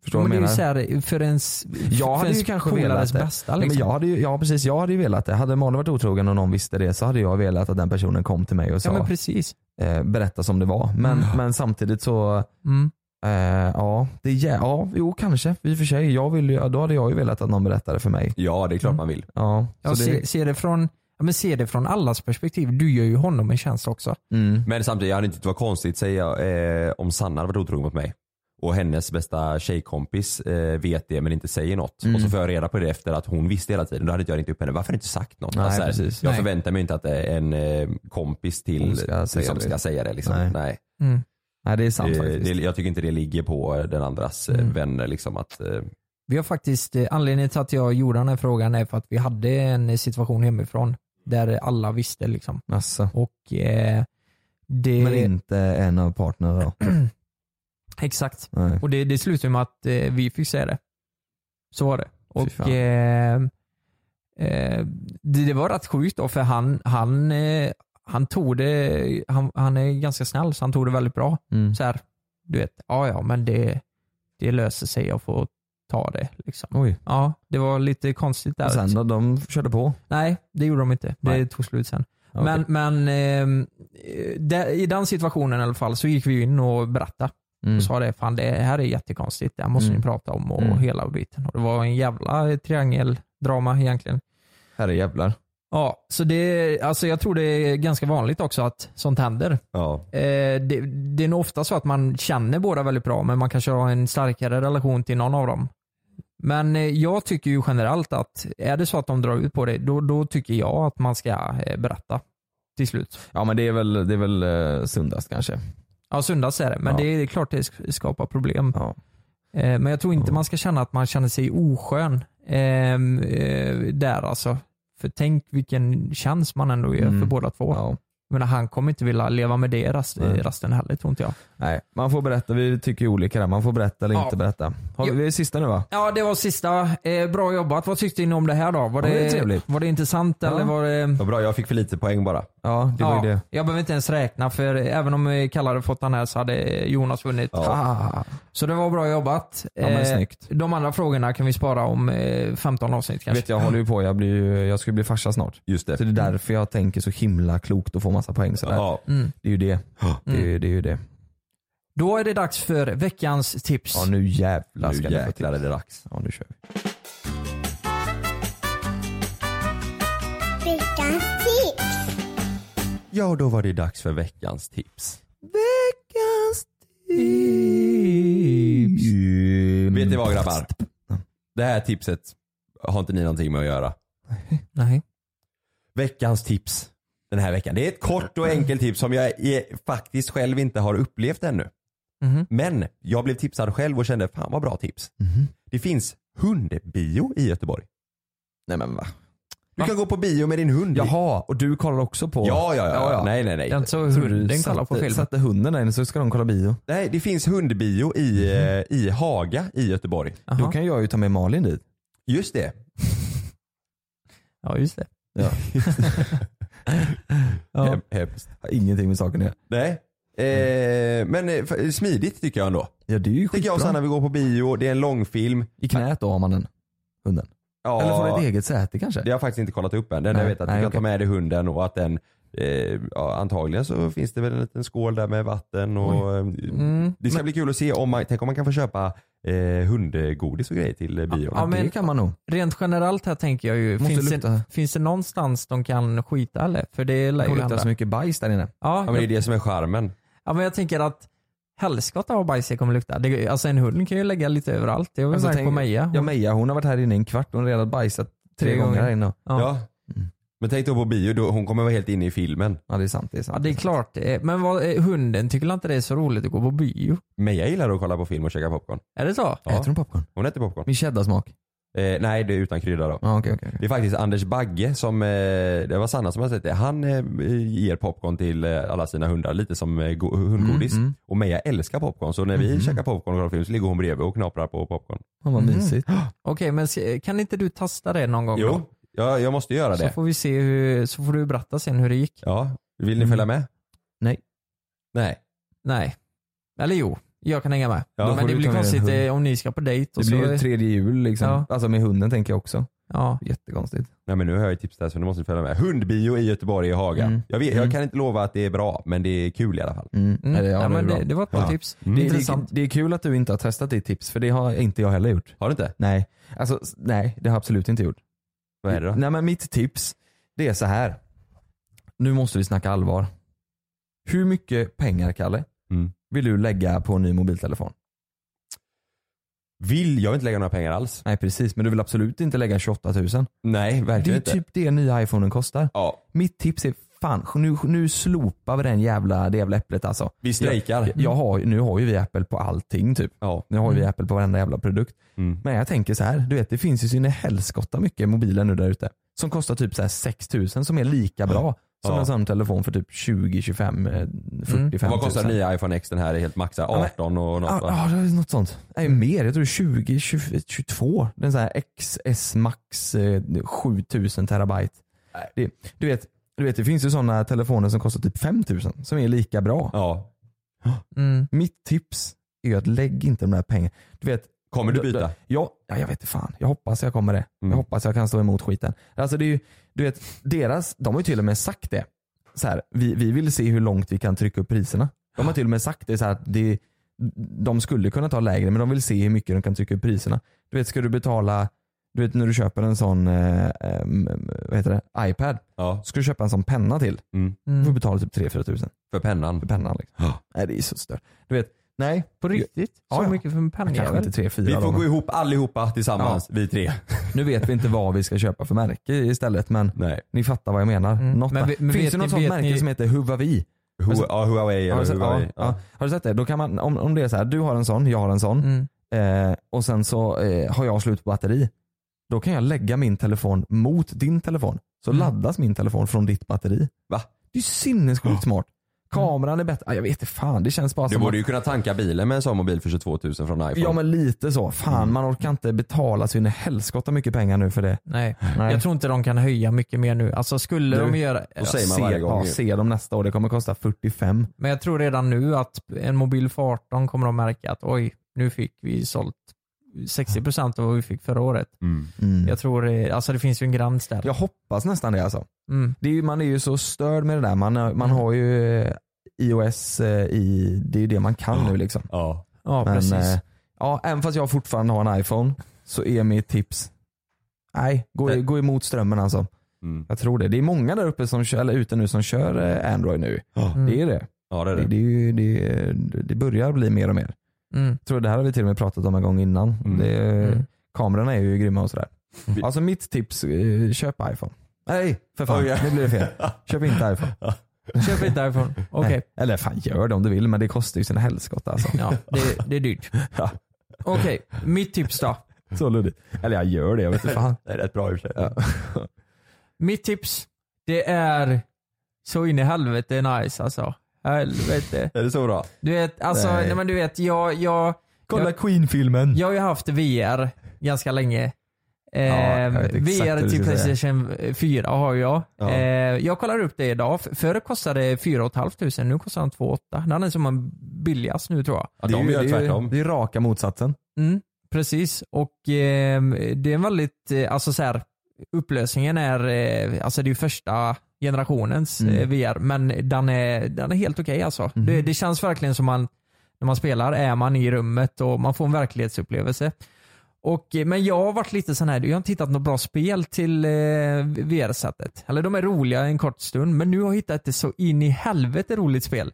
Speaker 10: Förstår du
Speaker 7: men
Speaker 10: vad
Speaker 7: det
Speaker 10: jag
Speaker 7: är ju
Speaker 10: menar?
Speaker 7: så här, för ens,
Speaker 10: Jag
Speaker 7: för
Speaker 10: hade
Speaker 7: ens
Speaker 10: ju kanske
Speaker 7: polares
Speaker 10: velat det.
Speaker 7: bästa.
Speaker 10: Ja,
Speaker 7: Liksom.
Speaker 10: men jag hade ju, ja precis, jag hade ju velat det. Hade Malin varit otrogen och någon visste det så hade jag velat att den personen kom till mig och sa
Speaker 7: men precis.
Speaker 10: Eh, berätta som det var. Men, men samtidigt så,
Speaker 7: Mm.
Speaker 10: eh, ja, det är, jä- ja, jo kanske i och för sig. Jag vill ju, då hade jag ju velat att någon berättade för mig. Mm.
Speaker 9: Ja det är klart man vill.
Speaker 10: Ja,
Speaker 7: Jag
Speaker 10: så
Speaker 7: ser,
Speaker 10: det,
Speaker 7: ser, det från, ja, men ser det från allas perspektiv. Du gör ju honom en tjänst också.
Speaker 10: mm.
Speaker 9: Men samtidigt, jag hade inte tyckt det var konstigt säga eh, om Sanna hade varit otrogen mot mig och hennes bästa tjejkompis eh, vet det men inte säger något.
Speaker 10: Mm.
Speaker 9: Och så får jag reda på det efter att hon visste hela tiden. Då hade inte jag ringt upp henne. Varför har du inte sagt något?
Speaker 10: Nej,
Speaker 9: så här,
Speaker 10: precis.
Speaker 9: jag
Speaker 10: Nej.
Speaker 9: förväntar mig inte att eh, en eh, kompis till
Speaker 10: Hon ska
Speaker 9: till-
Speaker 10: säga
Speaker 9: som
Speaker 10: det.
Speaker 9: ska säga det. Liksom.
Speaker 10: Nej.
Speaker 9: Nej.
Speaker 7: Mm.
Speaker 10: nej, det är sant
Speaker 9: Eh,
Speaker 10: faktiskt. Mm.
Speaker 9: det, jag tycker inte det ligger på den andras eh, vänner. Liksom, att, eh,
Speaker 7: Vi har faktiskt, eh, anledningen till att jag gjorde den här frågan är för att vi hade en situation hemifrån där alla visste liksom.
Speaker 10: Alltså.
Speaker 7: Och eh, det...
Speaker 10: Men inte en av partnerna då?
Speaker 7: Exakt.
Speaker 10: Nej.
Speaker 7: Och det, det slutade med att eh, vi fick säga det. Så var det. Och
Speaker 10: fan.
Speaker 7: eh, eh, det, det var rätt sjukt då för han, han, eh, han tog det, han, han är ganska snäll så han tog det väldigt bra.
Speaker 10: Mm.
Speaker 7: Så här, du vet, ja ja men det, det löser sig, jag får ta det. Liksom.
Speaker 10: Oj.
Speaker 7: Ja, det var lite konstigt där.
Speaker 10: Och sen då, de körde på?
Speaker 7: Nej, det gjorde de inte. Det
Speaker 10: Nej.
Speaker 7: tog slut sen.
Speaker 10: Okej.
Speaker 7: Men, men ehm, eh, där- i den situationen i alla fall så gick vi ju in och berättade.
Speaker 10: Mm.
Speaker 7: Och sa det, fan det här är jättekonstigt, det här måste
Speaker 10: Mm.
Speaker 7: ni prata om och
Speaker 10: Mm.
Speaker 7: hela biten. Och det var en jävla triangeldrama egentligen.
Speaker 10: Herrejävlar.
Speaker 7: Ja, så det, alltså jag tror det är ganska vanligt också att sånt händer.
Speaker 9: Ja.
Speaker 7: Eh, det, det är nog ofta så att man känner båda väldigt bra men man kanske har en starkare relation till någon av dem. Men eh, jag tycker ju generellt att är det så att de drar ut på det då, då tycker jag att man ska eh, berätta till slut.
Speaker 10: Ja men det är väl, det är väl eh, sundast kanske.
Speaker 7: Ja, sundast är det. Men
Speaker 10: Ja.
Speaker 7: det är klart det sk- skapar problem.
Speaker 10: Ja.
Speaker 7: Eh, Men jag tror inte man ska känna att man känner sig oskön ehm, eh, där alltså. För tänk vilken tjänst man ändå gör för
Speaker 10: Mm.
Speaker 7: båda två.
Speaker 10: Ja.
Speaker 7: Men han kommer inte vilja leva med det rast,
Speaker 10: Nej.
Speaker 7: rasten heller tror inte jag.
Speaker 10: Nej, man får berätta. Vi tycker ju olika där. Man får berätta eller
Speaker 7: Ja.
Speaker 10: inte berätta. Har vi,
Speaker 7: Ja.
Speaker 10: vi är sista nu va?
Speaker 7: Ja, det var sista. Eh, bra jobbat. Vad tyckte ni om det här då? Var
Speaker 10: Ja,
Speaker 7: det,
Speaker 10: det är trevligt.
Speaker 7: Var det intressant eller var det...
Speaker 9: Vad bra, jag fick för lite poäng bara.
Speaker 10: Ja, det var ju det.
Speaker 7: Jag behöver inte ens räkna för även om eh, Kalle hade fått den här så hade Jonas vunnit.
Speaker 10: Ah.
Speaker 7: Så det var bra jobbat.
Speaker 10: Ja, men
Speaker 7: Eh,
Speaker 10: snyggt.
Speaker 7: De andra frågorna kan vi spara om eh, 15 avsnitt kanske.
Speaker 10: Vet jag håller ju på, jag, blir, ju- jag ska ju bli farsa snart.
Speaker 9: Just det.
Speaker 10: Så det är därför jag tänker så himla klokt och får massa poäng sådär.
Speaker 9: Ja. Mm.
Speaker 7: Mm.
Speaker 10: Det är ju det. Det är, ju- det är ju det.
Speaker 7: Då är det dags för veckans tips.
Speaker 10: Ja nu jävlar
Speaker 9: Nu
Speaker 10: ska
Speaker 9: jäklar
Speaker 10: det
Speaker 9: är det dags.
Speaker 10: Ja nu kör vi.
Speaker 17: Veckans tips!
Speaker 9: Ja, och då var det dags för veckans tips.
Speaker 17: Veckans
Speaker 9: Vet ni vad grabbar? Det här tipset har inte ni någonting med att göra.
Speaker 7: Nej.
Speaker 9: Veckans tips den här veckan. Det är ett kort och enkelt tips som jag i- faktiskt själv inte har upplevt ännu.
Speaker 7: Mhm.
Speaker 9: Men jag blev tipsad själv och kände fan vad bra tips. Det finns hundbio i Göteborg.
Speaker 10: Nej men va?
Speaker 9: Du kan gå på bio med din hund.
Speaker 10: Jaha, och du kollar också på?
Speaker 9: Ja, ja, ja. Nej, nej, nej.
Speaker 7: Den såg
Speaker 10: Tror du
Speaker 7: hunden kolla på
Speaker 10: satte-
Speaker 7: film.
Speaker 10: Satte hunden där inne så ska de kolla bio.
Speaker 9: Nej, det finns hundbio i, eh, i Haga i Göteborg.
Speaker 10: Då kan jag ju ta med Malin dit.
Speaker 9: Just det.
Speaker 18: <laughs>
Speaker 7: Ja, just det.
Speaker 10: Ja.
Speaker 7: Ja. Har Ingenting med saken att göra.
Speaker 9: Nej. Eh, men eh, f- smidigt tycker jag ändå.
Speaker 7: Ja det är ju
Speaker 9: Tycker jag och
Speaker 7: skitbra.
Speaker 9: Sanna vi går på bio, det är en långfilm.
Speaker 7: I knät då har man den. Hunden.
Speaker 9: Ja.
Speaker 7: Eller får den ett eget säte kanske?
Speaker 9: Det har jag faktiskt inte kollat upp än. Den
Speaker 7: Nej,
Speaker 9: jag vet att
Speaker 7: nej,
Speaker 9: du kan
Speaker 7: okej.
Speaker 9: ta med dig hunden och att den eh, ja, antagligen så finns det väl en liten skål där med vatten och eh,
Speaker 7: Mm.
Speaker 9: det ska bli kul att se om man, tänk om man kan få köpa eh, hundgodis och grejer till eh, bio.
Speaker 18: Ja, men- Rent generellt här tänker jag ju,
Speaker 7: Måste
Speaker 18: finns det,
Speaker 7: lukta.
Speaker 18: finns det någonstans de kan skita eller? För det
Speaker 7: Det
Speaker 18: lär ju
Speaker 7: kommer lukta
Speaker 18: hända.
Speaker 7: så mycket bajs där inne.
Speaker 18: Ja,
Speaker 9: men det är det som är charmen.
Speaker 18: Ja men jag tänker att helskotta vad bajs det kommer lukta. Det, alltså en hund kan ju lägga lite överallt. Det har vi
Speaker 7: Alltså,
Speaker 18: märkt
Speaker 7: tänk-
Speaker 18: på Meja.
Speaker 7: Ja Meja hon har varit här inne i en kvart och hon har redan bajsat tre,
Speaker 18: Tre
Speaker 7: gånger.
Speaker 18: gånger.
Speaker 7: här inne.
Speaker 18: Ja. Ja.
Speaker 9: Mm. Men tänk då på bio, då, hon kommer vara helt inne i filmen.
Speaker 7: Ja det är sant. Det är sant.
Speaker 18: Ja det är klart. det är. Men vad, eh, hunden tycker inte det är så roligt att gå på bio?
Speaker 9: Men jag gillar att kolla på film och käka popcorn.
Speaker 18: Är det så?
Speaker 9: Ja.
Speaker 7: Äter hon popcorn?
Speaker 9: Hon äter popcorn.
Speaker 7: Med cheddarsmak?
Speaker 9: Eh, nej, det är utan krydda då.
Speaker 7: Ja okej okej.
Speaker 9: Det är faktiskt Anders Bagge som, eh, det var Sanna som har sett det, han eh, ger popcorn till eh, alla sina hundar lite som eh, go- hundgodis.
Speaker 7: Mm, mm.
Speaker 9: Och Meja älskar popcorn så när vi
Speaker 7: Mhm.
Speaker 9: käkar popcorn och kollar film så ligger hon bredvid och knaprar på popcorn.
Speaker 7: Fan vad
Speaker 18: Mhm.
Speaker 7: mysigt.
Speaker 18: <gasps> Okej men se- kan inte du testa det någon gång?
Speaker 9: Jo,
Speaker 18: då?
Speaker 9: jag, jag måste göra
Speaker 18: Så
Speaker 9: det.
Speaker 18: får vi se hur, så får du berätta sen hur det gick.
Speaker 9: Ja, vill ni
Speaker 7: Mm.
Speaker 9: följa med?
Speaker 7: Nej.
Speaker 9: Nej.
Speaker 18: Nej. Eller jo, jag kan hänga med.
Speaker 7: Ja, då
Speaker 18: men
Speaker 7: får
Speaker 18: det
Speaker 7: du
Speaker 18: blir
Speaker 7: ta med
Speaker 18: konstigt
Speaker 7: en hund.
Speaker 18: eh, om ni ska på dejt och
Speaker 7: Det blir
Speaker 18: så...
Speaker 7: ju ett tredje jul liksom.
Speaker 18: Ja.
Speaker 7: Alltså med hunden tänker jag också.
Speaker 18: Ja.
Speaker 7: Jättekonstigt.
Speaker 9: Nej men nu har jag ju tips där så nu måste ni följa med. Hundbio i Göteborg i Haga.
Speaker 7: Mm.
Speaker 9: Jag, vet, jag kan inte lova att det är bra men det är kul i alla fall.
Speaker 7: Mm.
Speaker 18: Mm.
Speaker 7: Eller, ja,
Speaker 18: Ja,
Speaker 7: det, är
Speaker 18: men
Speaker 7: bra.
Speaker 18: det, det var ett bra tips.
Speaker 7: Mm. Det, det,
Speaker 18: Intressant.
Speaker 7: det är kul att du inte har testat ditt tips för det har inte jag heller gjort.
Speaker 9: Har du inte?
Speaker 7: Nej, alltså, s- nej det har jag absolut inte gjort.
Speaker 9: Vad är det då?
Speaker 7: Nej men mitt tips, det är så här. Nu måste vi snacka allvar. Hur mycket pengar Kalle,
Speaker 9: Mm.
Speaker 7: vill du lägga på en ny mobiltelefon?
Speaker 9: Vill, jag vill inte lägga några pengar alls.
Speaker 7: Nej precis, men du vill absolut inte lägga 28 000.
Speaker 9: Nej,
Speaker 7: det är
Speaker 9: verkligen
Speaker 7: ju
Speaker 9: inte.
Speaker 7: typ det nya iPhonen kostar.
Speaker 9: Ja.
Speaker 7: Mitt tips är fan, nu, nu slopar vi den jävla, det jävla äpplet alltså.
Speaker 9: Vi strejkar.
Speaker 7: Jag, jag har, ju- nu har ju vi Apple på allting typ.
Speaker 9: Ja.
Speaker 7: Nu har ju vi Apple på varenda jävla produkt.
Speaker 9: Mm.
Speaker 7: Men jag tänker så här, du vet det finns ju så in i helskotta mycket mobiler nu där ute. Som kostar typ så här 6 000 som är lika bra som
Speaker 9: Ja. Mm.
Speaker 7: en sån telefon för typ 20, 25, eh, 45 000.
Speaker 9: Vad kostar den nya iPhone X? Den här är helt maxad.
Speaker 7: men-
Speaker 9: 18 och något
Speaker 7: Ja,
Speaker 9: va?
Speaker 7: ja, det är något sånt. Nej,
Speaker 9: Mm.
Speaker 7: mer. Jag tror 20, 20 22. Den så här XS Max eh, 7000 terabyte. Det, du, vet, du vet, det finns ju sådana telefoner som kostar typ 5000 som är lika bra.
Speaker 9: Ja. Mm.
Speaker 7: Mitt tips är ju att lägg inte de där pengarna. Du vet,
Speaker 9: Kommer du byta?
Speaker 7: Ja, ja, jag vet inte fan. Jag hoppas jag kommer det.
Speaker 9: Mm.
Speaker 7: Jag hoppas jag kan stå emot skiten. Alltså det är ju, du vet, deras, de har ju till och med sagt det. Så här, vi, vi vill se hur långt vi kan trycka upp priserna. De har till och med sagt det så här att det, de skulle kunna ta lägre men de vill se hur mycket de kan trycka upp priserna. Du vet, ska du betala, du vet när du köper en sån, eh, eh, vad heter det, iPad.
Speaker 9: Ja.
Speaker 7: Ska du köpa en sån penna till,
Speaker 9: Mm.
Speaker 7: du får betala typ 3-4 tusen
Speaker 9: För pennan?
Speaker 7: för pennan. Liksom.
Speaker 9: Ja.
Speaker 7: Nej det är så stört. Du vet, nej.
Speaker 18: På riktigt?
Speaker 7: Ja,
Speaker 18: Så
Speaker 7: ja.
Speaker 18: mycket för en
Speaker 7: Kanske
Speaker 18: pennjävel?
Speaker 7: inte 3-4
Speaker 9: Vi får
Speaker 7: då, men-
Speaker 9: gå ihop allihopa tillsammans, vi tre.
Speaker 7: Nu vet vi inte vad vi ska köpa för märke istället men
Speaker 9: Nej.
Speaker 7: ni fattar vad jag menar.
Speaker 18: Mm.
Speaker 7: Något
Speaker 18: Men
Speaker 7: där.
Speaker 18: vi- men
Speaker 7: Finns
Speaker 18: vet
Speaker 7: det
Speaker 18: ni-
Speaker 7: något sånt
Speaker 18: vet
Speaker 7: märke
Speaker 18: ni-
Speaker 7: som heter Huawei?
Speaker 9: Hu-
Speaker 7: Alltså-
Speaker 9: ja, Huawei
Speaker 7: Har du
Speaker 9: eller
Speaker 7: sett, ja,
Speaker 9: Huawei.
Speaker 7: ja.
Speaker 9: Ja.
Speaker 7: Har du sett det? Då kan man, om, om det är så här, du har en sån, jag har en sån
Speaker 18: Mm.
Speaker 7: eh, och sen så eh, har jag slut på batteri. Då kan jag lägga min telefon mot din telefon. Så
Speaker 18: Mm.
Speaker 7: laddas min telefon från ditt batteri.
Speaker 9: Va?
Speaker 7: Det är ju sinnessjukt smart.
Speaker 18: Mm.
Speaker 7: Kameran är bättre. Ah, jag vet inte fan, det känns bara
Speaker 9: Du
Speaker 7: som att-
Speaker 9: borde ju kunna tanka bilen med en sån mobil för 22 000 från iPhone.
Speaker 7: Ja men lite så. Fan
Speaker 9: Mm.
Speaker 7: man orkar inte betala så in i helskotta mycket pengar nu för det.
Speaker 18: Nej.
Speaker 7: Nej.
Speaker 18: jag tror inte de kan höja mycket mer nu. Alltså skulle
Speaker 7: Du,
Speaker 18: de göra...
Speaker 9: då säger man
Speaker 7: se,
Speaker 9: varje gång
Speaker 7: ja,
Speaker 9: ju.
Speaker 7: se dem nästa år, det kommer kosta 45.
Speaker 18: Men jag tror redan nu att en mobil för 18 kommer de märka att oj, nu fick vi sålt 60% av vad vi fick förra året.
Speaker 9: Mm.
Speaker 7: Mm.
Speaker 18: Jag tror det, alltså det finns ju en gräns där.
Speaker 7: Jag hoppas nästan det alltså.
Speaker 18: Mm.
Speaker 7: Det är ju, man är ju så störd med det där. Man, har- man har ju eh, iOS eh, i, det är ju det man kan nu liksom.
Speaker 9: Ja.
Speaker 18: Ja,
Speaker 7: Men,
Speaker 18: precis.
Speaker 7: eh, ja, även fast jag fortfarande har en iPhone så är mitt tips, nej, gå,
Speaker 9: Nej.
Speaker 7: gå emot strömmen alltså.
Speaker 9: Mm.
Speaker 7: Jag tror det. Det är många där uppe som kör, eller ute nu som kör eh, Android nu.
Speaker 18: Mm.
Speaker 7: Det är det.
Speaker 9: Ja det är
Speaker 7: Det,
Speaker 9: det.
Speaker 7: det, är ju, det, det börjar bli mer och mer.
Speaker 18: Mm.
Speaker 7: Jag tror det här har vi till och med pratat om en gång innan.
Speaker 9: Mm.
Speaker 7: Det,
Speaker 18: Mm.
Speaker 7: Kamerorna är ju grymma och sådär.
Speaker 9: Vi-
Speaker 7: Alltså mitt tips, eh, köp iPhone. Oh, Nej för fan,
Speaker 9: Oj, ja.
Speaker 7: nu blir det fel. Köp inte iPhone.
Speaker 18: <laughs>
Speaker 9: <laughs>
Speaker 18: Köp inte därifrån. Okej.
Speaker 7: Nej. Eller fan gör det om du vill men det kostar ju sina helskotta alltså.
Speaker 18: Ja, det, det är dyrt.
Speaker 7: <laughs> Ja.
Speaker 18: Okej, mitt tips då.
Speaker 7: Så luddigt. Eller jag gör det, jag vet inte fan.
Speaker 9: Det är rätt bra i och för sig.
Speaker 7: Ja.
Speaker 18: Mitt tips, det är så in i helvete nice alltså. Helvete.
Speaker 9: Är det så bra?
Speaker 18: Du vet, alltså,
Speaker 7: Nej.
Speaker 18: nej. men du vet, jag, jag,
Speaker 7: Kolla
Speaker 18: jag,
Speaker 7: Queen-filmen.
Speaker 18: jag har ju haft VR ganska länge.
Speaker 7: Eh,
Speaker 10: jag vet exakt vad
Speaker 7: VR
Speaker 10: du
Speaker 7: till
Speaker 10: ska säga.
Speaker 7: Playstation 4 har jag.
Speaker 10: Ja.
Speaker 7: Eh, jag kollar upp det idag. F- Förr kostade 4 500, nu kostar den 2 800. Den är som en billigast nu tror jag.
Speaker 10: Ja, de gör tvärtom. Det är raka motsatsen.
Speaker 7: Mm, precis, och eh, det är en väldigt, eh, alltså så här, upplösningen är, eh, alltså det är ju första generationens
Speaker 10: Mm.
Speaker 7: eh, VR, men den är, den är helt okej alltså. Det, det känns verkligen som man, när man spelar är man i rummet och man får en verklighetsupplevelse. Och, eh, men jag har varit lite sån här, jag har inte hittat något bra spel till eh, VR-sättet. Eller de är roliga en kort stund, men nu har jag hittat ett så in i helvete roligt spel.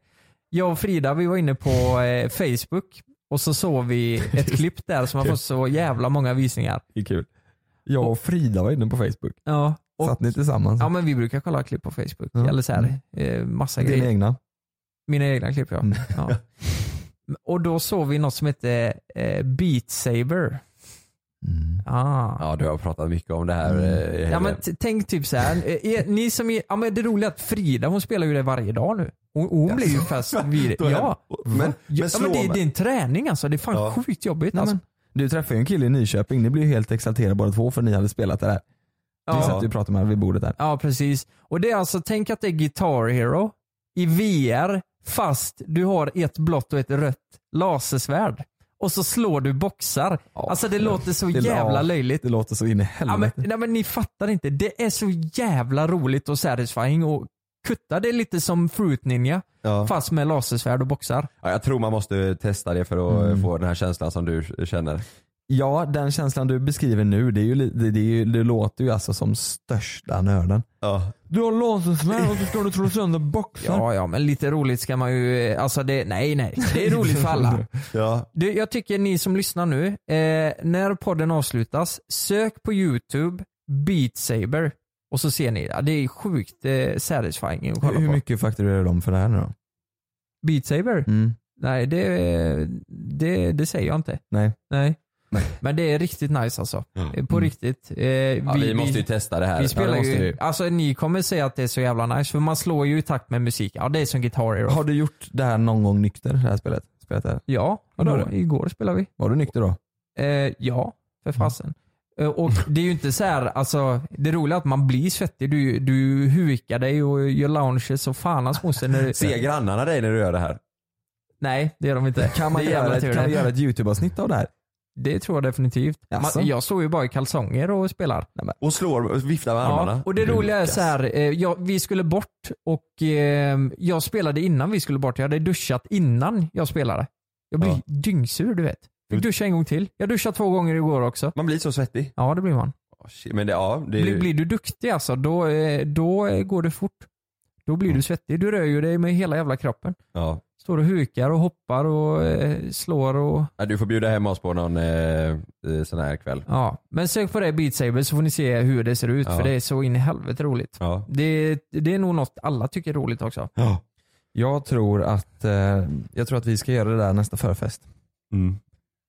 Speaker 7: Jag och Frida vi var inne på eh, Facebook och så såg vi
Speaker 10: <laughs>
Speaker 7: ett klipp där som har fått så jävla många visningar.
Speaker 10: Det är kul. Jag och Frida var inne på Facebook.
Speaker 7: Ja, och,
Speaker 10: Satt ni tillsammans?
Speaker 7: ja men vi brukar kolla klipp på Facebook.
Speaker 10: Ja. Mm.
Speaker 7: Eller så här, eh, massa
Speaker 10: Dina
Speaker 7: grejer.
Speaker 10: egna? Mm.
Speaker 7: Mina egna klipp ja.
Speaker 10: <laughs>
Speaker 7: ja. Och då såg vi något som hette eh, Beat Saber.
Speaker 10: Mm.
Speaker 7: Ah.
Speaker 9: Ja, du har pratat mycket om det här. eh,
Speaker 7: Ja, men t- tänk typ så här. eh, er- Ni som är, ja, men det roliga är att Frida hon spelar ju det varje dag nu. Hon, hon blir ju fast vid
Speaker 10: <laughs> Då är
Speaker 7: ja.
Speaker 10: den- men-
Speaker 7: ja,
Speaker 10: men
Speaker 7: ja,
Speaker 10: slå
Speaker 7: men det,
Speaker 10: mig.
Speaker 7: det är en träning alltså. Det är fan
Speaker 10: Ja.
Speaker 7: sjukt jobbigt.
Speaker 10: Nej,
Speaker 7: Alltså.
Speaker 10: men, du träffade ju en kille i Nyköping, ni blev ju helt exalterade båda två för ni hade spelat det där.
Speaker 7: Ja.
Speaker 10: Vi satt ju och pratade med varandra vid bordet där.
Speaker 7: Ja, precis. Och det är alltså, tänk att det är Guitar Hero i VR fast du har ett blått och ett rött lasersvärd. Och så slår du boxar. alltså det låter så jävla löjligt.
Speaker 10: Det låter så in i helvete.
Speaker 7: Ja, men, nej, men ni fattar inte. Det är så jävla roligt och satisfying och kutta. Det är lite som Fruit Ninja
Speaker 9: Ja.
Speaker 7: fast med lasersvärd och boxar.
Speaker 9: Ja, jag tror man måste testa det för att
Speaker 10: Mm.
Speaker 9: få den här känslan som du känner.
Speaker 10: Ja, den känslan du beskriver nu, det, är ju, li- det, det, är ju, det låter ju alltså som största nörden.
Speaker 9: Ja.
Speaker 7: Du har lasersvärd och så ska du slå sönder boxar. Ja, ja, men lite roligt ska man ju... eh, Alltså det, nej, nej. Det är roligt för <laughs> alla.
Speaker 9: Ja.
Speaker 7: Du, jag tycker ni som lyssnar nu, eh, när podden avslutas, sök på YouTube Beat Saber och så ser ni. Ja, det är sjukt eh, satisfying att kolla
Speaker 10: Hur, hur
Speaker 7: på.
Speaker 10: mycket fakturerar de för det här nu då?
Speaker 7: Beat Saber?
Speaker 10: Mm.
Speaker 7: Nej, det, det, det säger jag inte.
Speaker 10: Nej.
Speaker 7: Nej. Men det är riktigt nice alltså. Eh, På riktigt. Eh,
Speaker 9: Mm. Ja, vi måste ju testa det här. Ja,
Speaker 7: Vi
Speaker 9: det
Speaker 7: spelar
Speaker 9: måste vi.
Speaker 7: ju, alltså, ni kommer säga att det är så jävla nice för man slår ju i takt med musik. Ja, det är som Guitar Hero.
Speaker 10: Har du gjort det här någon gång nykter, det här spelet? spelet här?
Speaker 7: Ja,
Speaker 10: Ja, det har
Speaker 7: nå-
Speaker 10: du.
Speaker 7: igår spelade vi.
Speaker 10: Var du nykter då?
Speaker 7: Eh, ja,
Speaker 10: Mm.
Speaker 7: för fasen. Eh, Och det är ju inte så här, alltså det roliga är att man blir svettig. Du, du hukar dig och gör lounges och fan hans moster. när
Speaker 10: <laughs>
Speaker 7: du-
Speaker 9: Ser grannarna dig när du gör det här?
Speaker 7: Nej, det gör de inte.
Speaker 10: Kan man
Speaker 7: det är jävla
Speaker 10: göra ett,
Speaker 7: tur
Speaker 10: kan
Speaker 7: det.
Speaker 10: vi göra ett YouTube-avsnitt av det här?
Speaker 7: Det tror jag definitivt.
Speaker 10: Jaså?
Speaker 7: Man, jag står ju bara i kalsonger och spelar.
Speaker 9: Och slår och viftar med
Speaker 7: Ja,
Speaker 9: armarna?
Speaker 7: och det roliga är
Speaker 9: Lukas.
Speaker 7: så här, eh, jag, vi skulle bort och eh, jag spelade innan vi skulle bort. Jag hade duschat innan jag spelade. Jag blir
Speaker 9: Ja.
Speaker 7: dyngsur du vet. Fick duscha en gång till. Jag duschade två gånger igår också.
Speaker 9: Man blir så svettig.
Speaker 7: Ja det blir man.
Speaker 9: Åh, shit, Men det, ja, det är
Speaker 7: Blir,
Speaker 9: ju...
Speaker 7: blir du duktig alltså, då, eh, då eh, går det fort. Då blir du svettig. Du rör ju dig med hela jävla kroppen.
Speaker 9: Ja.
Speaker 7: Står och hukar och hoppar och eh, slår och...
Speaker 9: Ja, du får bjuda hem oss på någon eh, eh, sån här kväll.
Speaker 7: Ja. Men sök på det Beat Saber så får ni se hur det ser ut
Speaker 9: Ja.
Speaker 7: för det är så in i helvete roligt.
Speaker 9: Ja.
Speaker 7: Det, det är nog något alla tycker är roligt också.
Speaker 10: Jag tror att, eh, jag tror att vi ska göra det där nästa förfest.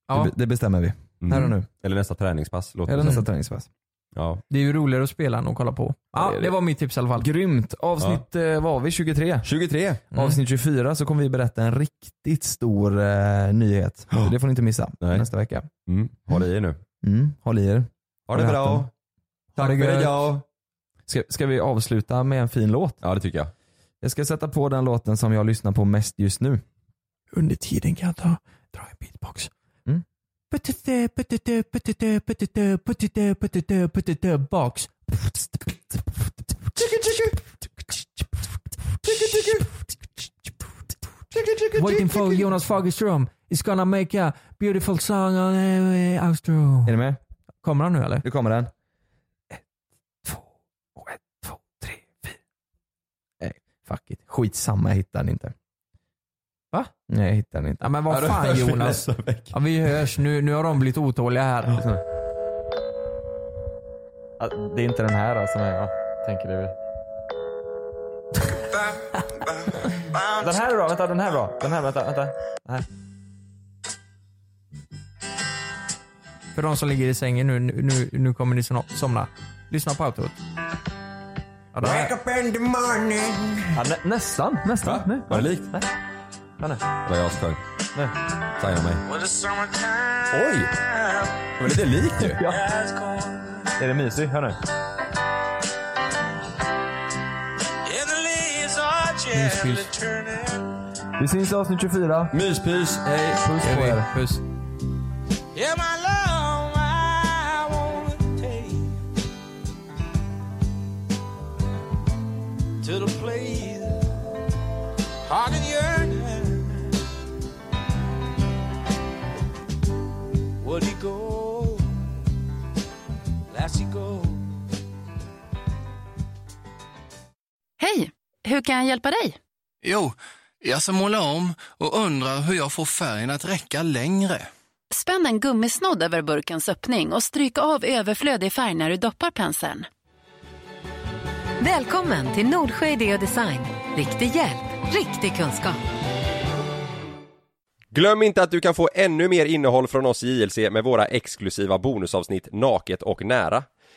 Speaker 7: Ja.
Speaker 10: Det, be- det bestämmer vi.
Speaker 9: Mm.
Speaker 10: Här och nu.
Speaker 9: Eller nästa träningspass. Låter
Speaker 10: Eller
Speaker 9: det
Speaker 10: nästa
Speaker 9: som.
Speaker 10: träningspass.
Speaker 9: Ja.
Speaker 7: Det är ju roligare att spela än att kolla på. Ja,
Speaker 10: det är det.
Speaker 7: det var mitt tips i alla fall.
Speaker 10: Grymt. Avsnitt, ja. var vi 23?
Speaker 9: 23.
Speaker 7: Mm.
Speaker 10: Avsnitt 24 så kommer vi berätta en riktigt stor eh, nyhet. Så Det får ni inte missa
Speaker 9: Nej.
Speaker 10: nästa vecka.
Speaker 9: Mm. Håll i er nu.
Speaker 10: Mm. Håll i er.
Speaker 9: Ha det
Speaker 10: Håll i
Speaker 9: bra.
Speaker 10: hatten.
Speaker 9: Tack för
Speaker 10: gött.
Speaker 9: idag.
Speaker 10: Ska, ska vi avsluta med en fin låt?
Speaker 9: Ja det tycker jag.
Speaker 10: Jag ska sätta på den låten som jag lyssnar på mest just nu.
Speaker 7: Under tiden kan jag ta, dra en beatbox.
Speaker 10: Mm.
Speaker 7: Puttete, puttete, puttete, puttete, puttete, puttete, puttete, box. Waiting for Jonas Fagerström is gonna make a beautiful song on eh, outro.
Speaker 10: Är ni med?
Speaker 7: Kommer han nu eller?
Speaker 10: Nu kommer den. Nej, fuck it. Skitsamma, jag hittar den inte.
Speaker 7: Va?
Speaker 10: Nej, jag hittar den inte.
Speaker 7: Ja, men vad
Speaker 10: då
Speaker 7: fan,
Speaker 10: hörs vi
Speaker 7: Jonas.
Speaker 10: nästa vecka.
Speaker 7: Ja, vi hörs nu. Nu har de blivit otåliga här.
Speaker 10: Ja, Det är inte den här alltså, som jag tänker det. är- <laughs> Den här är bra, vänta, den här är bra. Den här, vänta, vänta. Den här.
Speaker 7: För de som ligger i sängen nu, nu, nu, nu kommer ni som- somna. Lyssna på outrot. Ja, det här.
Speaker 9: up in the morning.
Speaker 10: Ja, nä, nästan, nästan.
Speaker 9: Va? Var det likt?
Speaker 10: Nej. Ja, nej.
Speaker 9: Det var jag som sjöng.
Speaker 10: Nej.
Speaker 9: Signa mig.
Speaker 6: Oj!
Speaker 9: Oj! Det var lite likt ju.
Speaker 6: Ja.
Speaker 19: Är det mysig? Hör nu. Myspys. Vi syns i avsnitt 24.
Speaker 20: Myspys.
Speaker 19: Hej. Puss på er. Puss.
Speaker 21: Yeah, my love, I wanna take you to the place heart and yearning. Will you go? Lassie, go.
Speaker 3: Hej! Hur kan jag hjälpa dig?
Speaker 22: Jo, jag ska måla om och undrar hur jag får färgen att räcka längre.
Speaker 3: Spänn en gummisnodd över burkens öppning och stryk av överflödig färg när du doppar penseln.
Speaker 23: Välkommen till Nordsjö Idé och Design. Riktig hjälp, riktig kunskap.
Speaker 9: Glöm inte att du kan få ännu mer innehåll från oss i JLC med våra exklusiva bonusavsnitt Naket och nära.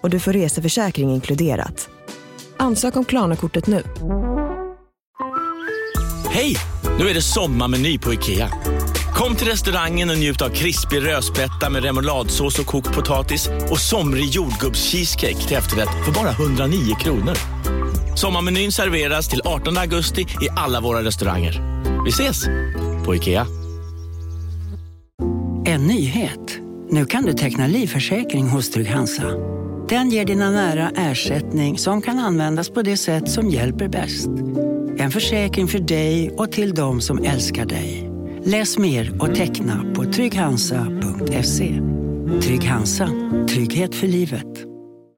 Speaker 1: och du får reseförsäkring inkluderat. Ansök om Klarna-kortet nu.
Speaker 2: Hej! Nu är det sommarmeny på IKEA. Kom till restaurangen och njut av krispig rödspätta med remouladsås och kokt potatis och somrig jordgubbscheesecake till efterrätt för bara 109 kronor. Sommarmenyn serveras till 18 augusti i alla våra restauranger. Vi ses! På IKEA.
Speaker 24: En nyhet. Nu kan du teckna livförsäkring hos Trygg-Hansa. Den ger dina nära ersättning som kan användas på det sätt som hjälper bäst. En försäkring för dig och till de som älskar dig. Läs mer och teckna på trygghansa.se. Trygg Hansa. Trygghet för livet.